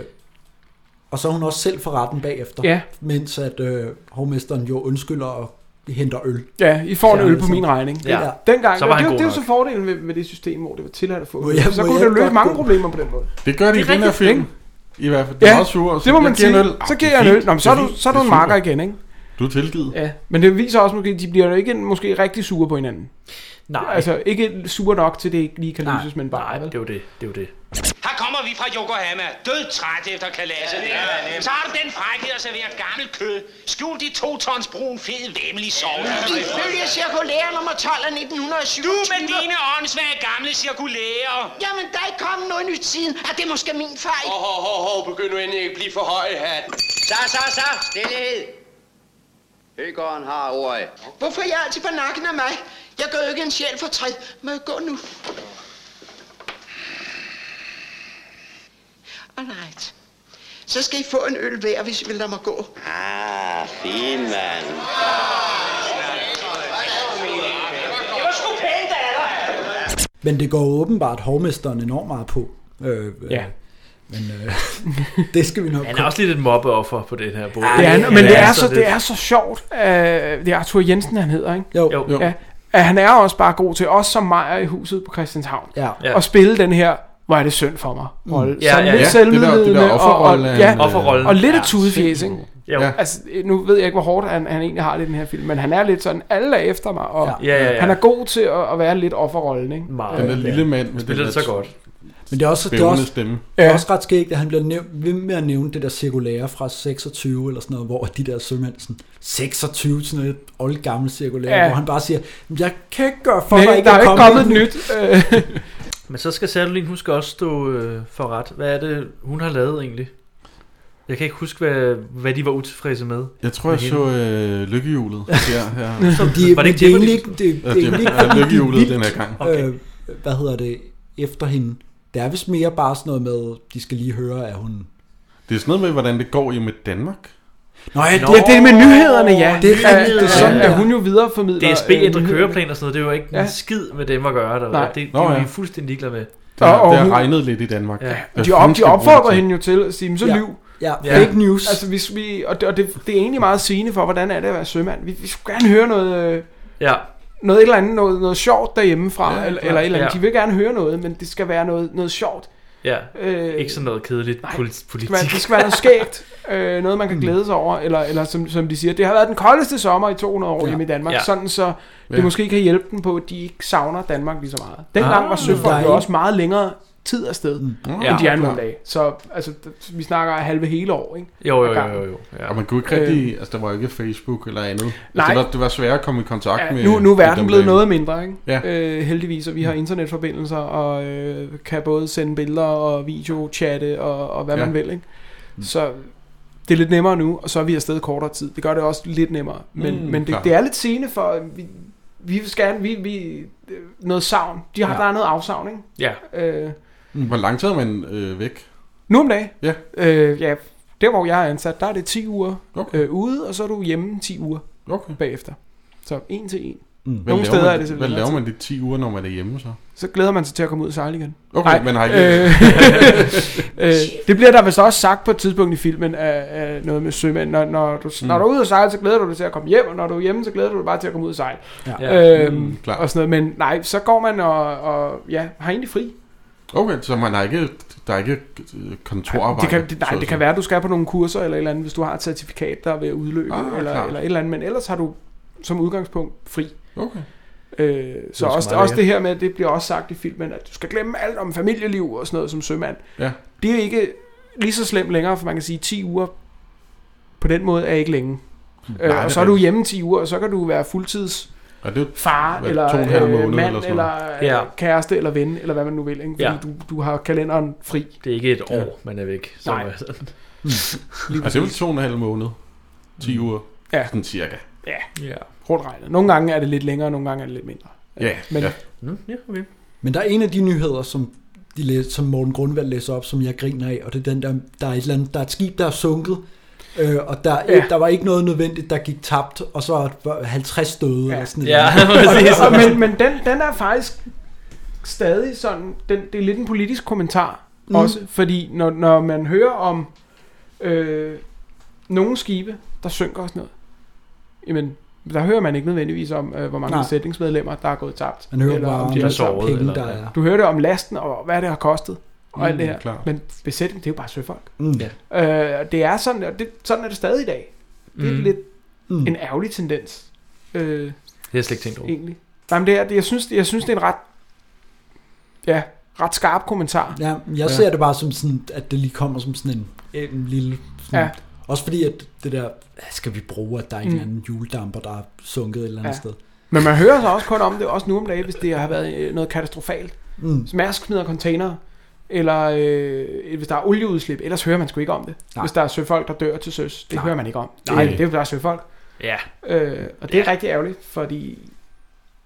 og så er hun også selv for retten bagefter,
Ja.
mens at øh, hovmesteren jo undskylder og henter øl.
Ja, I får en
Ja,
øl på
altså.
min regning.
Ja.
Dengang,
Så
så
var
var
han
det, det,
god
det er jo
nok.
så fordelen ved, med det system, hvor det var tilladt at få
Må
øl.
jeg-
så
må
kunne
jeg
det løse
godt
mange
gå?
problemer på den måde.
Det gør de
Det
i
er
den her
rigtigt,
film.
ikke?
I hvert fald. Det er meget sure.
det må man sige.
En øl.
Så
Ah,
giver
det
jeg en øl.
fint.
Nå, men så er
Det
du, så er
fint.
du en
Det
marker
super.
igen, ikke?
Du er tilgivet.
Ja, men det viser også, måske, at de bliver jo ikke, måske rigtig sure på hinanden.
Nej.
Altså, ikke sure nok til, det ikke lige kan
Nej.
løses, men bare... Nej, det
er jo det. Det er jo det.
Her kommer vi fra Yokohama, død træt efter kalaset. Ja, så har du den frækhed at servere gammel kød. Skjul de to tons brun fed væmmelig sovs.
Ifølge cirkulære nummer 12 af 1927...
Du med dine åndssvage gamle cirkulære.
Jamen, der er ikke kommet noget nyt siden. Er det måske min fejl?
Hov, hov, hov, hov, begynd nu endelig ikke at blive for høj, hat.
Så, så, så. Stillehed. Høgården har ordet.
Hvorfor er jeg altid på nakken af mig? Jeg gør jo ikke en sjæl for træt. Må jeg gå nu? Alright. Så skal I få en øl hver, hvis I vil lade mig gå.
Ah, fin mand. Det var sgu pænt af dig.
Men det går jo åbenbart hovmesteren enormt meget på. Øh,
Ja.
Men øh, [LAUGHS] det skal vi nok
Han er
komme-
også lidt et mobbeoffer på den her bog.
Ja, han, men det er, så, det er så sjovt. Uh, det er Arthur Jensen, han hedder, ikke?
Jo.
Jo.
Ja, at han er også bare god til, os som Majer i huset på Christianshavn,
ja.
Ja.
at spille den her, hvor er det synd for mig.
Mm.
Rolle.
Ja,
Sådan
ja,
lidt
ja.
selvmedlidende
Det der-
og,
det der
og,
offerrolle,
ja,
han, øh, Offerrollen.
og lidt
Ja,
af tudefjes, ikke?
Jo. Ja.
Altså, nu ved jeg ikke, hvor hårdt han, han egentlig har det i den her film, men han er lidt sådan, alle er efter mig, og
Ja. Ja, ja, ja.
han er god til at, at være lidt offerrollen, ikke?
Meget.
Den der lille mand med
Spiller
den
det
der
så godt.
Men det er også, det er
bævende
også,
stemme.
det er også ret skægt, at han bliver nævnt, ved med at nævne det der cirkulære fra 26 eller sådan noget, hvor de der sømænd sådan, 26, sådan et oldgammel cirkulære,
Ja.
ja. hvor han bare siger, "Men jeg kan ikke gøre for,
Nej,
at
der er ikke kommet et øh.
[LAUGHS] øh.
[LAUGHS] Men så skal Sadolin, hun skal også stå øh, for ret. Hvad er det, hun har lavet egentlig? Jeg kan ikke huske, hvad, hvad de var utilfredse med.
Jeg tror,
Med
jeg
hende.
så øh,
[LAUGHS]
lykkehjulet. Ja, ja.
Som de,
Var det ikke
det er
Jeopardy?
egentlig ikke, det, det,
Ja,
er
det-
egentlig ikke
ja,
fordi, de er
lykkehjulet
vildt,
den her gang.
Øh, hvad hedder det, efter hende. Det er vist mere bare sådan noget med, de skal lige høre, at hun...
Det er sådan noget med, hvordan det går i med Danmark.
Nå,
Ja, det, det er med nyhederne, ja.
Det er,
Ja, det er sådan, at hun jo videreformidler...
DSB
øh,
ændrer
nyhederne.
køreplan og sådan noget, det er jo ikke
Ja.
ja. en skid med dem at gøre. Der.
Nej.
Det, det
Nå,
er
ja.
vi fuldstændig ligeglade med.
Der,
Og- og
der
hun-
er regnet lidt i Danmark.
Ja.
Hvad
De,
fanden
op, de
skal vi bruge det
opfordrer
til?
hende jo til at sige, "Men så
Ja.
lyv.
Ja, fake news.
Altså, hvis vi, og det, og det, det er egentlig meget sigende for, hvordan er det at være sømand. Vi, vi skulle gerne høre noget, øh,
Ja.
noget et eller andet, noget, noget sjovt derhjemmefra,
Ja,
ja, eller,
klart.
eller et eller andet.
Ja.
De vil gerne høre noget, men det skal være noget, noget sjovt.
Ja,
Øh,
øh, ikke sådan noget kedeligt
nej,
polit-
Det
politik. Mm.
skal være, det skal være noget skægt, øh, noget man kan glæde sig over, eller, eller som, som de siger, det har været den koldeste sommer i 200 år
Ja.
ja. hjemme i Danmark,
Ja.
ja. sådan så det
Ja.
måske kan hjælpe dem på, at de ikke savner Danmark lige så meget. Dengang
Ah.
var
Der er
søfolk jo
en-
også meget længere tid af sted, mm.
end
Ja,
de er nu om
klart.
dagen. Så altså, d- vi snakker halve hele år, ikke?
Jo, jo,
Ad gangen.
jo, jo, jo. Ja.
Og man kunne ikke rigtig, altså der var jo ikke Facebook eller andet. Nej. Altså,
Øhm. Nej.
det, var, det var svært at komme i kontakt med.
nu, nu er
med
verden
dem
blevet
derinde.
noget mindre, ikke?
Ja. Mm.
Øh, heldigvis, og vi har internetforbindelser, og øh, kan både sende billeder og video, chatte og, og hvad
Ja. Mm.
ja. man vil, ikke? Så det er lidt nemmere nu, og så er vi afsted kortere tid. Det gør det også lidt nemmere, men,
Mm,
men det,
klart.
det er lidt sene for, at vi, vi skal gerne, vi, vi, øh, noget savn. De har, ja.
Ja.
Der er noget afsavn, ikke?
Ja.
Øh,
Mm, Hvor lang tid er man øh,
Mm.
væk?
nu om dagen,
Ja.
øh, ja, der hvor jeg er ansat, der er det 10 uger
okay.
øh, ude, og så er du hjemme 10 uger
okay.
bagefter. Så en til en.
Mm.
Hvad
Nogle
laver
steder
man,
er det
Hvad
simpelthen
laver
altid.
man de 10 uger, når man er hjemme så?
så glæder man sig til at komme ud og sejle igen.
Okay, men har ikke- [LAUGHS]
ikke... øh, det bliver der vist også sagt på et tidspunkt i filmen, af, af noget med sømænd. Når, når, du, mm.
Mm.
når du er ude og sejle, så glæder du dig til at komme hjem, og når du er hjemme, så glæder du dig bare til at komme ud og sejle.
Ja.
Øhm,
Mm, klart.
og sådan noget. Men nej, så går man og, og ja, har egentlig fri.
Okay, så man har ikke, der er ikke øh, kontorarbejde?
Det kan, det, nej,
så at
det
sige.
kan være, at du skal på nogle kurser eller et eller andet, hvis du har et certifikat, der er ved at udløbe,
Ah,
eller,
klart.
eller et eller andet. Men ellers har du som udgangspunkt fri.
Okay.
Øh, så
sgu
også,
meget
også det her
lækkert.
med, det bliver også sagt i filmen, at du skal glemme alt om familieliv og sådan noget som sømand.
Ja.
Det er ikke lige så slemt længere, for man kan sige, 10 uger på den måde er ikke længe.
Nej,
øh,
det er
og så er du
rigtigt.
hjemme 10 uger, og så kan du være fuldtids
Og det er jo,
far,
hvad, to og en
eller
halv
øh,
måned
mand,
eller
eller,
sådan noget.
eller
Ja.
ja. kæreste, eller ven, eller hvad man nu vil. Ikke? Fordi
Ja.
ja. du, du har kalenderen fri.
Det er ikke et år, man er væk. som
Nej.
er
[LAUGHS]
sådan.
Lige
Mm. altså, det er vel
præcis. Mm.
to og en halv måned. 10 uger.
Ja.
Sådan cirka.
Ja, ja. rundt regnet. Nogle gange er det lidt længere, nogle gange er det lidt mindre.
Ja,
Men,
ja.
Mm, ja, okay.
Men der er en af de nyheder, som, de læ- som Morten Grundvald læser op, som jeg griner af, og det er den der, der er et, eller andet, der er et skib, der er sunket, øh, og der, ja.
Ja.
der var ikke noget nødvendigt, der gik tabt, og så var 50 døde. Ja, [LAUGHS] eller sådan et
Ja,
eller
[LAUGHS]
andet.
præcis.
og, men, men den, den er faktisk stadig sådan, den, det er lidt en politisk kommentar
Mm.
mm. også, fordi når, når man hører om øh, nogle skibe, der synker og sådan noget, jamen, der hører man ikke nødvendigvis om, øh, hvor mange
Nej.
besætningsmedlemmer, der er gået tabt.
Man hører bare om,
er
hvor
tabt.
mange penge, der er.
Du hører det om lasten, og hvad det har kostet, og
Mm,
alt det her.
klart.
Men besætning, det er jo bare søfolk.
Mm. Ja.
Øh, og det er sådan, og det, sådan er det stadig i dag. Det er
Mm.
mm. lidt
mm.
en ærgerlig tendens. Øh,
Det har jeg slet ikke tænkt over.
Egentlig. Nej, men det er, det, jeg, synes, jeg synes, det er en ret, ja, ret skarp kommentar.
Ja, jeg ser det bare som sådan, at det lige kommer som sådan en, en lille... Sådan,
Ja.
Også fordi, at det der, skal vi bruge, at der er en
Mm.
eller anden juledamper, der er sunket et eller andet
Ja.
sted.
Men man hører så også kun om det, også nu om dagen, hvis det har været øh, noget katastrofalt.
Mm.
Mærsk smider container, eller øh, hvis der er olieudslip, ellers hører man sgu ikke om det.
Nej.
Nej. Hvis der er søfolk, der dør til søs, det
Nej.
Nej. hører man ikke om.
Nej.
Nej. Det, det er jo bare søfolk.
Ja.
Øh, og det er rigtig ærgerligt, fordi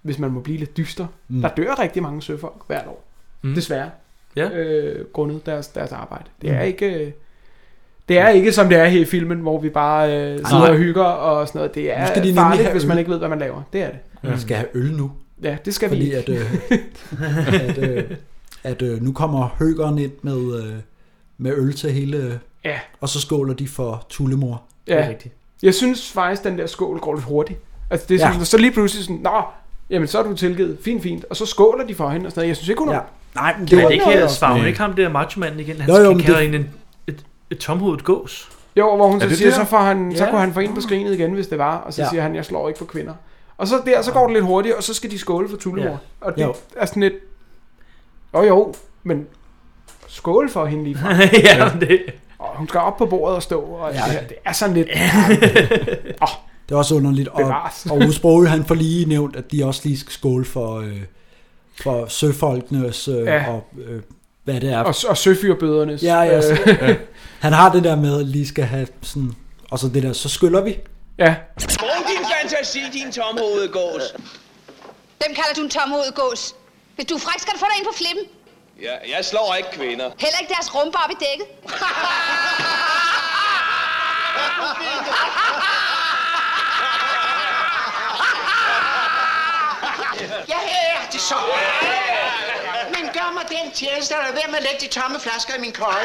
hvis man må blive lidt dyster,
Mm.
mm. der dør rigtig mange søfolk hvert år.
Mm.
Mm. Desværre.
Ja.
Øh, grundet deres, deres arbejde. Det er
Mm.
ikke... øh, Det er ikke som det er her i filmen, hvor vi bare øh, sidder
nej.
og hygger og sådan noget. Det
Nu skal
er
de nemlig
farligt,
have
hvis man
øl.
ikke ved, hvad man laver. Det er det.
Ja. Vi skal have øl nu.
Ja, det skal vi
fordi
ikke.
At,
[LAUGHS]
øh, at, øh, at øh, nu kommer høgeren ind med, øh, med øl til hele... øh,
Ja.
Og så skåler de for tullemor.
Ja. Jeg synes faktisk, den der skål går lidt hurtigt. Altså, det er
Ja.
sådan, ja. så lige pludselig sådan, nå, jamen så er du tilgivet, fint, fint. Og så skåler de for hende og sådan noget. Jeg synes ikke, hun er...
Ja. Nej,
Men det var ikke, her- svarer hun ikke ham der machomanden igen? Han
Jo, jo,
jo,
men
kalder
det-
hende en, et, et tomhovedet gås.
Jo, hvor hun
Er
så
det
siger,
det?
så, får han, så
Ja.
går han for ind
Mm.
på skrinet igen, hvis det var. Og så
Ja.
ja. siger han, jeg slår ikke for kvinder. Og så der, så går det lidt hurtigt, og så skal de skåle for tullemor.
Ja.
Ja. Og det
Jo.
er sådan lidt... Jo jo, men skål for hende lige fra.
[LAUGHS] Ja, det...
Og hun skal op på bordet og stå, og ja. det, her, det er sådan lidt... [LAUGHS] Åh,
Det er også underligt. Og,
Bevares.
og Ove Sprogøe, han får lige nævnt, at de også lige skal skåle for, øh, for søfolkenes øh, ja.
[LAUGHS] Ja.
og øh, hvad det er.
Og, og søfyrbødernes.
ja, ja, så,
øh,
[LAUGHS] ja. Han har det der med, at lige skal have sådan... Og så det der, så skyller vi.
Ja.
Brug din fantasi, din tomhovede gås.
Dem kalder du en tomhovedet gås. Hvis du er fræk, skal du få dig ind på flippen.
Ja, jeg slår ikke kvinder.
Heller ikke deres rumpe op i dækket.
Ah,
Ja, her er det så. Men gør mig den tjeneste, at lade være med at lægge de tomme flasker i min køje.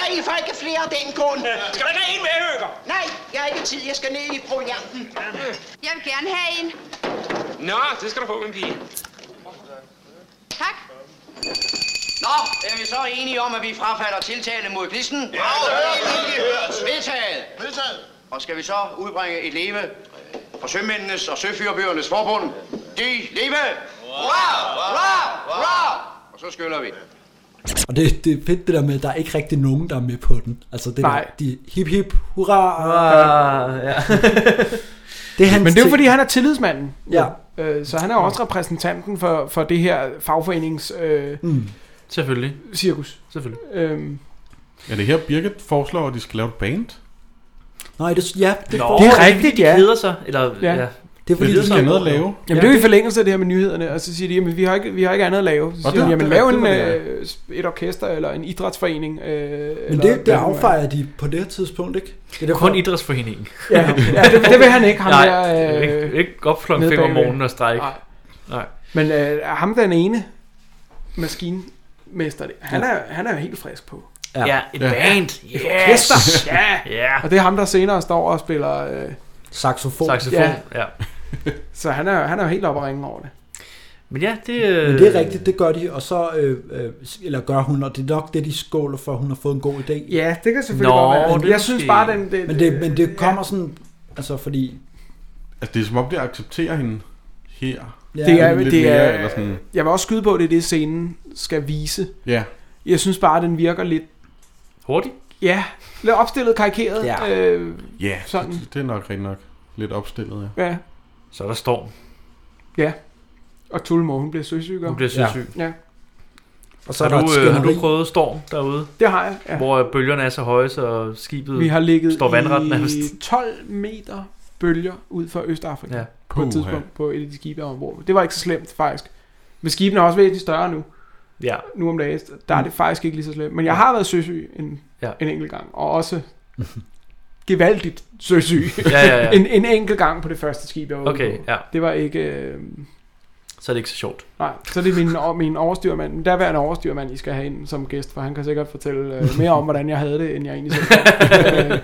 Jeg I får ikke flere af den grund.
Skal der ikke have en med, Høger?
Nej, jeg har ikke tid. Jeg skal ned i provianten.
Jeg vil gerne have en.
Nå, det skal du få, min pige.
Tak.
Nå, er vi så enige om, at vi frafalder tiltale mod Glissen? Ja, Vedtaget.
Vedtaget.
Og skal vi så udbringe et leve for sømændenes og søfyrbøgernes forbund? De leve! Hurra! Hurra! Hurra! Og så skyller vi.
Og det, det er fedt det der med, at der er ikke rigtig nogen, der er med på den. Altså det der,
Nej.
de hip hip, hurra.
Hurra, Ah, ja.
det er hans
Men det er jo
ting.
fordi, han er tillidsmanden.
Ja.
Øh, så han er jo også repræsentanten for, for det her fagforenings... Øh,
mm.
Selvfølgelig.
Cirkus.
Selvfølgelig.
Øhm,
Er det her, Birgit foreslår, at de skal lave et band?
Nej, det, ja,
det Nå, får- det er rigtigt, ja. De keder sig, eller- ja. Det er
Det er fordi, de skal have noget at lave.
Jamen, det er jo i forlængelse af det her med nyhederne, og så siger de, jamen, vi har ikke, vi har ikke andet at lave. Så siger
Og det-
de, jamen,
det er
lav en,
rigtigt, hvad det
øh, et orkester eller en idrætsforening. Øh,
Men
eller
det, det
hvad nu er.
affejer de på det her tidspunkt, ikke? Det er derfor-
Kun idrætsforeningen.
Ja, ja
[LAUGHS]
det, det vil han ikke. Ham
Nej,
der, øh,
ikke, ikke op klokken
nede
fem om
bagved.
morgenen og strække.
Nej.
Nej.
Men øh, ham den ene maskinmester, det- han er, han er jo helt frisk på.
Ja. Ja, et band.
Et
Yes.
orkester. Ja.
[LAUGHS] Ja.
Og det er ham, der senere står og spiller... Øh,
Saxofon.
Saxofon, ja.
[LAUGHS] Så han er, han er jo helt oppe at ringe over det.
Men ja, det... øh,
Men det er rigtigt, det gør de, og så, øh, øh, eller gør hun, og det er nok det, de skåler for, hun har fået en god idé.
Ja, det kan selvfølgelig Nå, godt være. det er Jeg synes måske- bare, den- det-
men det, men det kommer sådan, altså fordi
Altså, det er som om, det accepterer hende her.
Det er,
Lidt
det
mere,
er,
eller sådan,
jeg vil også skyde på, at det er det, scenen skal vise.
Ja.
Jeg synes bare, at den virker lidt...
Hurtig?
Ja, lidt opstillet, karikeret.
Ja.
Øh,
ja,
sådan.
Det, det er nok rigtig nok lidt opstillet,
ja.
Så er der Storm.
ja. Og Tullemor, hun bliver søsyg.
Hun bliver søsyg.
Ja. ja.
Og så har, du, øh, har du prøvet storm derude?
Det har jeg, ja.
Hvor øh, bølgerne er så høje, så skibet
Vi har ligget
står vandret nærmest.
i 12 meter bølger ud for Østafrika
Ja.
ja. på et
Puha.
tidspunkt på et af de skibe, jeg var ombord. på. Det var ikke så slemt faktisk. Men skibene er også væsentligt større nu.
Ja.
Nu om dagen, der er det faktisk ikke lige så slemt. Men jeg har været søsyg en,
ja.
en enkelt gang, og også gevaldigt søsyg
[LAUGHS] Ja, ja, ja.
en, en enkelt gang på det første skib, jeg var ude
Okay,
på.
ja.
Det var ikke... Øh,
Så er det ikke så sjovt.
Nej, så det er min, og- min overstyrmand, min daværende overstyrmand, I skal have ind som gæst, for han kan sikkert fortælle øh, mere om, hvordan jeg havde det, end jeg egentlig
[LAUGHS]
selv gjorde.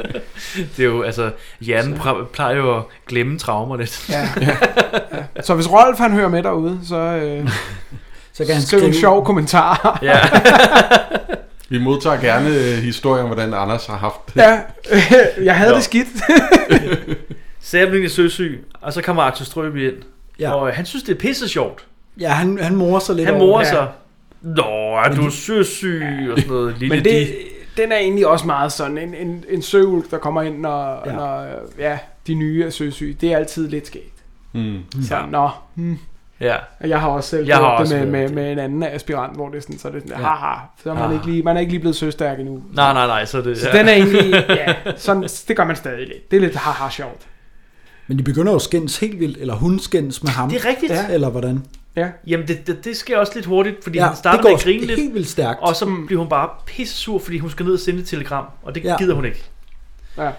Øh,
Det er jo, altså, hjernen pra- plejer jo at glemme traumer lidt. [LAUGHS]
Ja. ja. Så Altså, hvis Rolf han hører med derude, så, øh,
[LAUGHS] så kan han
skriv en
skrive-
sjov kommentar.
Ja.
[LAUGHS] Vi modtager gerne øh, historier om, hvordan Anders har haft det.
ja, [LAUGHS] jeg havde
Nå.
det
[LAUGHS]
skidt.
Så jeg bliver søsyg, og så kommer Axel Strøby ind. Ja. Og øh, han synes, det er pisse sjovt.
Ja, han, han morer sig lidt
Han
over
morer
det.
sig. Nå, er du søsyg? Og sådan noget. Lille
Men
det...
det, [LAUGHS] den er egentlig også meget sådan en, en, en søulk, der kommer ind, når, ja.
Ja.
når øh, ja, de nye er søsyge. Det er altid lidt skægt.
Mm.
Så, nå, hmm.
Ja.
Og jeg har også selv
Jeg
jeg
har
gjort det
også
med,
gjort
med, med en anden aspirant, hvor det er sådan, så er det sådan,
Ja.
haha, så er man,
Ah.
ikke lige, man er ikke lige blevet søstærk endnu.
Nej, nej, nej, så er det...
Så den er egentlig,
[LAUGHS]
ja, sådan, det gør man stadig lidt. Det er lidt haha sjovt.
Men de begynder jo at skændes helt vildt, eller hun skændes med ham.
Det er rigtigt. Ja.
Eller hvordan?
Ja.
Jamen, det, det, det sker også lidt hurtigt, fordi
Ja,
ja, han starter
det
med
går
at grine lidt.
helt vildt stærkt.
Og så bliver hun bare pisse sur, fordi hun skal ned og sende et telegram, og det
Ja.
ja. gider hun ikke.
Ja.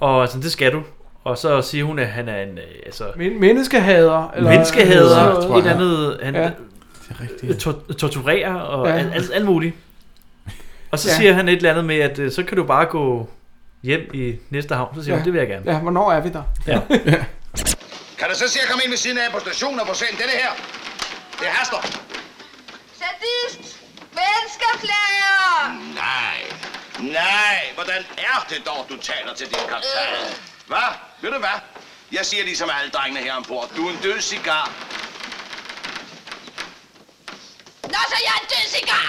Og altså, det skal du. Og så siger hun, at han er en... øh, Altså,
Men, menneskehader. Eller,
menneskehader,
eller sådan
et
noget.
eller andet,
Ja.
han ja. tor- torturerer og
Ja.
ja. alt, alt, alt muligt. Og så
Ja.
ja. siger han et eller andet med, at øh, så kan du bare gå hjem i næste havn. Så siger ja. hun, det vil jeg gerne.
Ja, hvornår er vi der? [LAUGHS]
Ja.
Kan du så se at komme ind ved siden af på stationen og få sendt denne her? Det haster.
Sadist! Menneskeplager!
Nej. Nej, hvordan er det dog, du taler til din kaptajn? Hvad? Ved du hvad? Jeg siger ligesom alle drengene her ombord. Du er en død cigar.
Nå, så jeg er en død cigar!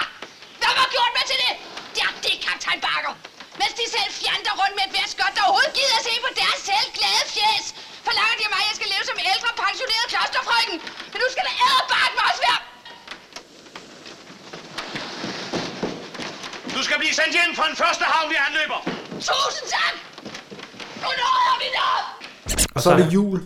Hvem har gjort mig til det? Det er det, kaptajn Bakker. Mens de selv fjander rundt med et værst godt, der overhovedet gider at se på deres selv glade fjes, forlanger de af mig, at jeg skal leve som ældre pensioneret klosterfrøken. Men nu skal der æderbart mig også være...
Du skal blive sendt hjem fra den første havn, vi anløber.
Tusind tak! Nu nåede vi det!
Og så er det jul.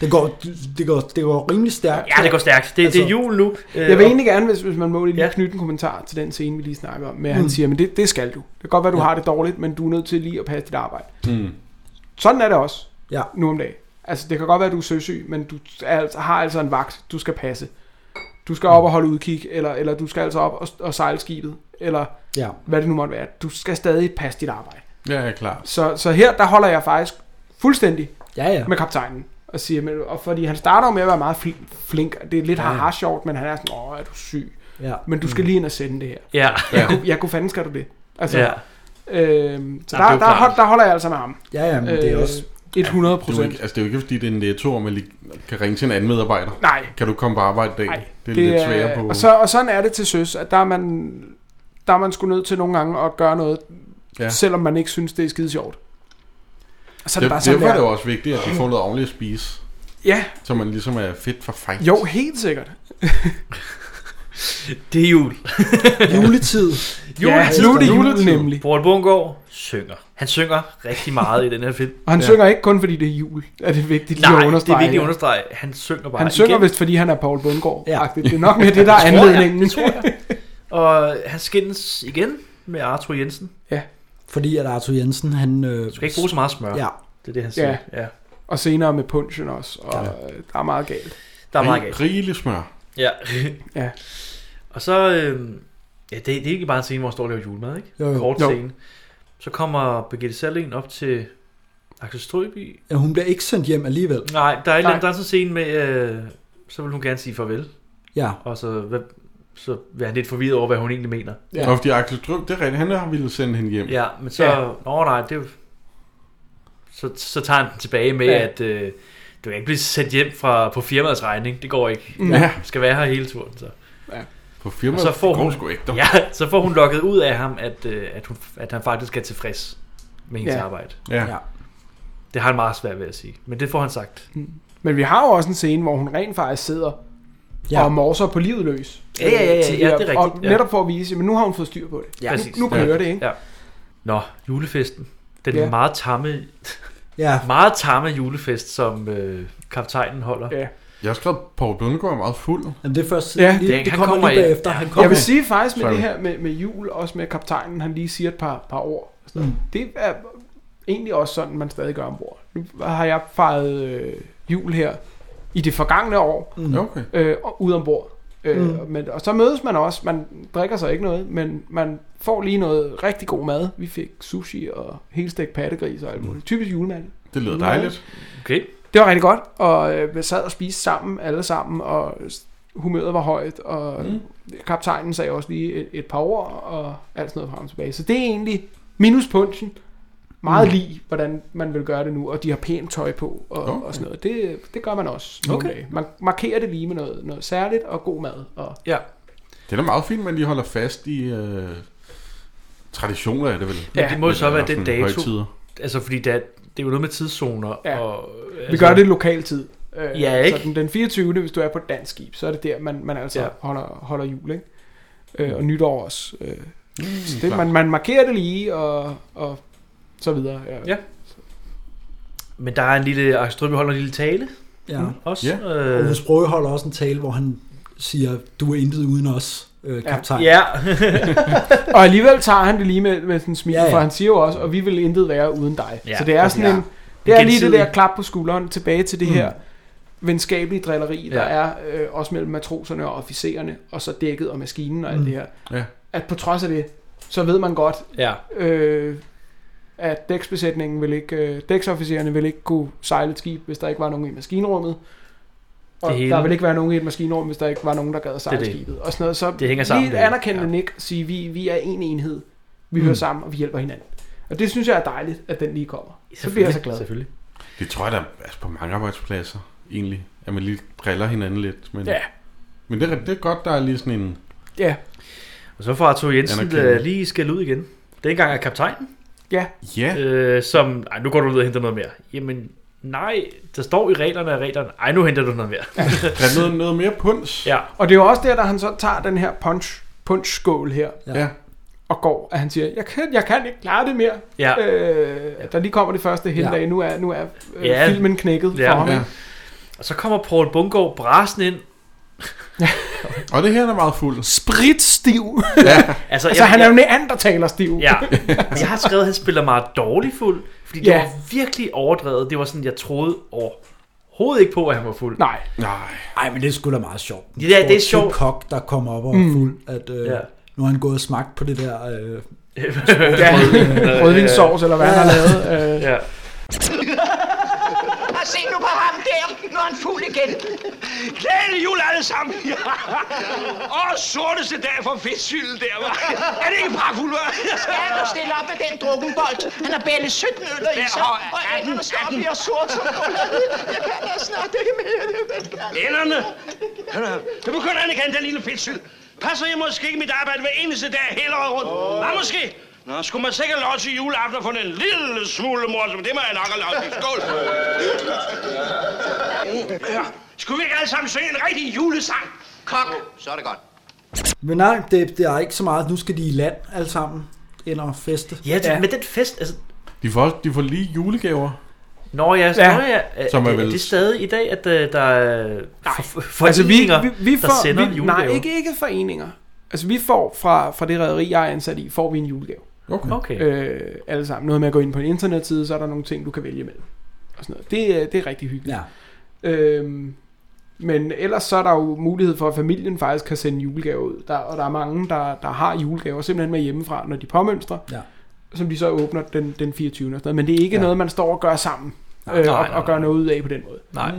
Det går, det går, det går rimelig stærkt.
Ja, det går stærkt. Det, altså, det er Øh, jul nu.
Jeg vil egentlig gerne, hvis, hvis man må lige ja. knytte en kommentar til den scene, vi lige snakker om, med at han
Mm.
siger, men det, det skal du. Det kan godt være, du
Ja.
ja. har det dårligt, men du er nødt til lige at passe dit arbejde.
Mm.
Sådan er det også
ja.
nu om dagen. Altså, det kan godt være, at du er søsyg, men du er altså, har altså en vagt, du skal passe. Du skal op og holde udkig, eller, eller du skal altså op og, og sejle skibet, eller
Ja.
hvad det nu måtte være. Du skal stadig passe dit arbejde.
Ja, ja, klart.
Så, så her, der holder jeg faktisk fuldstændig
ja, ja.
med kaptajnen. Og siger, men, og fordi han starter jo med at være meget fl- flink, og det er lidt
Ja, ja.
haha sjovt, men han er sådan, åh, er du syg?
Ja.
Men du skal lige ind og sende det her.
Ja.
Jeg, kunne, jeg kunne fanden skal du det. Altså,
Ja.
øhm, så
Jamen,
der,
det er jo
der,
klart.
hold, der holder jeg altså med ham. Øh, 100
Det er jo
procent.
ikke- Altså, det er jo ikke, fordi det er en netto, og man lige kan ringe til en anden medarbejder.
Nej.
Kan du komme på arbejde i dag?
Nej,
det er det lidt sværere på.
Og, så, og sådan er det til søs, at der er man, der er man sgu nødt til nogle gange at gøre noget,
Ja.
ja. selvom man ikke synes, det er skide sjovt. Og så er det,
det,
det bare sådan,
derfor er det
der.
jo også vigtigt, at de får noget ordentligt at spise.
Ja.
Så man ligesom er fedt for fight.
Jo, helt sikkert.
Det er jul. [LAUGHS]
Juletid.
Juletid.
nu er det jul nemlig.
Poul Bungård synger. Han synger rigtig meget i den her film.
Og han ja. synger ikke kun, fordi det er jul. Er det vigtigt lige
Nej,
at understrege?
det er vigtigt at
her.
understrege. Han synger bare
Han synger
igen.
vist, fordi han er Paul Bundgaard. Ja. Det er nok
med
mere det, der
[LAUGHS]
er anledningen.
Det tror jeg. Og han skændes igen med Arthur Jensen.
Ja.
Fordi at Arthur Jensen, han... Øh,
Du skal ikke bruge så meget smør.
Ja.
Det er det, han siger. Ja.
Og senere med punchen også. Og ja. der er meget galt.
Der er meget galt.
Rigeligt smør.
Ja. [LAUGHS]
ja.
Og så... Øh, ja, det, det er ikke bare en scene, hvor han står og laver julemad, ikke?
Jo, jo.
Kort
Jo.
scene. Så kommer Birgitte Salling op til Axel Strøby.
Ja, hun bliver ikke sendt hjem alligevel.
Nej, der er, Nej.
Nej.
der er sådan en scene med... Øh, så vil hun gerne sige farvel.
Ja.
Og så, hvad, så bliver han lidt forvirret over, hvad hun egentlig mener.
[LAUGHS] Ja. Og fordi Axel Drøb, det er rigtigt, han har ville sende hende hjem.
Ja, men så... Ja. Nå nej, det er jo... Så, så tager han den tilbage med,
Ja.
ja. at øh, Du kan ikke blive sendt hjem fra, på firmaets regning. Det går ikke.
Ja.
Ja. Skal være her hele turen, så.
Ja.
På firmaet
Og så får
går
hun,
sgu ikke, dog.
ja, så får hun lukket ud af ham, at, øh, at, hun, at han faktisk er tilfreds med hendes
Ja.
arbejde.
Ja. Ja.
Det har han meget svært ved at sige, men det får han sagt.
Hmm. Men vi har jo også en scene, hvor hun rent faktisk sidder
Ja.
ja. og morser på livet løs.
Ja, ja, ja, ja, ja,
Til-
det er
Og
rigtigt, ja.
netop for at vise, men nu har hun fået styr på det.
Ja. Præcis.
Nu, nu kører
Ja.
det, ikke?
Ja. Nå, julefesten. Den
Ja.
ja. meget tamme,
ja.
meget tamme julefest, som øh, kaptajnen holder.
Ja.
Jeg har skrevet, at Poul Bundgaard er meget fuld.
Jamen det er først
Ja.
kommer
Jeg vil
ind.
sige faktisk med
Sorry.
det her med, med jul, også med kaptajnen, han lige siger et par, par ord. og
Mm.
sådan noget. Det er egentlig også sådan, man stadig gør ombord. Nu har jeg fejret øh, jul her i det forgangne år,
Mm. Okay.
øh, og- ude ombord. Øh,
Mm.
men, og så mødes man også, man drikker sig ikke noget, men man får lige noget rigtig god mad. Vi fik sushi og helstegt pattegris og alt muligt. Typisk julemad.
Mm. Det lyder
Julemad.
dejligt.
Okay.
Det var rigtig godt, og øh, vi sad og spiste sammen, alle sammen, og humøret var højt, og mm. kaptajnen sagde også lige et, et par ord, og alt sådan noget frem og tilbage. Så det er egentlig minus punchen. Meget
Mm.
mm. lige, hvordan man vil gøre det nu, og de har pænt tøj på, og, okay. og sådan noget. Det, det gør man også. nogle
Okay.
dage. Man markerer det lige med noget, noget særligt, og god mad. Og,
Ja.
Det er da meget fint, man lige holder fast i øh, traditioner, er det vel?
Men det må jo så
Eller
være den
sådan
dato.
højtider.
Altså, fordi det er, det er jo noget med tidszoner. Ja. Og, altså,
Vi gør det lokal tid. Øh,
Ja, ikke?
Så den, den 24. hvis du er på et dansk skib, så er det der, man, man altså
Ja.
ja. holder, holder jul, ikke? Øh, og nytår også. Øh, mm, så det,
klart.
man, man markerer det lige, og, og så videre. Ja.
Ja. Men der er en lille... Axel Strøby holder en lille tale.
Ja.
Mm, Også.
Og
Øh,
Hos Brøge holder også en tale, hvor han siger, du er intet uden os, øh, kaptajn.
Ja. [LAUGHS]
[LAUGHS] og alligevel tager han det lige med, med sådan en smil,
Ja,
ja,
ja.
ja. for han siger jo også, og vi vil intet være uden dig.
Ja,
Ja, så det er
præcis.
sådan
Ja.
en, det er lige det
Gensidig.
der klap på skulderen, tilbage til det
Mm.
mm. her venskabelige drilleri, der
Ja.
ja. er øh, også mellem matroserne og officererne, og så dækket og maskinen og alt
Mm.
det her.
Ja.
At på trods af det, så ved man godt,
Ja.
øh, at dæksbesætningen vil ikke, øh, dæksofficererne vil ikke kunne sejle et skib, hvis der ikke var nogen i maskinrummet. Og
Det hele.
der vil ikke være nogen i et maskinrum, hvis der ikke var nogen, der gad at sejle
Det er det.
skibet. Og sådan noget. Så
Det hænger
lige
sammen,
et
det hele.
anerkendende ja. Nick sige, vi, vi er en enhed. Vi
Mm.
mm. hører sammen, og vi hjælper hinanden. Og det synes jeg er dejligt, at den lige kommer. Så bliver jeg så glad.
Selvfølgelig.
Det tror jeg, der er altså, på mange arbejdspladser, egentlig. At man lige driller hinanden lidt. Men,
Ja.
Men det, er- det er godt, der er lige sådan en...
Ja.
Og så får Arthur Jensen
Anerkendende.
øh, lige skæld ud igen. Det engang er kaptajnen.
Ja.
Ja.
Øh, som, ej, nu går du ud og henter noget mere. Jamen, nej, der står i reglerne af reglerne. Ej, nu henter du noget mere.
Der er noget, noget mere punch.
Ja.
Og det er jo også der, der han så tager den her punch, punch-skål her.
Ja.
Og går, at han siger, jeg kan, jeg kan ikke klare det mere.
Ja.
Øh, der lige kommer det første hele
Ja.
ja. dag. Nu er, nu er øh, ja. filmen knækket ja. for ham. Ja.
Og så kommer Paul Bungård brasen
[LAUGHS]
ind.
Og det her er meget fuld.
Spritstiv.
Ja.
altså,
altså, han er jo neandertalerstiv.
[LAUGHS] Ja, Altså, jeg har skrevet, at han spiller meget dårlig fuld, fordi ja.
Ja.
det var virkelig overdrevet. Det var sådan, jeg troede overhovedet ikke på, at han var fuld.
Nej.
Nej.
Nej, men det er sgu da meget sjovt.
Ja, det er
Hvor Tim
sjovt.
kok, der kommer op og er
Mm.
fuld, at øh,
Ja.
nu har han gået og smagt på det der... Øh,
[LAUGHS] Ja.
øh,
Rødvinssovs, eller hvad han har lavet. Øh.
Ja.
Og se nu på ham der, nu er han fuld igen.
Glædelig jul alle sammen! Åh, sorteste dag for fedtsylden der, var. Er det ikke pragtfuldt, hva'?
Skal du stille op med den drukkenbold? Han har bældet 17 øl i sig,
Ja, og
og ænderne står og bliver sort som chokolade. Jeg kan da snart ikke mere. Jeg kan da-
Ænderne! Nu begynder han ikke den lille fedtsyld. Passer jeg måske ikke mit arbejde hver eneste dag hele året rundt? Oh. Nej, måske. Nå, skulle man sikkert lov til juleaften og få en lille smule morsom. Det må jeg nok have lov til. Skål! Ja. Skulle vi ikke alle sammen synge en rigtig julesang? Kok! Så er det godt.
Men nej, det, det er ikke så meget. Nu skal de i land alle sammen ind og feste.
Ja, det, ja. men den fest... Altså,
De får, også, de får lige julegaver.
Nå ja, ja.
Ja.
Nå, ja. Er,
Som er
er,
vel-
det, er det stadig i dag, at øh, der er for, for
altså, vi,
foreninger,
vi, vi
der
får,
sender
vi,
en
Nej,
julegave?
ikke, ikke foreninger. Altså, vi får fra, fra det rederi, jeg er ansat i, får vi en julegave.
Okay.
Okay.
Øh, alle sammen. Noget med at gå ind på en internetside, så er der nogle ting, du kan vælge mellem. Og sådan noget. Det, er- det er rigtig hyggeligt. Ja. Øhm, men ellers så er der jo mulighed for, at familien faktisk kan sende julegaver ud. Der, og der er mange, der, der har julegaver simpelthen med hjemmefra, når de påmønstrer.
Ja.
Som de så åbner den, den 24. Og sådan noget. Men det er ikke ja. noget, man står og gør sammen.
Nej,
øh,
nej,
og,
nej,
og gør noget ud af på den måde.
Nej.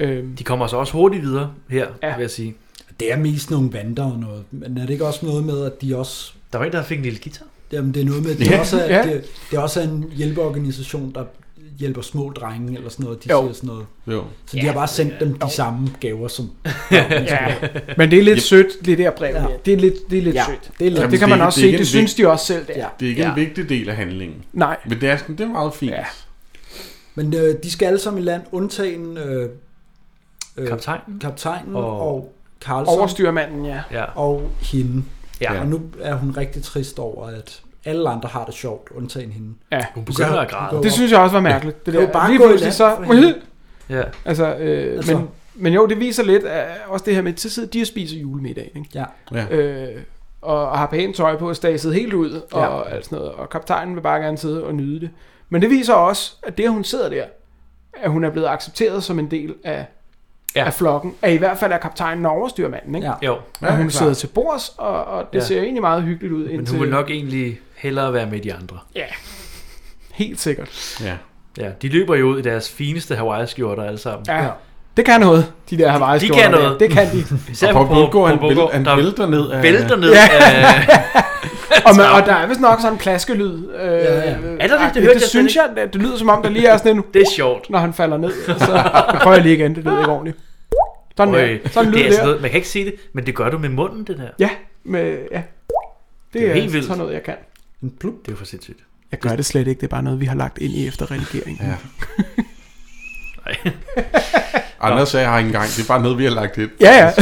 Øhm.
De kommer så også hurtigt videre her, ja. vil jeg sige.
Det er mest nogle vandre og noget. Men er det ikke også noget med, at de også...
Der var en, der fik en lille guitar.
Jamen, det er noget med, at det,
Ja.
også, er,
Ja.
det, det også er en hjælpeorganisation, der hjælper små drenge eller sådan noget, de
Jo.
siger sådan noget.
Jo.
Så de har bare sendt dem de samme gaver,
[LAUGHS]
som...
ja. Men det er lidt yep. sødt, det der brev. Ja. Det er lidt, det er lidt
Ja,
sødt.
det er lidt
det,
Jamen,
kan man
er-
også
er
se.
ikke
Det
en
synes
vig-
de også selv. Det. er.
Det er ikke
ja.
en vigtig del af handlingen.
Nej.
Men det er, sådan, det er meget fint. Ja.
Men øh, de skal alle sammen i land, undtagen... Øh, øh,
kaptajnen.
Kaptajnen
Og-
og, og Carlson.
Overstyrmanden, ja.
Ja.
Og hende.
Ja.
Og nu er hun rigtig trist over, at alle andre har det sjovt, undtagen hende.
Ja.
Hun begynder at græde.
Det synes jeg også var mærkeligt. Det
Kan
der.
jo bare
Lige
gå i
pludselig
land
så...
for hende.
Ja.
Altså, øh,
Altså.
altså. Men, men jo, det viser lidt af, også det her med, til sidder de og spiser julemiddag, ikke?
Ja.
Ja.
Øh, og, og har pænt tøj på og staset helt ud og
Ja.
alt sådan noget. Og kaptajnen vil bare gerne sidde og nyde det. Men det viser også, at det, at hun sidder der, at hun er blevet accepteret som en del af,
ja.
af flokken. At i hvert fald er kaptajnen og overstyrmanden, ikke?
Jo.
Og hun
Ja,
sidder
klart.
til bords, og, og det
Ja.
ja. ser egentlig meget hyggeligt ud.
Men
indtil,
hun vil nok egentlig hellere være med de andre.
Ja, helt sikkert.
Ja.
Ja, de løber jo ud i deres fineste Hawaii-skjorter alle sammen.
Ja. Det kan noget, de der hawaii
De kan noget.
Det kan de.
[LAUGHS] Især Paul Bundgaard, han Paul Bundgaard, væl- han der vælter ned af- vælter ned af-
[LAUGHS] og, man, og der er vist nok sådan en plaskelyd. Øh, ja, ja.
Er der det? Det hørte
det,
jeg
det
slet
synes
ikke.
jeg, det, det lyder som om, der lige er sådan en...
[LAUGHS] Det er sjovt.
Når han falder ned. og Så prøver jeg lige igen, det lyder ikke ordentligt. Sådan
Øj,
der. Sådan
det er
lyder
sådan
der.
noget, man kan ikke se det, men det gør du med munden, det der.
Ja, med, ja. Det,
Det
det
er
er,
helt vildt.
sådan noget, jeg kan.
En plup.
Det er jo for sindssygt.
Jeg gør det slet ikke, det er bare noget, vi har lagt ind i efter redigeringen.
Ja. Anders sagde, jeg har ikke engang. Det er bare noget, vi har lagt ind.
Ja,
[LAUGHS]
ja.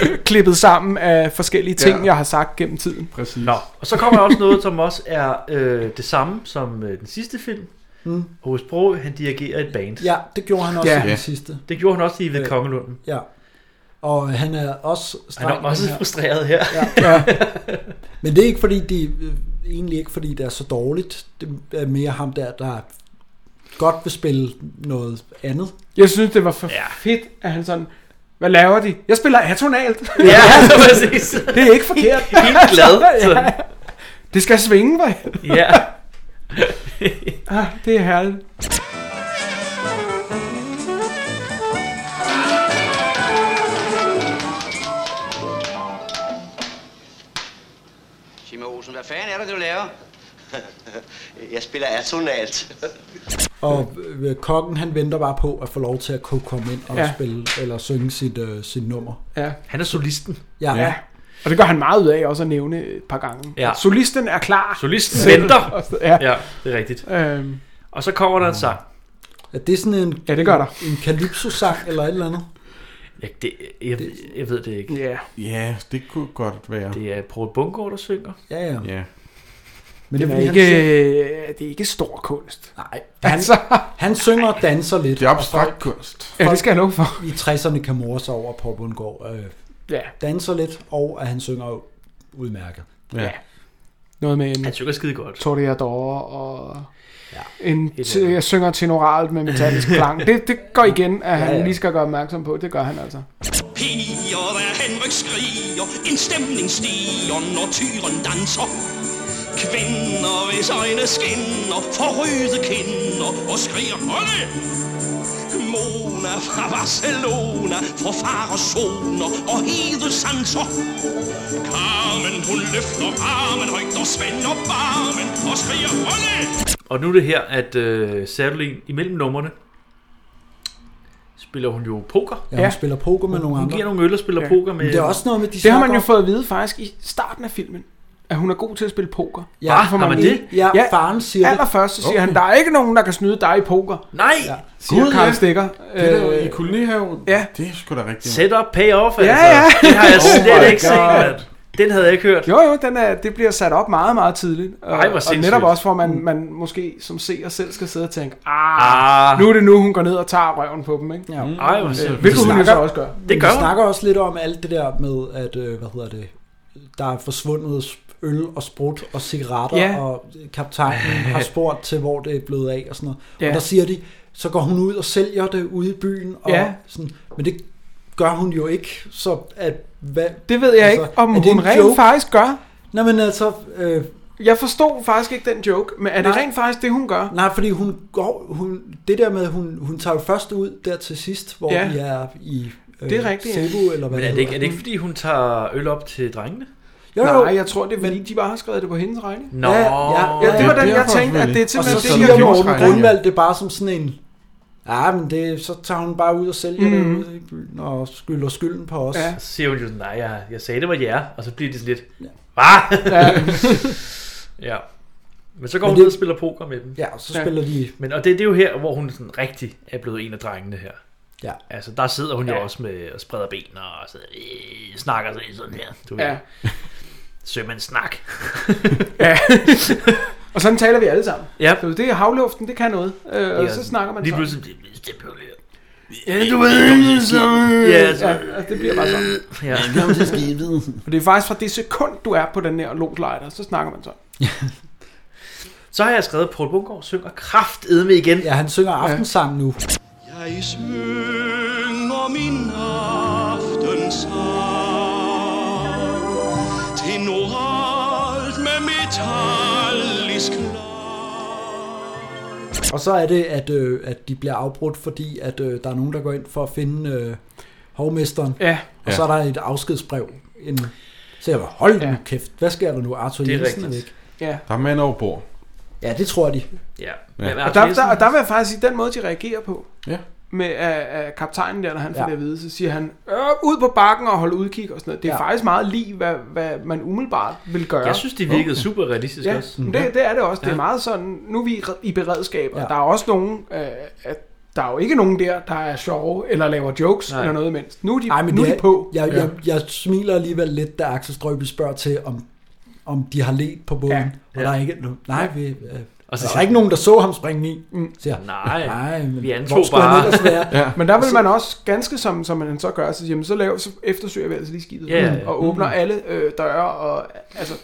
[LAUGHS] Klippet sammen af forskellige ting,
Ja.
ja. jeg har sagt gennem tiden.
Præcis.
Nå, og så kommer der også noget, som også er øh, det samme som øh, den sidste film. Mm.
Mm.
Hos Bro, han dirigerer et band.
Ja, det gjorde han også Ja. i den sidste.
Det gjorde han også i Ved
Øh,
Kongelunden.
Ja. Og han er også streng.
Han er også
den her.
frustreret her.
Ja. ja. [LAUGHS] Men det er ikke fordi, de, øh, egentlig ikke fordi det er så dårligt. Det er mere ham der, der godt vil spille noget andet.
Jeg synes, det var for ja. fedt, at han sådan... Hvad laver de? Jeg spiller
[LAUGHS]
atonalt.
Ja,
[LAUGHS]
præcis.
Det er ikke forkert.
Helt glad,
[LAUGHS] ja.
sådan.
Det skal svinge, mig.
[LAUGHS] Ja.
[LAUGHS] ah, det er herligt.
Simon Olsen, hvad fanden er det, du laver? [LAUGHS] jeg spiller atonalt.
Og øh, kokken, han venter bare på at få lov til at kunne komme ind og
Ja.
ja. spille, eller synge sit, øh, sit nummer.
Ja.
Han er solisten.
Ja.
ja. Og det gør han meget ud af også at nævne et par gange.
Ja.
Solisten er
Ah.
klar.
Solisten
Selv.
venter.
Ja.
ja, det er rigtigt.
Øhm.
Og så kommer der en sang.
Er det sådan en,
ja, det gør der.
en calypso-sang eller et eller andet?
Ja, det, jeg, jeg ved det ikke.
Ja.
Ja, det kunne godt være.
Det er Paul Bundgaard, der synger.
Ja, ja.
Ja.
Men det
Den
er,
er
fordi,
ikke,
han, synger,
øh, det er ikke stor kunst.
Nej.
Han, altså,
han synger og danser lidt.
Det er abstrakt kunst.
Ja, det skal jeg love for.
I 60'erne kan morse sig over, at Paul Bundgaard øh,
Ja.
danser lidt, og at han synger jo udmærket.
Ja.
ja. Noget med en...
Han synger skide godt.
Toreador og... Ja. En t- jeg synger tenoralt med
[LAUGHS]
metallisk klang. Det, det går igen, at han
Ja, ja.
lige skal gøre opmærksom på. Det gør han altså.
Piger, hvad Henrik skriger, en stemning stiger, når tyren danser. Kvinder, hvis øjne skinner, får røde kinder og skriger, Olle! Mona fra Barcelona, fra far og soner og hede sanser. Carmen, hun løfter armen højt og spænder barmen og skriger, Olle!
Og nu er det her, at øh, Sadolin imellem numrene spiller hun jo poker.
Ja, hun Ja. spiller poker med
Hun-
nogle
Hun
andre.
giver nogle øl og spiller poker med...
Men det er også noget med, de
det har man
snakker
jo
om-
fået at vide faktisk i starten af filmen, at hun er god til at spille poker.
Ja,
Bare for
har man
lige-
det? Ja, faren siger det.
Allerførst så siger
Okay.
han, der er ikke nogen, der kan snyde dig i poker.
Nej!
Ja. Siger
Gud,
Karl
ja.
Stikker. Øh,
Det er jo i
kolonihaven. Ja.
Det er sgu da rigtigt.
Set up, pay off,
Ja,
altså.
ja.
Det har jeg
[LAUGHS] Oh
slet
my
ikke set,
God.
mand. Den havde jeg ikke hørt.
Jo, jo, den er, det bliver sat op meget, meget tidligt. Og,
Ej, hvor
og
sindssygt. Mm.
netop også, hvor man, man måske som seer selv skal sidde og tænke, ah,
Ah. Mm.
nu er det nu, hun går ned og tager røven på dem, ikke?
Ja.
Ej, hvor
øh,
sindssygt.
Hvilket hun jo så
snakker-
også gør.
Men Vi snakker også lidt om alt det der med, at, øh, hvad hedder det, der er forsvundet sp- øl og sprut og cigaretter,
Ja.
ja. og kaptajnen
[LAUGHS]
har spurgt til, hvor det er blevet af og sådan noget.
Ja.
Ja. Og der siger de, så går hun ud og sælger det ude i byen, og
Ja.
ja. sådan, men det gør hun jo ikke, så at... Hvad,
Det ved jeg ikke, om
Altså, er
hun
det en
rent
joke?
faktisk gør.
Nej, men altså... Øh,
jeg forstod faktisk ikke den joke, men er det rent faktisk det, hun gør?
Nej, fordi hun går... Hun, det der med, hun, hun tager jo først ud der til sidst, hvor
Ja.
ja. vi er i... øh,
Det er rigtigt, ja.
Cebu, eller
Men er
hvad
det,
hedder.
ikke, er det ikke, fordi hun tager øl op til drengene?
Jo, jo. Nej, jeg tror, det er fordi, de bare har skrevet det på hendes regning.
Nå. Ja, ja,
ja, det var den, jeg
derfor
tænkte, at det er
selvfølgelig. Og så
simpelthen det,
siger
jeg gjorde.
Morten Grundvald det bare som sådan en, ja, men det, så tager hun bare ud og sælger mm.
Mhm.
det ude i byen og skylder skylden på os.
Så siger hun jo, sådan, nej, jeg, jeg sagde, det var jer, og så bliver de sådan lidt, hvad? Ja. [LAUGHS] ja. Men så går hun
Men det-
ned og spiller poker med dem.
Ja, og så spiller de-
Men, og det, det er jo her, hvor hun sådan rigtig er blevet en af drengene her.
Ja.
Altså, der sidder hun ja. jo også med og spreder ben og så, øh, snakker sig sådan her. Du
Ja.
ja.
[LAUGHS]
Sømandssnak.
Ja. og sådan taler vi alle sammen.
Ja.
Så det er havluften, det kan noget. Øh, og
Ja,
så snakker man
lige
sådan.
pludselig, det, det blev
Ja,
du ved, så-
Ja,
Ja,
så...
så-
ja, altså, det bliver bare sådan.
Ja. Velkommen til
skibet.
Og det er faktisk fra det sekund, du er på den her lortlejder, så snakker man sådan.
Så har jeg skrevet, at Poul Bungård synger kraftedme igen.
Ja, han synger aftensang nu.
Jeg synger min aftensang til noralt med metallisk
Og så er det, at, øh, at de bliver afbrudt, fordi at øh, der er nogen, der går ind for at finde øh, hovmesteren.
Ja.
Og så er der et afskedsbrev. En, så jeg var, hold ja. nu kæft, hvad sker der nu? Arthur
Det er
Jensen er
rigtigt.
væk.
Ja.
Der er mænd over bord.
Ja, det tror de.
Ja.
Ja.
Og der, der, og der vil jeg faktisk sige, den måde, de reagerer på,
ja.
med uh, uh, kaptajnen der, når han får
Ja.
det at vide, så siger han, øh, ud på bakken og holde udkig og sådan noget. Det er
Ja.
ja. faktisk meget lige, hvad, hvad man umiddelbart vil gøre.
Jeg synes, det virkede super realistisk
ja,
også.
men Det, det er det også. Det er
Ja.
meget sådan, nu er vi i re- i beredskab, og ja. der er også nogen, øh, at der er jo ikke nogen der, der er sjove eller laver jokes Nej. eller noget imens. Nu er de,
Ej, men
nu
det
er de på.
Jeg,
Ja.
jeg, jeg smiler alligevel lidt, da Axel Strøby spørger til, om, om de har let på båden. Ja. Og der er ikke... Nej, vi, øh, og
så
så der
siger-
er ikke nogen, der så ham springe i.
Mm.
Siger,
Nej,
men
vi antog
hvor skulle han
bare."
ellers være?
[LAUGHS] Ja.
Men der vil
Så-
man også, ganske som, som man så gør, så, jamen, så, laver, så eftersøger vi altså lige skibet,
Ja, ja, ja.
og åbner
Mm.
alle øh, døre, og altså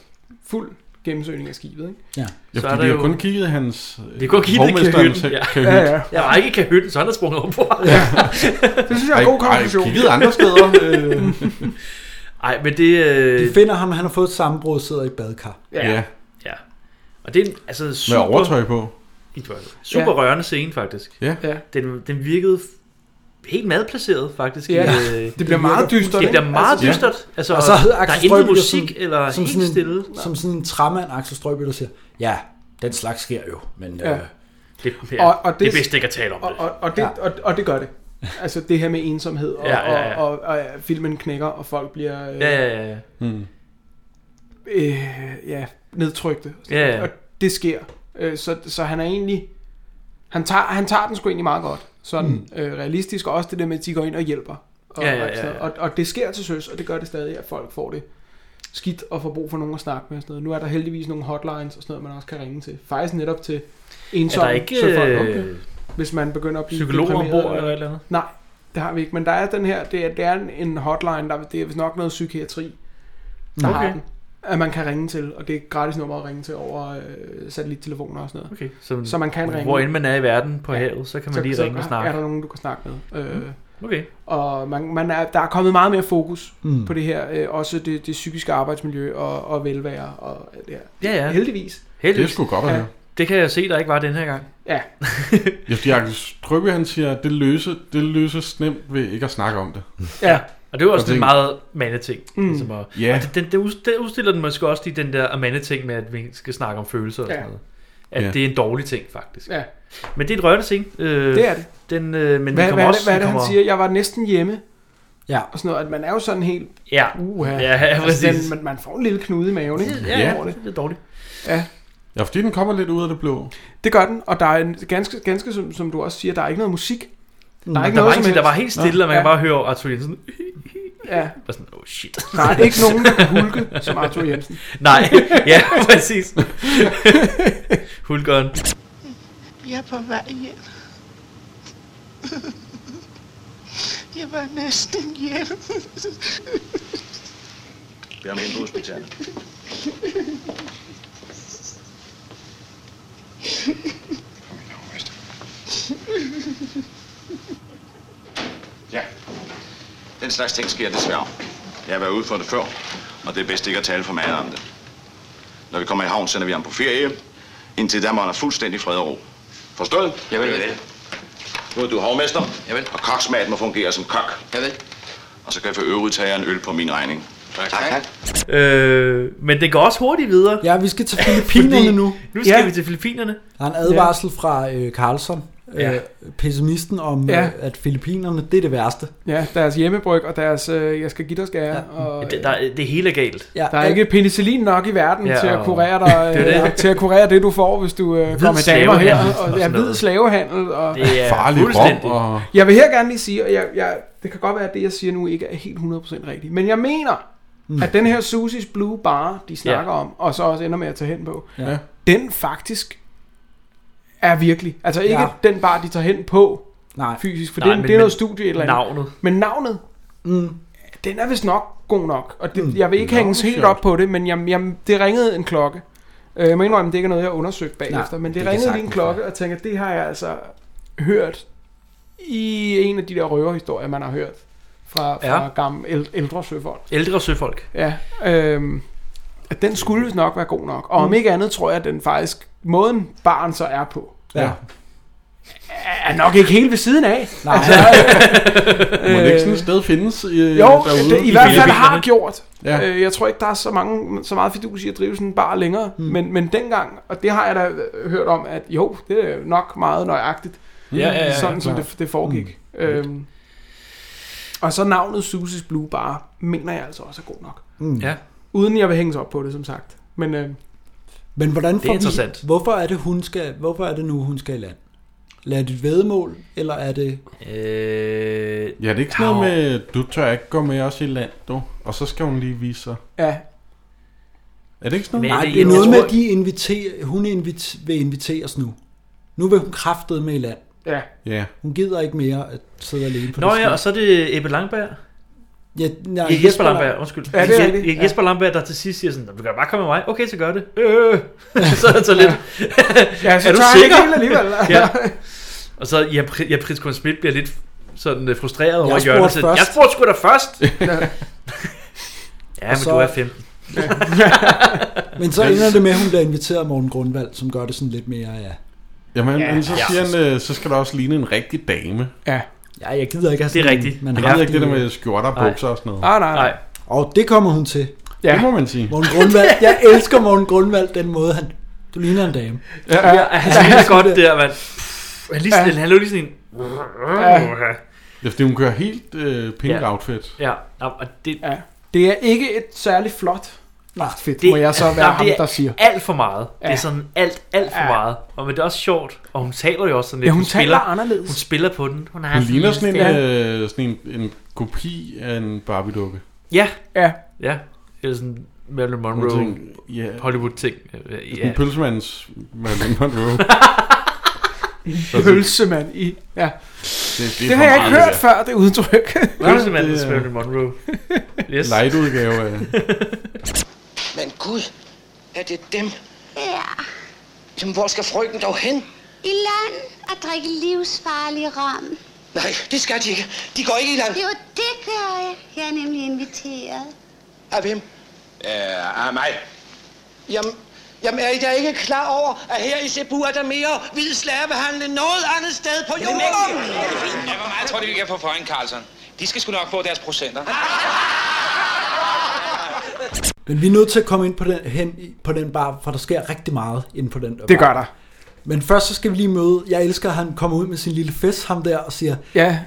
fuld gennemsøgning af skibet. Ikke?
Ja.
Ja,
Så
så
er der
de har
jo-
kun kigget i hans... øh,
Det er kun kigget i
hovmesterens
kahytten. Ja.
kahyt.
Ja, ja. Jeg var ikke i kahytten, så han er sprunget over på. Ja.
Det synes jeg er en god konklusion.
kigget andre steder. øh.
[LAUGHS] Ej, men det... Øh...
De finder ham, han har fået et sammenbrud og sidder i et badkar.
Ja. ja. Og det er en, altså super...
overtøj på.
I tøj. Super
Ja.
ja. rørende scene, faktisk.
Ja.
ja.
Den, den virkede f- helt madplaceret, faktisk.
Ja.
øh,
Det bliver meget
virker-
dystert,
Det bliver
ikke?
meget
Altså, ja.
dystert. Altså,
og så
der
hedder
er
Axel
intet
Strøby der
musik,
sådan,
eller
som
helt
sådan en,
stille.
Som sådan en træmand, Axel Strøby, der siger, ja, den slags sker jo, men...
Ja.
Øh,
det, ja, det er bedst ikke at tale om
og,
det.
Og, og, det ja. og, og det gør det. Altså det her med ensomhed, og,
Ja, ja, ja.
Og, og, og, og filmen knækker, og folk bliver øh,
Ja, ja, ja.
Mm.
Øh, ja, nedtrykte.
Ja, ja.
Og det sker. Øh, så, så han er egentlig... Han tager, han tager den sgu egentlig meget godt. Sådan mm. øh, realistisk, og også det der med, at de går ind og hjælper. Og,
Ja, ja,
og, sådan
ja, ja.
noget. og, og det sker til søs, og det gør det stadig, at folk får det skidt og får brug for nogen at snakke med. Og sådan noget. Nu er der heldigvis nogle hotlines og sådan noget, man også kan ringe til. Faktisk netop til ensomme
Er der ikke,
søfolk.
øh,
Okay. Hvis man begynder at blive
psykologer
deprimeret
ombord eller et eller andet?
Nej, det har vi ikke. Men der er den her, det er, det er en- en hotline, der, det er vist nok noget psykiatri, der okay.
Okay.
har den. At man kan ringe til, og det er et gratis nummer at ringe til over øh, satellittelefoner og sådan noget.
Okay,
så, så man kan ringe.
Hvor end man er i verden på havet, så kan man lige
så
ringe og
er-
snakke. Mm,
Er der nogen, du kan snakke med? Øh,
Okay.
Og man, man er, der er kommet meget mere fokus
Mm.
mm. på det her. Øh, også det, det psykiske arbejdsmiljø og, og velvære og alt det her.
Ja, ja.
Heldigvis.
Heldigvis.
Det er sgu godt at høre.
Det kan jeg se, der ikke var den her gang. [LAUGHS]
Ja.
Ja, fordi Axel Strøbye, han siger, at det, løse, det løses nemt ved ikke at snakke om det.
Ja, og det var også
Og
en
det-
meget mandeting.
Mm.
Ligesom at,
Ja.
og det, den, det, udst- det udstiller den måske også lige den der mandeting med, at vi skal snakke om følelser og
Ja.
sådan noget. At
Ja.
det er en dårlig ting, faktisk.
Ja.
Men det er et rørende ting. Øh,
Det er det.
Den, øh, men
Men hvad,
den
hvad,
kommer
er det,
også,
hvad er det,
den
han
kommer-
siger? Jeg var næsten hjemme.
Ja.
Og sådan noget, at man er jo sådan helt...
Ja.
Uha. Altså,
Ja, præcis.
den, man, man får en lille knude i maven, ikke?
Ja, ja,
Over det.
det er dårligt.
Ja.
Ja, fordi den kommer lidt ud af det blå.
Det gør den, og der er en, ganske, ganske som, som du også siger, der er ikke noget musik.
Der, Mm. der, var, ikke, der var helt stille, og man
ja.
kan bare høre Arthur Jensen.
Ja.
Og sådan, oh shit.
Der er ikke nogen, der kan hulke som Arthur Jensen.
[LAUGHS] Nej, ja, præcis. Hulkeren.
Jeg er på vej hjem. Jeg var næsten hjemme.
Bær ham hen på hospitalet.
Ja. Den slags ting sker desværre. Jeg har været ude for det før, og det er bedst ikke at tale for meget om det. Når vi kommer i havn, sender vi ham på ferie. Indtil da må han have fuldstændig fred og ro. Forstået? Jeg vil, vel. Nu er du havmester, jeg vil. og koksmaden må fungere som kok. Jeg vil. Og så kan jeg for øvrigt tage jer en øl på min regning.
Tak. tak.
Øh, men det går også hurtigt videre.
Ja, vi skal til Filippinerne nu.
Nu skal
Ja.
vi til Filippinerne.
Der er en advarsel ja. fra øh, Carlson, øh,
Ja.
pessimisten om,
Ja.
ja. at Filippinerne, det er det værste.
Ja, deres hjemmebryg og deres øh, jeg skal give dig skære. Ja.
Ja.
Og,
Det, der, det hele er galt.
øh, Ja,
der er ikke penicillin nok i verden
Ja,
ja, til at
og-
kurere dig,
[LAUGHS] Det er
det.
det.
til at kurere det du får, hvis du øh, kommer med damer her
slavehandel og
og, ja,
sådan
hvid
noget.
slavehandel og
Det er
Farlig
fuldstændig.
rom og-
Jeg vil her gerne lige sige, og jeg, jeg, det kan godt være, at det, jeg siger nu, ikke er helt 100% rigtigt. Men jeg mener,
Mm.
mm. at den her Susis Blue Bar, de snakker
Ja.
ja. om, og så også ender med at tage hen på,
Ja.
ja. den faktisk er virkelig. Altså ikke
Ja.
ja. den bar, de tager hen på
Nej.
fysisk, for
Nej,
Nej, det,
men-
men, det er
men
noget studie et eller andet.
navnet.
Men navnet,
mm.
den er vist nok god nok. Og det, mm. jeg vil ikke hænges helt op på det, men jeg, jeg, det ringede en klokke. Øh, Jeg må indrømme, det ikke er noget, jeg har undersøgt bagefter,
Nej,
men det,
det
det
kan
ringede lige en
sagtens
klokke, og tænkte, det har jeg altså hørt i en af de der røverhistorier, man har hørt fra, fra
Ja.
ja. gamle el- ældre søfolk.
Ældre søfolk.
Ja, øhm, at den skulle vist nok være god nok. Og om
Mm.
ikke andet, tror jeg, at den faktisk, måden barn så er på,
Ja.
er nok ikke helt ved siden af. Altså, øh,
Nej. Må det ikke sådan et sted findes i,
jo,
derude?
det, i,
I
hvert fald har
Filippinerne?
gjort.
Ja.
Ja. Øh, jeg tror ikke, der er så, mange, så meget fidus i at drive sådan en bar længere. Hmm. Men, men dengang, og det har jeg da øh, hørt om, at jo, det er nok meget nøjagtigt.
Ja, ja, ja, ja,
sådan som
klar.
det, det foregik.
Mm.
Øhm, og så navnet Susis Blue Bar, mener jeg altså også er god nok.
Mm.
Ja.
Uden jeg vil hænges op på det, som sagt. Men øh,
Men hvordan
Det er
får
interessant.
vi, hvorfor er det hun skal, hvorfor er det nu hun skal i land? Lad det et vedmål, eller er det
Øh,
Ja, det er ikke sådan noget med, du tør ikke gå med os i land, du. Og så skal hun lige vise sig.
Ja.
Er det ikke sådan noget?
Nej, det er noget med, at de inviterer, hun invit, vil inviteres nu. Nu vil hun kraftet med i land.
Ja.
Ja.
Hun gider ikke mere at sidde alene på
Nå
det
ja, og så er det Ebbe Langberg.
Ja, nej,
Ja, Jesper Langberg,
Jesper Langberg.
undskyld.
Ja, det er
Je-
rigtigt.
Je- Jesper Langberg, der til sidst siger sådan, du kan bare komme med mig. Okay, så gør det. Øh,
[LAUGHS]
så [LAUGHS] er det så lidt.
Ja, så
er du
tager han
sikker?
ikke helt alligevel.
[LAUGHS]
[LAUGHS]
ja. Og så, ja, Pri- ja Prins Korn Schmidt bliver lidt sådan øh, frustreret over
Jeg
Jørgen.
spurgte
så-
først.
Jeg spurgte sgu da først. ja, men
Og så-
du er 15.
[LAUGHS] Men så ender det med, at hun bliver inviteret af Morten Grundvald, som gør det sådan lidt mere, ja.
Jamen, ja, men så
Ja.
siger han, øh, så skal der også ligne en rigtig dame.
Ja.
Ja, jeg gider ikke have sådan en-
Man
har
jeg ved ikke
haft
det der
i-
med skjorter og
Nej.
bukser og sådan noget.
Ah, nej, nej.
Og det kommer hun til.
Ja.
Det må man sige.
Morten Grundvald, jeg elsker Morten Grundvald, den måde han... Du ligner en dame.
Ja, ja, han ligner godt der, mand. Pff, Han, lige,
Ja.
han lå lige sådan en...
Ja.
Ja, fordi hun kører helt øh, pink
Ja.
ja. outfit.
Ja, og og det...
Ja. Det er ikke et særligt flot outfit,
Det-
må jeg så være
nej,
ham,
det er
der siger.
alt for meget. Det er
Ja.
sådan alt, alt for
Ja.
meget. Og men det er også sjovt. Og hun taler jo også sådan lidt.
Ja, hun taler anderledes.
Hun spiller på den. Hun, har
Hun ligner sådan en,
stemme.
øh, sådan en, en kopi af en Barbie-dukke.
Ja.
Ja.
Ja. Eller sådan Marilyn
øh, Hun
Monroe.
tænker, ja.
Hollywood-ting. Øh,
Ja. En pølsemands [LAUGHS] Marilyn Monroe.
Pølsemand i... Ja.
Det- det er
Det,
for
det har jeg
meget,
ikke hørt
det
før, det udtryk.
Pølsemanden
det
ja,
er-
Marilyn
[LAUGHS]
Monroe. Yes.
Lightudgave af...
Men gud, er det dem? Ja. Jamen, hvor skal frøken dog hen?
I land og drikke livsfarlig rom.
Nej, det skal de ikke. De går ikke i land.
Jo, det gør jeg. Jeg er nemlig inviteret.
Af hvem?
Øh,
ah,
Ja, af mig.
Jamen, jamen er I da ikke klar over, at her i Cebu er der mere hvid slavehandel end noget andet sted på jorden?
Ja, hvor meget tror du, vi kan få for en, Carlson? De skal sgu nok få deres procenter.
Men vi er nødt til at komme ind på den, hen i- på den bar, for der sker rigtig meget inde på den der
Det
bar.
gør der.
Men først så skal vi lige møde, jeg elsker, at han kommer ud med sin lille fest, ham der, og siger,
ja.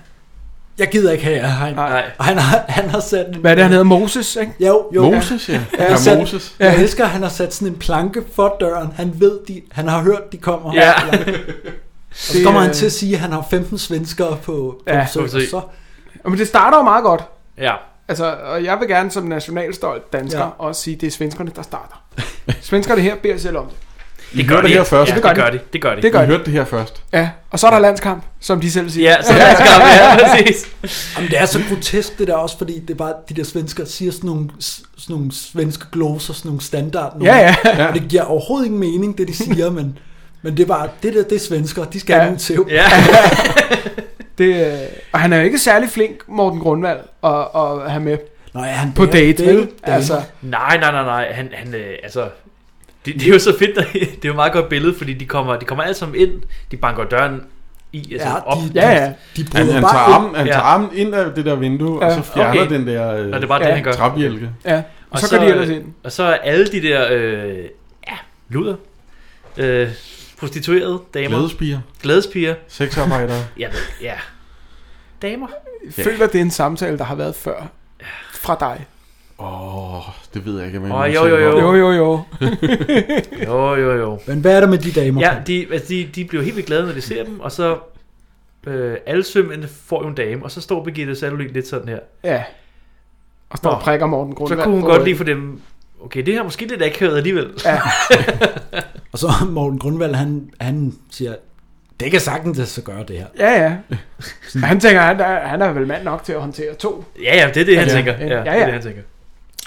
jeg gider ikke have jer herinde."
Nej.
Og han har, [LAUGHS] han har sat en...
Hvad er det, han hedder? Moses, ikke?
Jo, jo. [LAUGHS]
Moses, ja.
Han har
Ja,
sat,
Moses.
Jeg elsker, at han har sat sådan en planke for døren. Han ved, de, han har hørt, de kommer.
Ja.
Og så kommer han til at sige, at han har 15 svenskere på, på
Ja,
besøg,
må vi se.
og så
Men det starter jo meget godt.
Ja.
Altså, og jeg vil gerne som nationalstolt dansker
Ja.
ja. også sige, at det er svenskerne, der starter. [LAUGHS] svenskerne her beder selv om det.
I gør det her først.
Det gør
I
de.
hørte det her først.
Ja, og så er der landskamp, som de selv siger.
Ja,
[LAUGHS]
så er der landskamp, ja, præcis.
Jamen, det er så grotesk det der også, fordi det er bare, de der svensker siger sådan nogle, sådan nogle svenske gloser, sådan nogle standard. nogle-
Ja, ja.
Og det giver overhovedet ikke mening, det de siger, men, men det er bare, det der, det er svensker, de skal
Ja.
have nogle tæv.
Ja.
[LAUGHS] Det, øh, og han er jo ikke særlig flink, Morten Grundvald, og, og have med
Nej, han
på
bærer-
date,
bærer-
vel?
bærer.
Altså,
Nej, nej, nej, nej. Han, han øh, altså... Det, det, er jo så fedt, det er jo et meget godt billede, fordi de kommer, de kommer alle sammen ind, de banker døren i. altså
Ja,
op.
de- Ja, ja. de
han,
bryder
han,
bare
tager
ind.
armen, han
Ja.
tager armen ind af det der
Ja,
vindue, og så fjerner
okay.
den der øh,
Nå, det er bare det, han gør.
træbjælke.
Og, så, går de ellers ind. Og så er alle de der, øh, ja, luder, øh, prostituerede damer.
Glædespiger.
Glædespiger.
Sexarbejdere.
ja, ja. Damer.
Føler det er en samtale, der har været før fra dig?
Åh, oh, det ved jeg ikke, om jeg
Åh,
må
jo,
sige
jo,
noget.
jo.
Jo,
[LAUGHS]
jo.
jo, jo, jo.
Men hvad er der med de damer?
Ja, de, altså de, de bliver helt vildt glade, når de ser dem, og så øh, alle sømmene får jo en dame, og så står Birgitte Salolin lidt sådan her.
Ja. Og står og prikker Morten Grundvald.
Så kunne hun
på
godt
ryggen.
lige for dem, okay, det her er måske lidt akavet alligevel.
Ja.
Og så Morten Grundvald, han, han siger, det kan sagtens lade sig gøre det her.
Ja, ja. Han tænker, han er, han er vel mand nok til at håndtere to.
ja, ja, det er det, han
Ja,
tænker.
ja,
Ja, ja,
ja,
Det er
ja.
det, han tænker.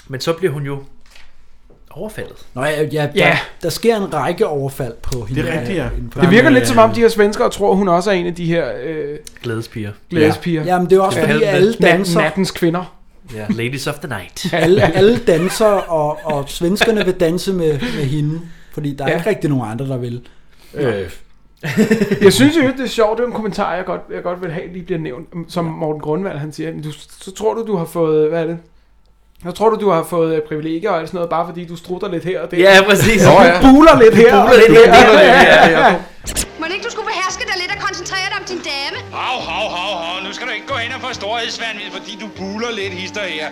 Men så bliver hun jo [LAUGHS] overfaldet.
Nå ja, ja, der,
Ja.
der sker en række overfald på hende.
Det virker lidt
øh,
som om, de her svenskere tror, hun også er en af de her... Øh,
Glædespiger.
Glædespiger.
Ja. Jamen, det er også, fordi alle danser-
Nat, nattens kvinder.
Ja, ladies of the night.
alle, alle danser, og, og svenskerne vil danse med, med hende, fordi der er
Ja.
ja. ikke rigtig nogen andre, der vil.
Øh. [LAUGHS] jeg synes jo, det er sjovt. Det er en kommentar, jeg godt, jeg godt vil have, lige bliver nævnt. mm, Som Morten Grundvald, han siger, du, så tror du, du har fået, hvad er det? Så tror du, du har fået øh, privilegier og alt sådan noget, bare fordi du strutter lidt her og det.
Ja, præcis.
Du
Nå, ja.
buler lidt
Du
her og
buler lidt
der.
her og der, ja, ja.
[LAUGHS]
Må ikke du skulle beherske dig lidt og koncentrere dig om din dame?
Hav, hav, hav, hav. Nu skal du ikke gå hen og få storhedsvandvid, fordi du buler lidt hister her.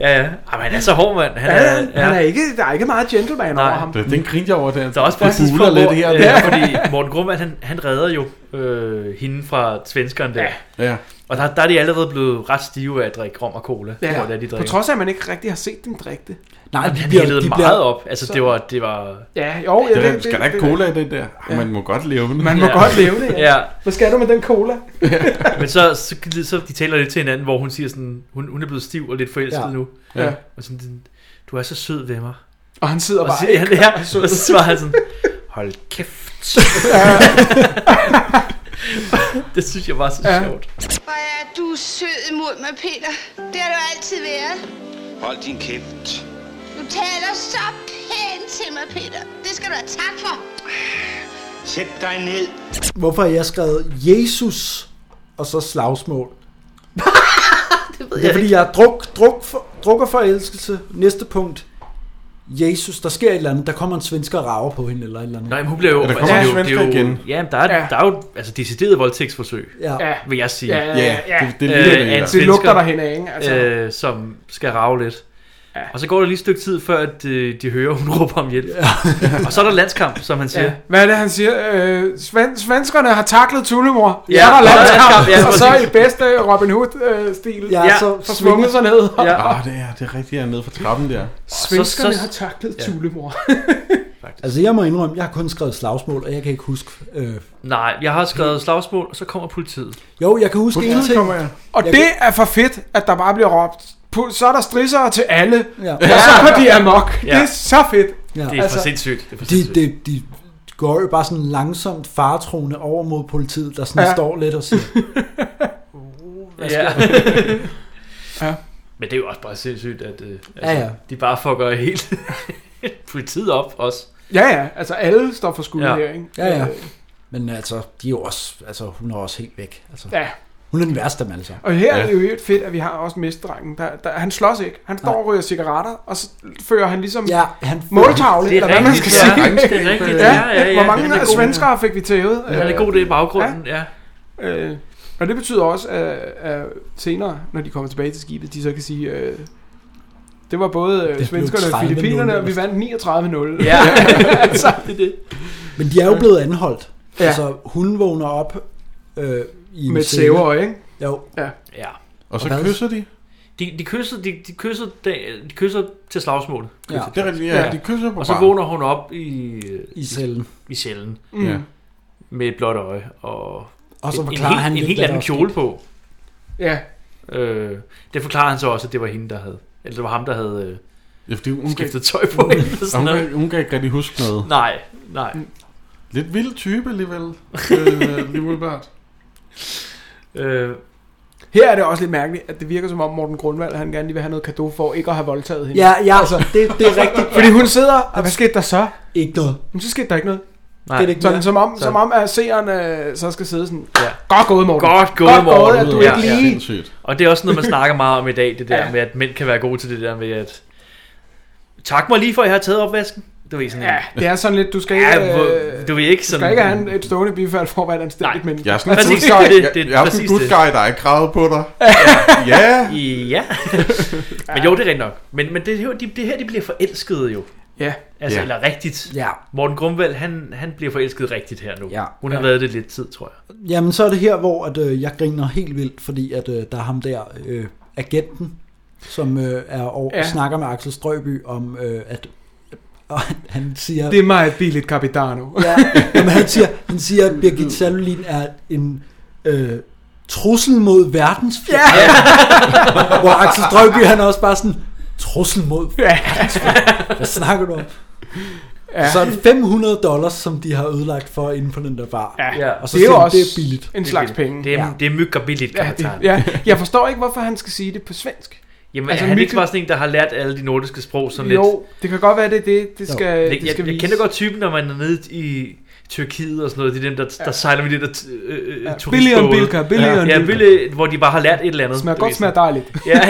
Ja, ja. Ej, Ah, men han er så hård, mand. Han
Ja,
er,
han
ja.
er ikke, der er ikke meget gentleman over ham.
Det, den grinte jeg over, den.
Der er også bare et tidspunkt,
buler
hvor,
lidt her
her,
og
ja,
der.
fordi Morten Grumman, han, han redder jo øh, hende fra svenskeren der.
Ja.
Og der, der er de allerede blevet ret stive af at drikke rom og cola.
Ja,
hvor det er, de
på
drikker.
trods af, at man ikke rigtig har set dem drikke det.
Nej, de han bliver, de meget op. Altså, det var... Det var
Ja, jo, ja,
det,
det-
det, skal
det-
der ikke
det-
cola i den der? Ja.
Ja.
Man må godt leve den.
Man må godt leve det,
Ja.
Hvad skal du med den cola?
[LAUGHS] Men så, så, så, de taler lidt til hinanden, hvor hun siger sådan... Hun, hun er blevet stiv og lidt forelsket
Ja.
nu.
Ja.
Og sådan, du er så sød ved mig.
Og han sidder
og
bare,
så, siger han,
"Ikke
[LAUGHS] ja,
ret
og
sød."
så svarer han sådan... Hold kæft. [LAUGHS] det synes jeg var så
Ja.
sjovt.
Hvor er du sød mod mig, Peter. Det har du altid været.
Hold din kæft.
Du taler så pænt til mig, Peter. Det skal du have tak for.
Sæt dig ned.
Hvorfor har jeg skrevet Jesus og så
[LAUGHS]
slagsmål? det, ved det er
jeg
fordi,
ikke.
jeg er druk, druk for, drukker forelskelse. Næste punkt. Jesus, der sker et eller andet. Der kommer en svensker og rager på hende eller et eller andet.
Nej, men hun bliver jo...
Ja, der
altså,
kommer
det er jo- det
en
er
svensker
jo-
igen.
Ja, men der er, der er jo altså, decideret voldtægtsforsøg,
Ja.
vil jeg sige.
Ja, ja, ja. Ja, det- det
Øh,
ligner det
af en
i hvert fald.
svensker,
Det lugter derhenad, ikke? Altså.
Øh, som skal rave lidt. Og så går der lige et stykke tid, før at, øh, de hører, hun [LAUGHS] råber om hjælp. og så er der landskamp, som han siger.
Ja. Hvad er det, han siger? Øh, sven- svenskerne har taklet Tullemor.
Ja,
Ja, der er
og der er
landskamp.
landskamp, ja,
og så
præcis.
i bedste Robin Hood-stil.
Ja,
Ja.
så-
så svunget sig ned.
Ja. Ah, det er, det er rigtigt, jeg er nede fra trappen der.
Svenskerne har taklet [LAUGHS]
Ja.
Tullemor.
Altså, jeg må indrømme, jeg har kun skrevet slagsmål, og jeg kan ikke huske... Øh,
Nej, jeg har skrevet slagsmål, og så kommer politiet.
jo, jeg kan huske en ting.
Og
Jeg
det er for fedt, at der bare bliver råbt. "Pu- Så er der strissere til alle.
Ja.
Og så går de amok.
Ja.
Det er så fedt. Altså,
sindssygt. Det
er de, de, de går jo bare sådan langsomt faretroende over mod politiet, der sådan
Ja. "Uh,
ja. står lidt og siger...
Ja. [LAUGHS]
ja.
Men det er jo også bare sindssygt, at øh,
Ja, ja.
de bare fucker helt [LAUGHS] politiet op også.
Ja, ja. Altså, alle står for skulden
Ja.
her, ikke?
Ja, ja.
Øh,
Men altså, de er jo også, altså, hun er også helt væk. Altså,
Ja.
Hun er den værste af dem alle sammen.
Og her ja. er
ja.
det jo helt fedt, at vi har også mesterdrengen. Der, der, han slås ikke. Han står og ryger cigaretter, og så fører han ligesom ja,
han
måltavle,
Det er
eller hvad man skal
rigtigt,
sige.
ja. Det er rigtigt, ja, ja, ja.
Hvor
Han
mange
er
af
god.
svenskere fik vi tævet?
Ja, han er god det i baggrunden, ja.
ja. Øh, og det betyder også, at, at senere, når de kommer tilbage til skibet, de så kan sige... Øh, det var både øh,
blev
svenskerne og
30-0.
filippinerne, og vi vandt 39-0.
Ja.
[LAUGHS] altså, det er det.
Men de er jo blevet anholdt.
Ja.
Ja. Altså, hun vågner op øh, i en
Med et
celle.
sæbeøje, ikke?
Jo.
Ja.
Ja.
Og så
hvad?
kysser de?
De, de, kysser, de, de, kysser, de, de kysser til slagsmålet.
Ja.
Kysser til
Det er rigtigt, ja.
slagsmålet.
De kysser på
Og så
baren.
vågner hun op i...
I cellen.
I cellen.
Mm. Ja.
Med et blåt øje. Og,
Og så
en, en,
forklarer
helt-
han
en
lidt,
helt
hvad der
anden
er sket.
kjole på.
Ja.
Øh, det forklarer han så også, at det var hende, der havde... Eller det var ham, der havde... Øh,
Ja, fordi hun
skiftet tøj på
[LAUGHS]
hende. eller
Og
Sådan
hun,
noget.
kan, hun kan ikke rigtig huske noget.
Nej, nej.
Lidt vild type alligevel. øh, lige umiddelbart.
Øh.
Her er det også lidt mærkeligt, at det virker som om Morten Grundvald, han gerne lige vil have noget kado for ikke at have voldtaget hende. Altså,
[LAUGHS]
Ja, ja, altså, det, det er rigtigt.
Fordi hun sidder, og hvad skete der så?
Ikke noget.
Men så skete der ikke noget.
Nej.
Det er det ikke
sådan,
mere.
som om,
Så-
som om at seeren øh, så skal sidde sådan,
Ja.
godt gået, Morten.
Godt gået,
godt
Morten.
Gået, at du ikke lige...
Og det er også noget, man snakker meget om i dag,
[LAUGHS]
det der
Ja.
ja. med, at mænd kan være gode til det der med, at tak mig lige for, at jeg har taget opvasken. Det var sådan
Ja, det er sådan lidt, du skal ikke...
Ja, hvor-
øh,
du vil ikke
du
sådan-
skal ikke have en- et stående bifald for at være et anstændigt menneske.
Jeg er sådan en
[LAUGHS]
Præcis,
good
[LAUGHS]
guy,
det-
jeg,
det er
jeg er sådan en
præcis
good
det.
guy, der er ikke gravet på dig. Ja.
[LAUGHS]
ja. men jo, det er rigtigt nok. Men, men det, er jo- de, det her, de bliver forelskede jo.
Ja.
Altså,
Ja.
eller rigtigt.
Ja.
Morten Grumvald, han, han bliver forelsket rigtigt her nu. Ja. Hun har
Ja.
været det lidt tid, tror jeg.
Jamen, så er det her, hvor at, øh, jeg griner helt vildt, fordi at, øh, der er ham der, øh, agenten, som øh, er over,
Ja.
ja. snakker med Axel Strøby om, øh, at og han siger...
Det er meget billigt, Capitano.
[LAUGHS] Ja, jamen, han siger, han siger at Birgit Salolin er en øh, trussel mod verdensfjern. Ja. [LAUGHS] Hvor Axel Strøby, han er også bare sådan, trussel mod verdensfjern. Hvad snakker du om?
Ja.
Ja. Så er det 500 dollars, som de har ødelagt for inden på den der bar.
Ja.
Og så
Det er jo
siger han,
også
det er billigt.
en slags penge.
Det er,
Ja.
ja. det er mygger billigt,
Ja,
kaptajn.
det- ja, jeg forstår ikke, hvorfor han skal sige det på svensk.
Jamen,
Altså,
altså, er han
Mikkel-
ikke bare sådan en, der har lært alle de nordiske sprog sådan lidt?
Jo, det kan godt være, det er det, det skal,
jeg,
det skal
jeg, jeg
vise.
kender godt typen, når man er nede i Tyrkiet og sådan noget. Det er dem, der, der
Ja.
sejler med det der t- øh, øh,
Ja,
turistbåde.
billigere end Bilka, billigere
ja.
end
ja,
Bilka.
billig, hvor de bare har lært et eller andet.
Smager
du
godt,
ved.
smager dejligt.
Ja,
[LAUGHS]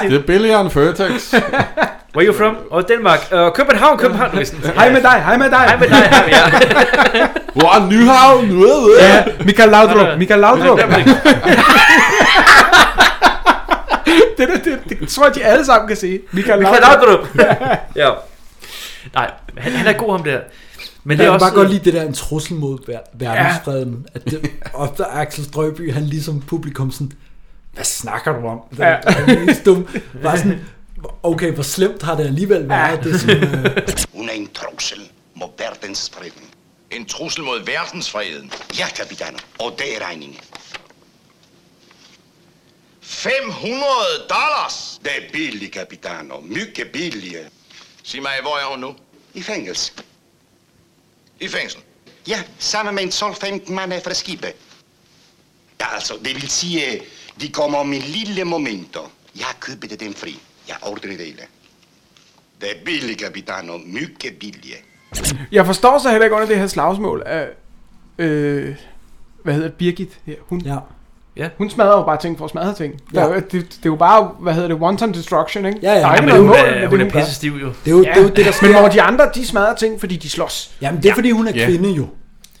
ja.
Det er billigere end Føtex.
[LAUGHS] Where you from? Og Danmark. Uh, København, København. Ja.
Hej med dig, hej med dig. Hej
med dig, hej med dig.
Hvor er Nyhavn? Nu er
[LAUGHS]
det.
Ja, Michael Laudrup, Michael Laudrup. [LAUGHS] det, det, det, det, tror jeg, de alle sammen kan sige. Michael
Michael
Laudrup.
Laudrup. ja. Nej, han, han er god ham der. Men det er
jeg
også...
kan bare godt lide det der en trussel mod ver- verdensfreden. Ja. At
[LAUGHS]
det, og der Axel Strøby, han ligesom publikum sådan, hvad snakker du om? Det er,
Ja.
ja. det er mest dumt. Bare sådan, okay, hvor slemt har det alligevel været? Ja. Det
[LAUGHS]
er sådan, øh,
[LAUGHS] Hun er en trussel mod verdensfreden. En trussel mod verdensfreden? Ja, kapitan. Og det er regningen. 500 dollars? Det er billigt, kapitan. Og mygge billigt. Sig mig, hvor er hun nu? I fængsel. I fængsel?
Ja, sammen med en solfemt mand fra skibet.
Ja, altså, det vil sige, de kommer om et lille moment. Jeg købte dem fri. Jeg ordner det hele. Det er billigt, kapitan. Og mygge billigt.
Jeg forstår så heller ikke under det her slagsmål af, øh, hvad hedder det, Birgit her. Hun,
ja.
Ja.
Hun smadrer jo bare ting for at smadre ting. Ja.
Ja.
Det, det, er jo bare, hvad hedder det, wanton destruction, ikke?
Ja, ja.
Der er
Ja,
ikke
men
noget
hun
mål
er-
med
hun er
hun gør.
pissestiv, jo. Det er jo- det er jo det, der sker.
Men hvor de andre, de smadrer ting, fordi de slås.
Jamen, det er, fordi hun er kvinde jo.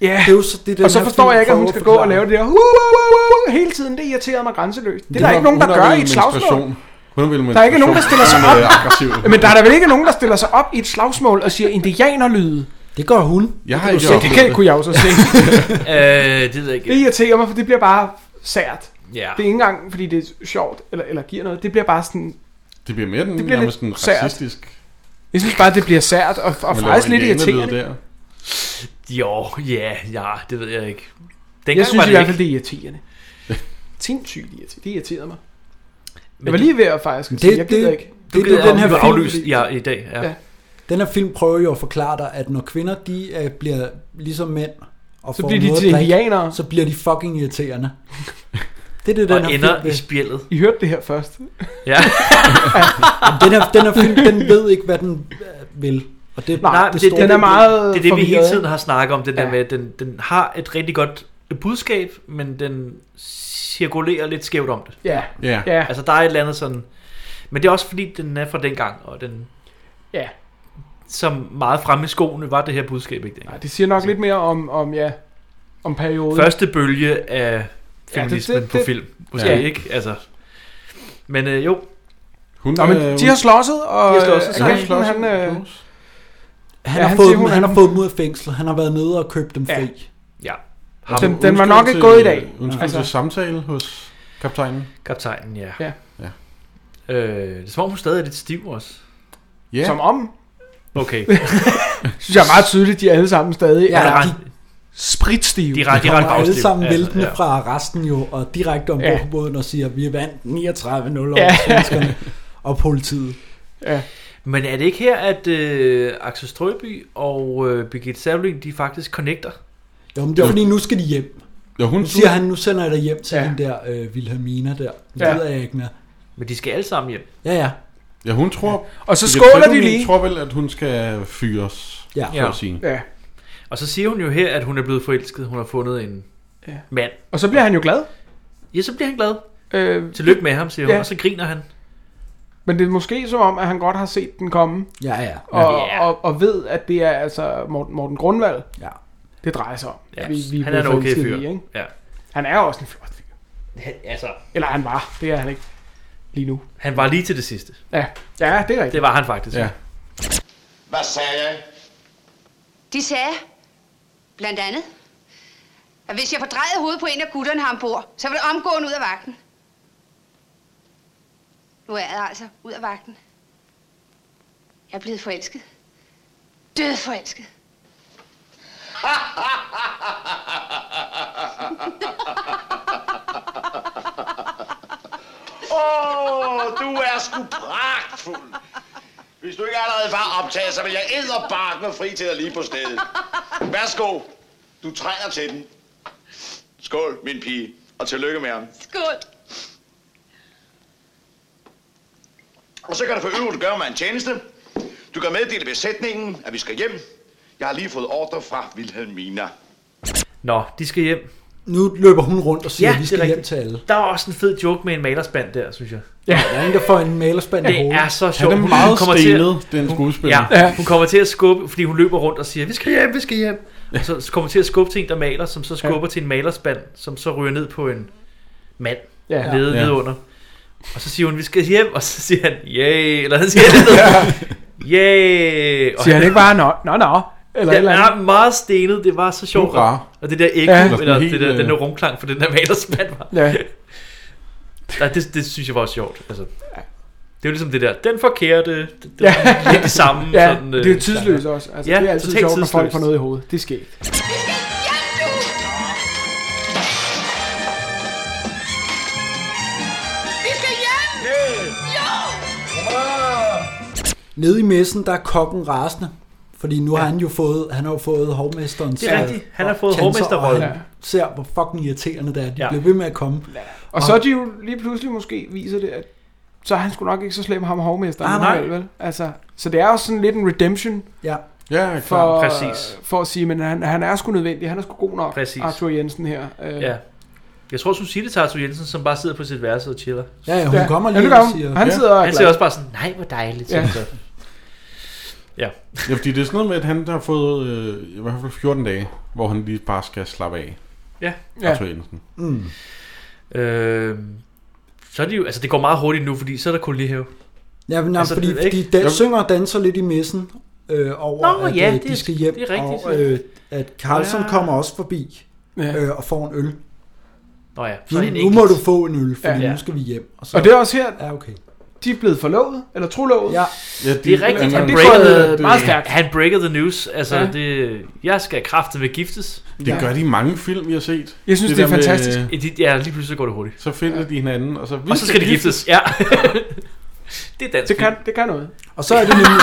Ja,
Det er jo så det, den
og så
her
forstår
film
jeg ikke, at hun
prøver
skal
at
gå og
forklare.
lave det der uh, uh, uh, uh, hele tiden. Det irriterede mig grænseløst. Det, det er der ikke nogen, der gør i et slagsmål. Der er ikke nogen, der stiller
[LAUGHS]
sig op. [LAUGHS] Men der er der vel ikke nogen, der stiller sig op i et slagsmål og siger indianerlyde.
Det gør hun.
Jeg har
det,
ikke
kan du se. det
oplevet
kan,
det.
kunne jeg jo så se.
[LAUGHS]
[LAUGHS]
Øh, det ved jeg ikke.
det irriterer mig, for det bliver bare sært.
Ja.
Det er ikke engang, fordi det er sjovt eller, eller giver noget. Det bliver bare sådan...
Det bliver mere den
Det bliver
nærmest
lidt
sådan
sært.
racistisk.
Jeg synes bare, det bliver sært og, og
Man
faktisk
laver
lidt
indianerlyde
irriterende.
Der.
Jo, ja, ja, det ved jeg ikke. Dengang
jeg synes
var
i
det
hvert fald,
ikke.
det er irriterende.
[LAUGHS]
Sindssygt irriterende. Det irriterede mig.
Men
Jeg var
det-
lige ved at faktisk
Det-
sige, jeg
det-
gider ikke.
det- Du det- gider den her
Du er
film-
aflyst ja, i dag. Ja.
Ja.
ja.
Den her film prøver jo at forklare dig, at når kvinder de øh, bliver ligesom mænd, og
Så
får
bliver de
noget at
til
drikke,
indianere.
Så bliver de fucking irriterende. Det er det, den
Og
her
ender
film vil.
i spjældet.
I hørte det her først.
Ja.
Jamen, [LAUGHS] den, her, den her film, den ved ikke, hvad den øh, vil. Og det,
Nej,
det
det, det,
store
det,
problem.
Det er det, vi hele tiden har snakket om, det der ja. med, at den, den har et rigtig godt budskab, men den cirkulerer lidt skævt om det.
Ja. Ja. Ja.
Altså, der er et eller andet sådan... Men det er også fordi, den er fra dengang, og den...
Ja.
Som meget fremme i skoene var det her budskab, ikke? Nej,
Det siger nok lidt mere om, om ja, om perioden.
Første bølge af
Ja, det-
feminismen ja,
det-
det, det,
det-
på film. Måske
Ja.
ja. ikke, altså... Men øh, jo.
Hun,
Nå, men de har slåsset, og...
Øh, De har slåsset,
øh,
så
agenten,
han-
han, øh,
Han,
Ja,
ja,
han
har,
siger, hun
fået, hun, han
er-
har fået dem ud af fængsel. Han har været nede og købt dem fri. Ja.
ja.
Den- den var nok ikke gået i dag. Altså-
Undskyld altså. til samtale hos kaptajnen.
Kaptajnen, ja.
Ja.
Ja.
Øh, det er som om, hun stadig er lidt stiv også.
Ja.
Som om.
Okay.
[LAUGHS] synes jeg er meget tydeligt, de alle sammen stadig
Ja,
ja, er
de-
spritstive.
De er ret- de er
Og
ret
alle
bagstiv.
sammen
Altså,
væltende
ja.
fra resten jo, og direkte ombord
Ja.
på båden og siger, vi vandt 39-0 over
Ja.
ja. svenskerne og politiet.
Ja.
Men er det ikke her, at øh, Axel Strøby og øh, Birgitte Savlin, de faktisk connecter?
Jo, men det er fordi, nu skal de hjem.
Jo, hun
nu siger han, nu sender jeg dig hjem til
Ja.
ja. den der øh, Wilhelmina der. Det
Ja.
ja. ved jeg ikke mere.
Men de skal alle sammen hjem.
Ja, ja.
Ja, hun tror...
Og så
Birgit
skåler de
Sættelund
lige.
tror vel, at hun skal fyres,
Ja.
så at sige.
Ja.
Og så siger hun jo her, at hun er blevet forelsket. Hun har fundet en
Ja.
ja. mand.
Og så bliver han jo glad.
Ja, så bliver han glad.
Øh,
Tillykke med ham, siger hun,
ja.
og så griner han.
Men det er måske som om, at han godt har set den komme.
Ja, ja.
Og,
Ja.
og, og ved, at det er altså Morten, Morten Grundvald,
ja.
det drejer sig om.
Ja,
er
han er en
blevet
okay
forelsket
fyr.
i, ikke?
Ja.
Han er jo også en flot fyr.
Altså,
Eller han var. Det er han ikke lige nu.
han var lige til det sidste.
Ja, ja det er rigtigt.
Det var han faktisk.
Ja.
Hvad sagde jeg?
De sagde, blandt andet, at hvis jeg fordrejede hovedet på en af gutterne her ombord, så ville det omgående ud af vagten. Nu er jeg altså ud af vagten. Jeg er blevet forelsket. Død
[LAUGHS]
forelsket.
Åh, oh, du er sgu pragtfuld. Hvis du ikke allerede var optaget, så vil jeg æderbark med fri til dig lige på stedet. Værsgo, du trænger til den. Skål, min pige, og tillykke med ham.
Skål.
Og så kan du for øvrigt gøre mig en tjeneste. Du kan meddele besætningen, at vi skal hjem. Jeg har lige fået ordre fra Vilhelmina.
Nå, de skal hjem.
Nu løber hun rundt og siger,
Ja,
ja, vi
det
skal
er
hjem
rigtigt.
til alle.
Der var også en fed joke med en malerspand der, synes jeg.
Ja. Der er en, der får en malerspand i
Det
hovedet.
er så sjovt. Hun- hun kommer til at- hun- Ja, hun kommer til at skubbe, fordi hun løber rundt og siger, vi skal hjem, vi skal hjem. Og så kommer hun til at skubbe til en, der maler, som så skubber til en malerspand, som så ryger ned på en mand,
Ja.
ja. nede
Ja.
ja. under. Og så siger hun, vi skal hjem, og så siger han, yay, eller han siger et eller andet. Yay! Og
Siger han ikke bare, nå, nå, nå. Eller
den
eller
er meget stenet, det var så sjovt.
Hurra.
Og det der ekko,
Ja.
ja, eller
Helt,
det der,
øh,
den der rumklang for den der malerspand var.
Ja.
[LAUGHS] Nej, det, det synes jeg var også sjovt. Altså, det er jo ligesom det der, den forkerte, det, det
Ja.
ja. lidt det samme.
Ja,
sådan, øh,
det er jo tidsløst også. Altså, det er altid
totalt
sjovt, når folk
tidsløst.
får noget i hovedet. Det er sket.
[LAUGHS] Vi skal hjem! Jo!
Nede i messen, der er kokken rasende. Fordi nu ja. har han jo fået, han har jo fået hovmesterens...
Det er rigtigt. Han har fået
chancer, og
hovmesterrollen.
han ser, hvor fucking irriterende det er. De ja.
Ja.
bliver ved med at komme.
Og så er de jo lige pludselig måske viser det, at så er han sgu nok ikke så slem ham hovmester.
Ah, nej.
Vel? Altså, så det er også sådan lidt en redemption.
Ja.
Ja,
for, øh,
Præcis.
for at sige, men han, han er sgu nødvendig. Han er sgu god nok,
Præcis.
Arthur Jensen her. Øh,
Ja. Jeg tror, Susie tager Arthur Jensen, som bare sidder på sit værelse og chiller.
Ja, ja, hun Ja. kommer lige
Ja, det gør og hun. siger- Han sidder og er
Han
glad.
siger også bare sådan, nej, hvor dejligt.
Ja.
Ja. Så. Ja.
ja, fordi det er sådan noget med, at han har fået øh, i hvert fald 14 dage, hvor han lige bare skal slappe af.
Ja.
Arthur Jensen.
Mm.
Øh, så er det jo, altså det går meget hurtigt nu, fordi så er der kolonihave.
Ja, men, altså, fordi,
det- ikke?
fordi de dan- synger og danser lidt i messen øh, over,
Nå,
at
ja,
øh,
det
de
er-
skal hjem,
det er rigtigt,
og
ja.
øh, at Carlson
Ja.
kommer også forbi
Ja.
øh, og får en øl.
Nå ja,
Nu,
så er det en
nu må du få en øl, fordi
Ja.
nu skal vi hjem.
Så. Og det er også her,
ja, okay.
de er blevet forlovet, eller trolovet.
Ja.
Ja,
Det er rigtigt,
Og
han
det går
breakede,
øh, meget stærkt.
han breakede the news. Altså,
Ja.
ja. det, jeg skal kraftigt med giftes.
Det ja. gør de i mange film, vi har set.
Jeg synes, det er
der med- øh,
fantastisk.
Ja, lige pludselig går det hurtigt.
Så finder de hinanden, og så...
Og så skal de giftes. Ja.
[LAUGHS]
det er dansk.
Det kan,
film.
det kan noget.
Og så er det nemlig,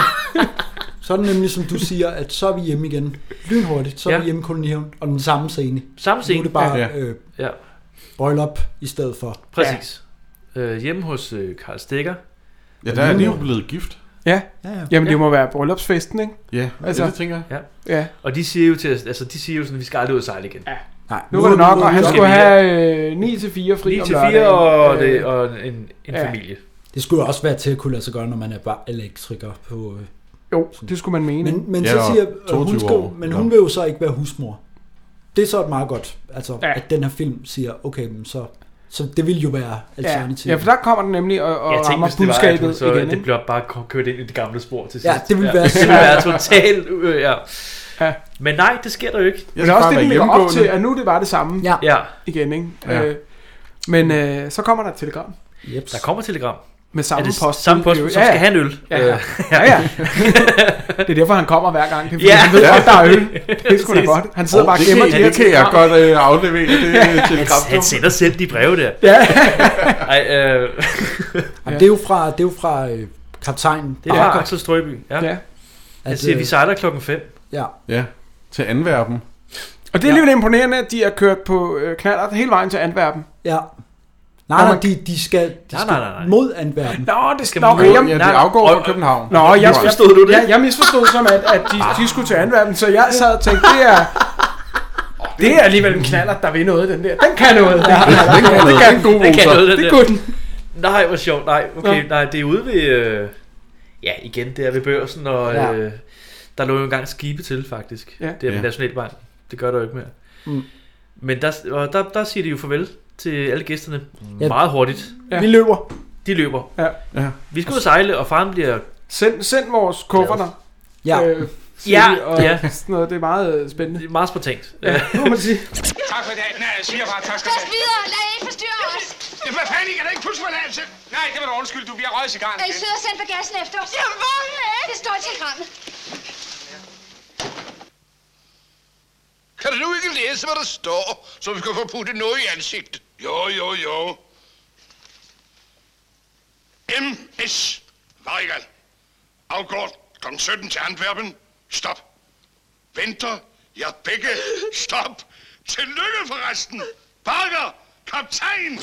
[LAUGHS] så er det nemlig som du siger, at så er vi hjemme igen. Lynhurtigt, så er ja.
Ja.
vi hjemme i kolonihaven, og den samme scene.
Samme
Nu
scene.
er det bare
Ja.
øh,
Ja.
boil up i stedet for.
Præcis. Ja. Øh, hjemme hos øh, Karl Stikker.
Ja, der er de jo blevet gift.
Ja.
Ja, ja.
Jamen, det må være bryllupsfesten, ikke?
Ja, altså, det tænker jeg.
Ja.
Ja.
Og de siger jo til os, altså de siger jo sådan, at vi skal aldrig ud og sejle igen. Ja.
Nej,
Nu var det nok, og han
Skal
skulle
vi
have øh, 9-4 fri
9
om
til 4
lørdagen.
og,
Øh,
det, og en, en
ja.
ja. familie.
Det skulle jo også være til at kunne lade sig gøre, når man er bare elektriker på... Øh,
Jo, det skulle man mene.
Men, men
Ja,
så
og
siger og hun,
22
skal,
år,
men
eller?
hun vil jo så ikke være husmor. Det er så et meget godt, altså,
Ja.
ja. at den her film siger, okay, men så, så det vil jo være
Ja,
alternativet.
ja, for der kommer den nemlig og, og
Jeg tænkte,
rammer
hvis det var, at hun
budskabet
så,
igen.
det
ikke?
bliver bare k- kørt ind i det gamle spor til sidst.
Ja, det ville være
det ville
synd.
være totalt... Øh, ja.
Ja.
Men nej, det sker der jo ikke.
Men det er også det, den lægger op til,
hjemmegående.
at nu er det bare det samme
ja.
Ja.
igen. Ikke?
Ja.
Øh, men øh, så kommer der et telegram.
Jeps.
Der kommer et telegram.
Med samme
Er det
post.
Samme post, som skal have en øl.
Ja, ja.
Øh,
ja. ja. det er derfor, han kommer hver gang. Det er, fordi,
Ja.
han ved
[LAUGHS] Ja.
godt, der er øl. Det er sgu da
Præcis.
godt. Han sidder
Åh,
bare og
det
gemmer
kan-
de her
det kan jeg
telegram.
godt, øh, aflevere, det, øh, telegram.
Han sender selv de breve der.
Ja.
[LAUGHS] Ej, øh,
Jamen, det er jo fra, det er jo fra øh, kaptajn
det er bare Axel Strøby. Ja.
Ja.
ja.
At,
Jeg siger,
øh,
vi sejler klokken 5.
Ja.
Ja, til Anverben.
Og det er alligevel imponerende, at de har kørt på øh, knallert hele vejen til Antwerpen.
Ja. Nej, nej, de, de skal, de nej, skal nej, nej, nej. mod Antwerpen.
Nå, det
skal
nå, okay, jamen-
afgår fra København.
Nå, jeg
København.
forstod du det? Jeg, jeg misforstod som, at, at de, de skulle til Antwerpen, så jeg sad og tænkte, det er... Det er alligevel en knaller, der vil noget, den der. Den kan [LAUGHS] noget.
Ja, den kan noget.
Det
Den kan noget, den
Det
der.
kunne den.
Nej, hvor sjovt. Nej, okay,
Nå.
nej, det er ude ved... Øh, ja, igen, det er ved børsen, og
Ja.
øh, der lå jo engang skibe til, faktisk.
Ja.
Det er
Ja.
ja. Nationalbanken. Det gør der jo ikke mere.
Mm.
Men der, og der, der siger de jo farvel til alle gæsterne
Ja.
ja. meget hurtigt.
Ja. Vi løber.
De løber.
Ja.
Ja.
Vi skal ud og sejle, og faren bliver...
Send, send vores kufferter.
Ja.
Øh,
Ja,
ja. Og
ja.
sådan noget. Det er meget øh, spændende. Det
er meget spontant.
Ja, det må man sige.
Tak for i dag. Nej, jeg siger bare tak skal
Gå
du have.
videre, lad ikke forstyrre os.
Ja, Hvad fanden, jeg kan da ikke pusse mig land selv. Nej, det var da undskyld, du bliver røget i gang.
Er I søde og send bagagen efter os? Jamen, hvor Det står i telegrammet.
Kan du nu ikke læse, hvad der står, så vi kan få puttet noget i ansigtet? Jo, jo, jo. M.S. Weigel. Afgår kl. 17 til Antwerpen. Stop. Venter. Jeg begge. Stop. Tillykke forresten. Parker. Kaptajn.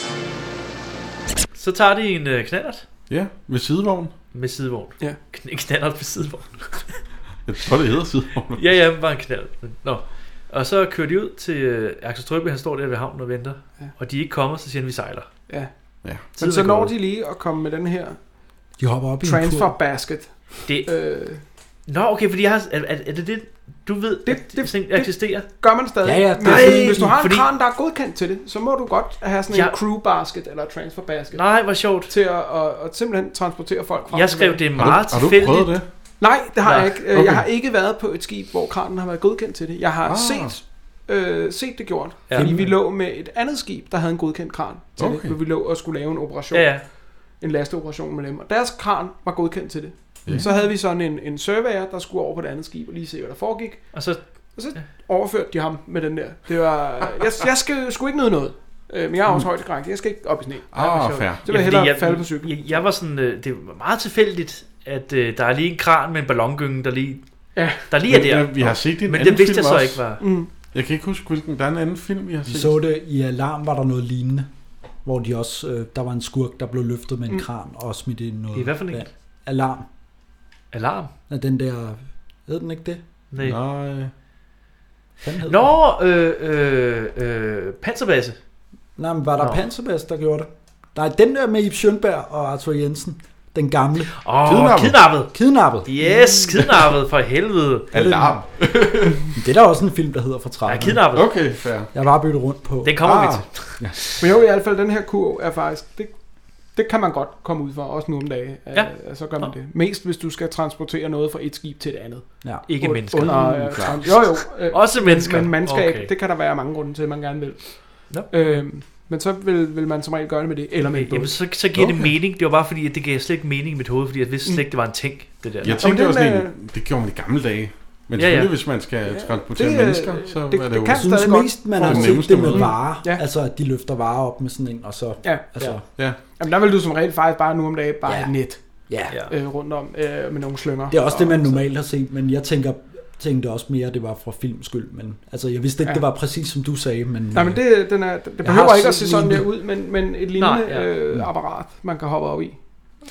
Så tager de en øh, knallert
Ja, med sidevogn.
med sidevogn.
Ja.
En knallert med sidevogn.
Jeg tror, det hedder sidevogn.
ja, ja, bare en knald. Nå. Og så kører de ud til øh, Axel Strøby, han står der ved havnen og venter.
Ja.
Ja. Og de er ikke kommet, så siger han, vi sejler.
Ja.
ja.
Men så når de lige at komme med den her
De hopper op i en
transfer
kurv.
basket.
Det...
Øh,
Nå, okay, fordi jeg har... Er, er, er det det, du ved, det, det, det, det eksisterer?
gør man stadig.
Ja, ja,
det,
det er
Nej, fordi,
fordi-
hvis du har en
fordi-
kran, der er godkendt til det, så må du godt have sådan en
Ja.
crew basket eller transfer basket.
Nej, hvor sjovt.
Til at, at, at simpelthen transportere folk fra.
Jeg skrev, det er Har du- meget
har du tilfældigt. prøvet det?
Nej, det har
Nej.
jeg ikke. Øh,
Okay.
Jeg har ikke været på et skib, hvor kranen har været godkendt til det. Jeg har
Ah.
set, øh, set det gjort,
Ja.
fordi vi lå med et andet skib, der havde en godkendt kran til okay.
Okay.
det, hvor vi lå og skulle lave en operation.
Ja, ja.
En lasteoperation med dem. Og deres kran var godkendt til det.
Ja.
Så havde vi sådan en, en surveyor, der skulle over på det andet skib og lige se, hvad der foregik.
Og så,
og så overførte de ham med den der. Det var, jeg, jeg skal, skulle ikke nyde noget. Øh, men jeg er også
Mm. Ah.
højt Jeg skal ikke op i sne.
Ah,
altså.
Ej, hvor
Det
sjovt.
vil
Ja,
jeg
fordi
hellere falde på cykel.
Jeg, jeg var sådan, øh, det var meget tilfældigt, at øh, der er lige en kran med en ballongynge, der lige,
ja.
der lige er
Men,
der.
men Vi har set det i en
Men
anden
det vidste jeg
film
så
også.
ikke var.
Mm.
Jeg kan ikke huske, hvilken der er en anden film, vi har
Vi
set.
så det i Alarm, var der noget lignende, hvor de også, øh, der var en skurk, der blev løftet med en
Mm.
kran og smidt i noget.
I hvad for en?
vand. Alarm.
Alarm?
Ja, den der, hed den ikke det?
Nej.
Nej.
Nå, øh, øh, øh, panserbase.
Nej, men var der
Nå.
Panserbas, der gjorde det? Nej, den der med Ib Schønberg og Arthur Jensen. Den gamle.
Åh, Kidnappet. kidnappet.
Kidnappet.
Mm.
Yes, kidnappet for helvede.
Alarm. det er der også en film, der hedder fra 30'erne.
Ja, Kidnappet.
Okay, fair. Ah,
Jeg har bare byttet rundt på.
Den kommer vi til.
Ah. Ja.
Men jo, i hvert fald, den her kurv er faktisk... Det, det kan man godt komme ud for, også nu om dage. Øh, Ja. Så gør man det. Mest hvis du skal transportere noget fra et skib til et andet.
Ja.
Ikke
Und-
mennesker.
Under,
Mm,
øh,
klart.
trans- jo, jo.
Også mennesker.
Men mandskab,
Okay.
det kan der være mange grunde til, at man gerne vil.
Ja.
Øhm, men så vil, vil man som regel gøre det med det, eller med en båd.
Jamen, så, så giver det mening. Det var bare fordi, at det gav slet ikke mening i mit hoved, fordi jeg vidste slet ikke, det var en ting, det der.
Jeg tænkte også sådan en, det gjorde man i gamle dage. Men
Ja,
ja,
ja.
selvfølgelig, hvis man skal transportere mennesker, så det, er det, jo...
Jeg synes mest, man har
den
set
nemmeste
det med
måde.
varer. Ja. Altså, at de løfter varer op med sådan en, og så...
Ja,
altså,
ja.
Jamen, der vil du som regel faktisk bare nu om dagen bare
Ja.
et net
Ja.
øh, rundt om øh, med nogle slynger.
Det er også
Og-
det, man normalt har set, men jeg tænker, tænkte også mere, at det var fra films skyld. Men, altså, jeg vidste ikke,
Ja.
det var præcis som du sagde, men...
Nej, men det, den er, det
Jeg
behøver
har
ikke at se
set
sådan der
lignende.
ud, men, men et lignende
Nej, ja.
øh, apparat, man kan hoppe op i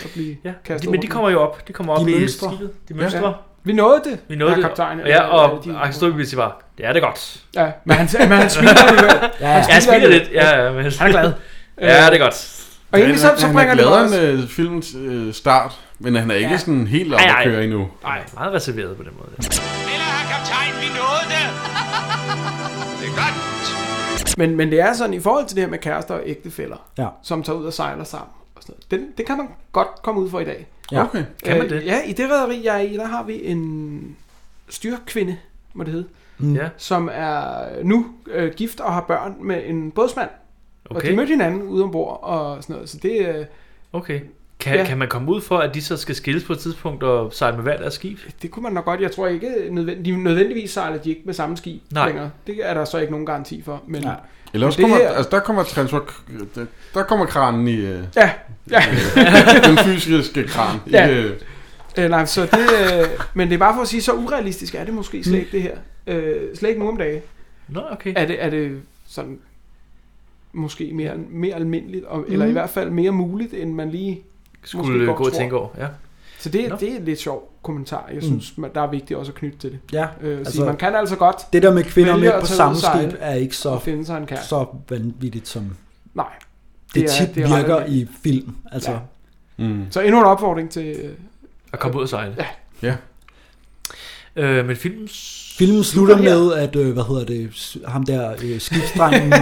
og blive ja. kastet
De, men de
rundt
kommer jo op. De kommer op
De
i
mønstre.
skibet. De
Ja.
mønstre.
Ja. Vi nåede det,
Vi nåede
herre
det.
kaptajn. Øh,
ja, og
Eller de-
Axel Strøby siger bare, det er det godt.
Ja, men han- men han smiler
[LAUGHS]
alligevel. Han
ja, ja, han
smiler
smiler lidt.
alligevel.
Ja, ja, men...
Han er glad.
[LAUGHS] ja, det er godt.
Og egentlig så- så
han
bringer
er
det
gladere
mig
end øh, filmens øh, start, men han er ikke
Ja.
sådan helt op
Ej,
at
ej.
køre endnu.
Nej, meget reserveret på den måde.
Kaptajn, vi nåede det. Det er godt.
Men, men det er sådan, i forhold til det her med kærester og ægtefæller,
Ja.
som tager ud og sejler sammen, og sådan noget, den, det kan man godt komme ud for i dag.
Ja. Okay.
Kan man det?
Øh, ja, i det rederi, jeg er i, der har vi en styrkvinde, må det hedde,
Mm.
Ja.
som er nu øh, gift og har børn med en bådsmand. Okay. Og
Okay.
de mødte hinanden ude ombord og sådan noget, så det... Øh,
Okay. Kan,
Ja.
ja. kan man komme ud for, at de så skal skilles på et tidspunkt og sejle med hver deres skib?
Det kunne man nok godt. Jeg tror ikke, nødvendig, de nødvendigvis sejler de ikke med samme skib
Nej.
længere. Det er der så ikke nogen garanti for. Men,
Nej. Eller også
men det
kommer,
her-
altså, der kommer transfer, der, der kommer kranen i... Øh,
Ja, ja.
øh, [LAUGHS] den fysiske kran.
Ja.
Ikke, øh,
Øh, nej, så det, øh, men det er bare for at sige, så urealistisk er det måske slet ikke det her. Øh, slet ikke nu om dagen.
Nå, okay.
Er det, er det sådan måske mere, mere almindeligt, og, eller i
Mhm.
hvert fald mere muligt, end man lige
Skulle
måske godt
gå og
tror.
tænke over, ja.
Så det,
Nå.
det er et lidt sjov kommentar. Jeg
Mm.
synes, man, der er vigtigt også at knytte til det.
Ja,
øh, altså,
altså,
man kan altså godt
Det der med kvinder og
vælge
mænd
at
på
tage ud
samme
og sejle
skib er ikke så,
og finde sig en kæreste.
så vanvittigt som
Nej.
det,
Det er-
det tit
det
det
er ret
virker i
almindeligt.
film. Altså,
Ja.
ja.
Mm.
Så endnu en opfordring til... øh,
At komme ud og sejle.
Ja.
Ja.
Øh, men filmen...
Filmen slutter med, at, øh, hvad hedder det, s- ham der
[LAUGHS]
øh, skibsdrengen øh,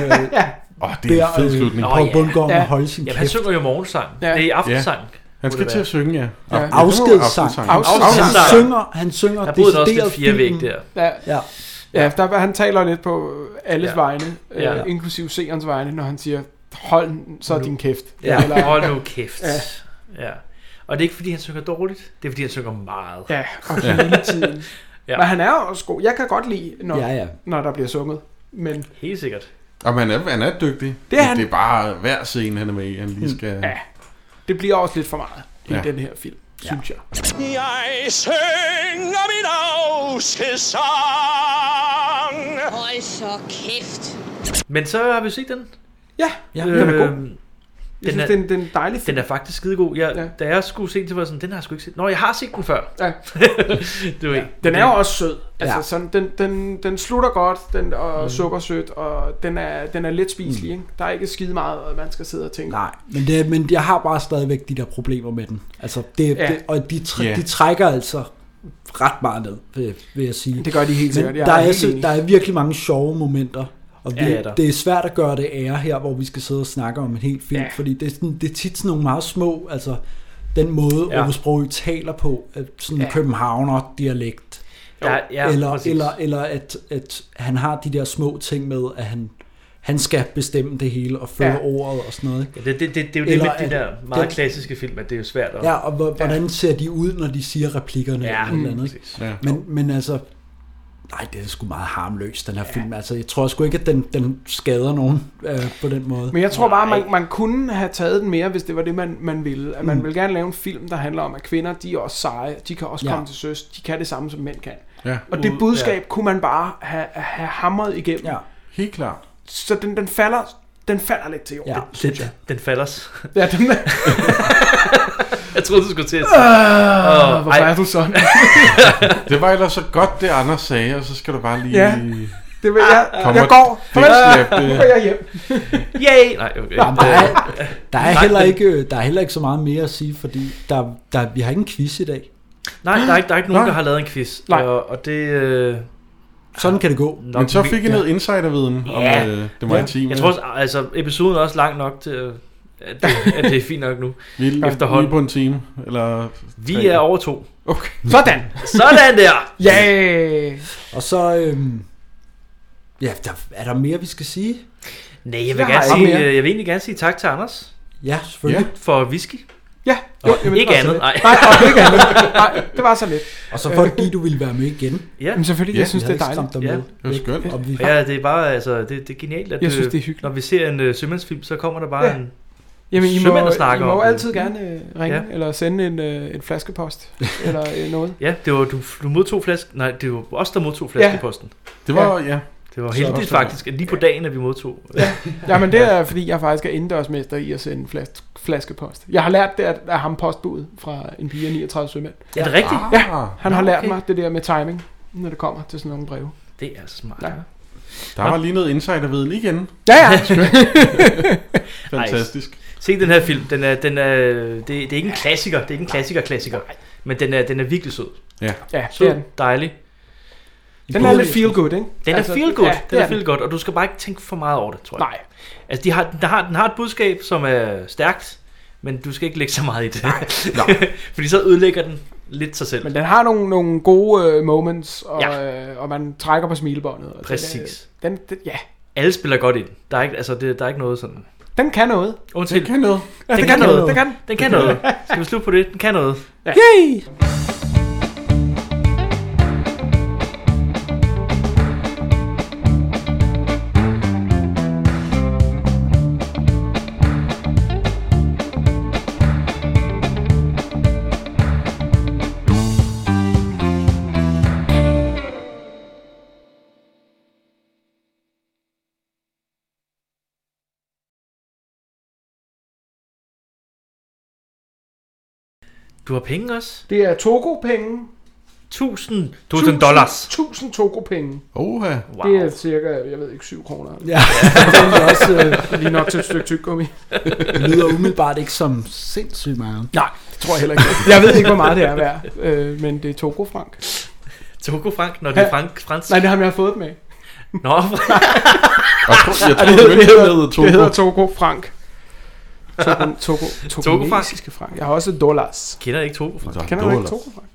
Åh, det er en fed slutning.
Paul Bundgaard ja. holde sin
Jamen, han
kæft.
synger jo morgensang.
Ja.
Ja. Det er aftensang.
Ja.
Ja.
Han skal til at synge, ja.
Ja. Afskedssang.
Afskedssang.
Afskedssang. Han synger, han synger
Der boede der også lidt
decideret
fire væg
filmen.
der.
Ja.
Ja.
Ja, der, han taler lidt på alles ja.
Ja.
vegne, øh, ja.
Ja.
inklusiv seerens vegne, når han siger, hold så
Nu.
din kæft.
Ja,
Eller-
hold nu kæft.
Ja.
Ja. ja. Og det er ikke, fordi han synger dårligt. Det er, fordi han synger meget.
Ja, og hele tiden. ja.
[LAUGHS] Ja.
Men han er jo også god. Jeg kan godt lide, når,
Ja, ja.
når der bliver sunget. Men
Helt sikkert.
Og han er, han er dygtig.
Det er han. Mm.
det er bare hver scene, han er med i, han lige skal...
Ja. det bliver også lidt for meget i
Ja.
den her film, ja. synes jeg.
Jeg synger min afskedssang.
Hold så kæft.
Men så har vi set den.
Ja,
ja øhm,
den er god. Jeg synes, den- den er dejlig
Den er faktisk skidegod. Jeg, ja. Da jeg skulle se den, så var jeg sådan, den har jeg sgu ikke set. Nå, jeg har set den før. [LAUGHS]
Ja.
du ved.
Den er jo også sød. Altså,
Ja.
sådan, den, den, den slutter godt, den og mm. sukkersødt, og den er, den er let spiselig. Mm. Ikke? Der er ikke skide meget, og man skal sidde og tænke.
Nej, men, det, men jeg har bare stadigvæk de der problemer med den. Altså, det,
Ja.
ja. det, og de, tr-
Ja.
yeah. de trækker altså ret meget ned, vil, vil jeg sige.
Det gør de helt sikkert. Jeg
Men der,
er
er,
helt
så,
enig.
der er virkelig mange sjove momenter. Og vi,
Ja, det er
ja,
der.
det er svært at gøre det ære her, hvor vi skal sidde og snakke om en helt film,
Ja.
ja. fordi det er, sådan, det er tit sådan nogle meget små, altså den måde,
Ja.
ja. Aarhus Brogø taler på, at sådan
Ja.
ja. københavner-dialekt.
Ja, ja,
eller,
præcis.
eller, eller at, at han har de der små ting med, at han, han skal bestemme det hele og føre
Ja.
ja. ordet og sådan noget. ikke?
Ja, det, det, det, det er jo
Eller
det med
at
de der meget
den-
klassiske film, at det er jo svært at...
Ja, og hvor- hvordan ser de ud, når de siger replikkerne
Ja,
ja, eller noget
mm,
andet. ikke?
præcis.
Men, men altså, nej, det er sgu meget harmløst, den her ja. film. Altså, jeg tror sgu ikke, at den, den skader nogen øh, på den måde.
Men jeg tror bare, man, man kunne have taget den mere, hvis det var det, man, man ville. At man mm.
Mm.
vil gerne lave en film, der handler om, at kvinder, de er også seje, de kan også ja.
Ja.
komme til søs, de kan det samme, som mænd kan.
Ja.
Og det
Ud-
budskab ja.
ja.
kunne man bare have, have hamret igennem. Ja.
Helt klart.
Så den, den falder den falder lidt til jorden.
Den, den, den falders.
Ja, den
[LAUGHS] jeg troede, du skulle til at
Øh, hvorfor
ej.
er du sådan?
[LAUGHS] det var ellers så godt, det Anders sagde, og så skal du bare lige...
Ja. Det vil jeg.
Kom
jeg
og
går.
fix
Farvel.
slap, øh.
Nu går jeg
[LAUGHS]
hjem.
Yay! Nej, okay.
Nå, men der, er, der, er
Nej,
heller
men-
ikke, øh, der er heller ikke så meget mere at sige, fordi der, der, vi har ikke en quiz i dag.
[LAUGHS] Nej, der er ikke, der er ikke nogen,
Nej.
der har lavet en quiz.
Nej.
Og, og det... Øh,
Sådan kan det gå.
Men så fik I noget insiderviden om
Ja.
øh, det maritime.
Jeg tror også, altså, episoden er også lang nok til, øh, at det, at det er fint nok nu.
Vi er efterhånden på en time, eller...
Vi er over to.
Okay. Sådan.
Sådan der.
Ja.
Og så, øhm, ja, der, er der mere, vi skal sige?
Nej, jeg vil,
Jeg
gerne
har
sige,
ikke mere.
øh, jeg vil egentlig gerne sige tak til Anders.
Ja, selvfølgelig.
Ja. For whisky.
Ja,
jo,
jamen, det
ikke
var så
andet,
lidt.
nej.
Nej, og ikke andet. Nej, det var så lidt. Øh.
Og så fordi du ville være med igen.
Ja.
Jamen, selvfølgelig, jeg synes,
vi
det er
havde ikke
dejligt.
skræmt dig med.
Ja.
Væk. Og vi,
[LAUGHS]
Ja, det er bare, altså, det, det er genialt, at
Jeg synes,
øh,
det er
når vi ser en uh, sømandsfilm, så kommer der bare
Ja.
ja. en
Jamen, I må,
sømand og
I
snakker
må
om
altid
det.
gerne øh, ringe, ja.
Ja.
eller sende en, øh, en
[LAUGHS]
flaskepost, eller øh, noget.
Ja, det var, du, du modtog flaske... Nej, det var os, der modtog flaskeposten.
Ja. Det var- ja.
Det var
Så-
heldigt
Så-
faktisk, at lige på dagen, at vi modtog. øh,
Ja. Jamen, det er, fordi jeg faktisk er indendørsmester i at sende flas- flaskepost. Jeg har lært det af, af ham postbudet fra en pige af 39 sømænd.
Er det rigtigt?
Ja,
Ah.
han
Nå,
har lært
okay.
mig det der med timing, når det kommer til sådan nogle breve.
Det er smart.
Ja.
Der var lige noget insiderviden igen.
Ja, ja. [LAUGHS]
Skønt.
Ej,
Fantastisk.
Se den her film. Den er, den er, det, det er ikke en klassiker. Det er ikke en klassiker-klassiker. Men den er, den er virkelig sød.
Ja.
Ja,
sød,
det er den.
dejlig.
Den er lidt feel good, ikke?
Den er
Altså,
feel good.
ja,
Ja,
det
den
er
er
den.
feel good, og du skal bare ikke tænke for meget over det, tror jeg.
Nej.
Altså, de har, den, har, den har et budskab, som er stærkt, men du skal ikke lægge så meget i det. [LAUGHS] Fordi så ødelægger den [LAUGHS] lidt sig selv.
Men den har nogle, nogle gode øh, moments, og, ja. øh, og man trækker på smilebåndet. Og
Præcis.
Den, øh, den, den, ja,
Alle spiller godt i den. Der er ikke, altså, det, der er ikke noget sådan...
den kan noget.
Undskyld.
Den kan noget. Ja,
Den,
den kan
kan, noget.
noget.
Den kan,
Den
den kan
kan
noget.
noget.
Skal vi slutte på det? Den kan noget.
Ja.
Yay!
Du har penge også?
Det er Togo-penge.
1000 1000 dollars.
1000 Togo-penge.
Oha.
Wow. Det er cirka, jeg ved ikke, 7 kroner.
Ja.
det er egentlig også øh, lige nok til et stykke tyggegummi.
Det lyder umiddelbart ikke som sindssygt meget.
Nej, det tror jeg heller ikke.
[LAUGHS]
Jeg ved ikke, hvor meget det er værd, øh, men det er Togo Frank.
Togo Frank, når det er frank, fransk.
Nej, det har jeg fået dem af.
Nå. [LAUGHS] jeg
tror- jeg
Ej,
tror,
hedder-
den hedder Togo.
Det hedder Togo Frank. Togo, Togo,
Togo Frank.
Frank. Frank. Jeg har også dollars.
Kender ikke Togo Frank.
Kender du ikke Togo Frank?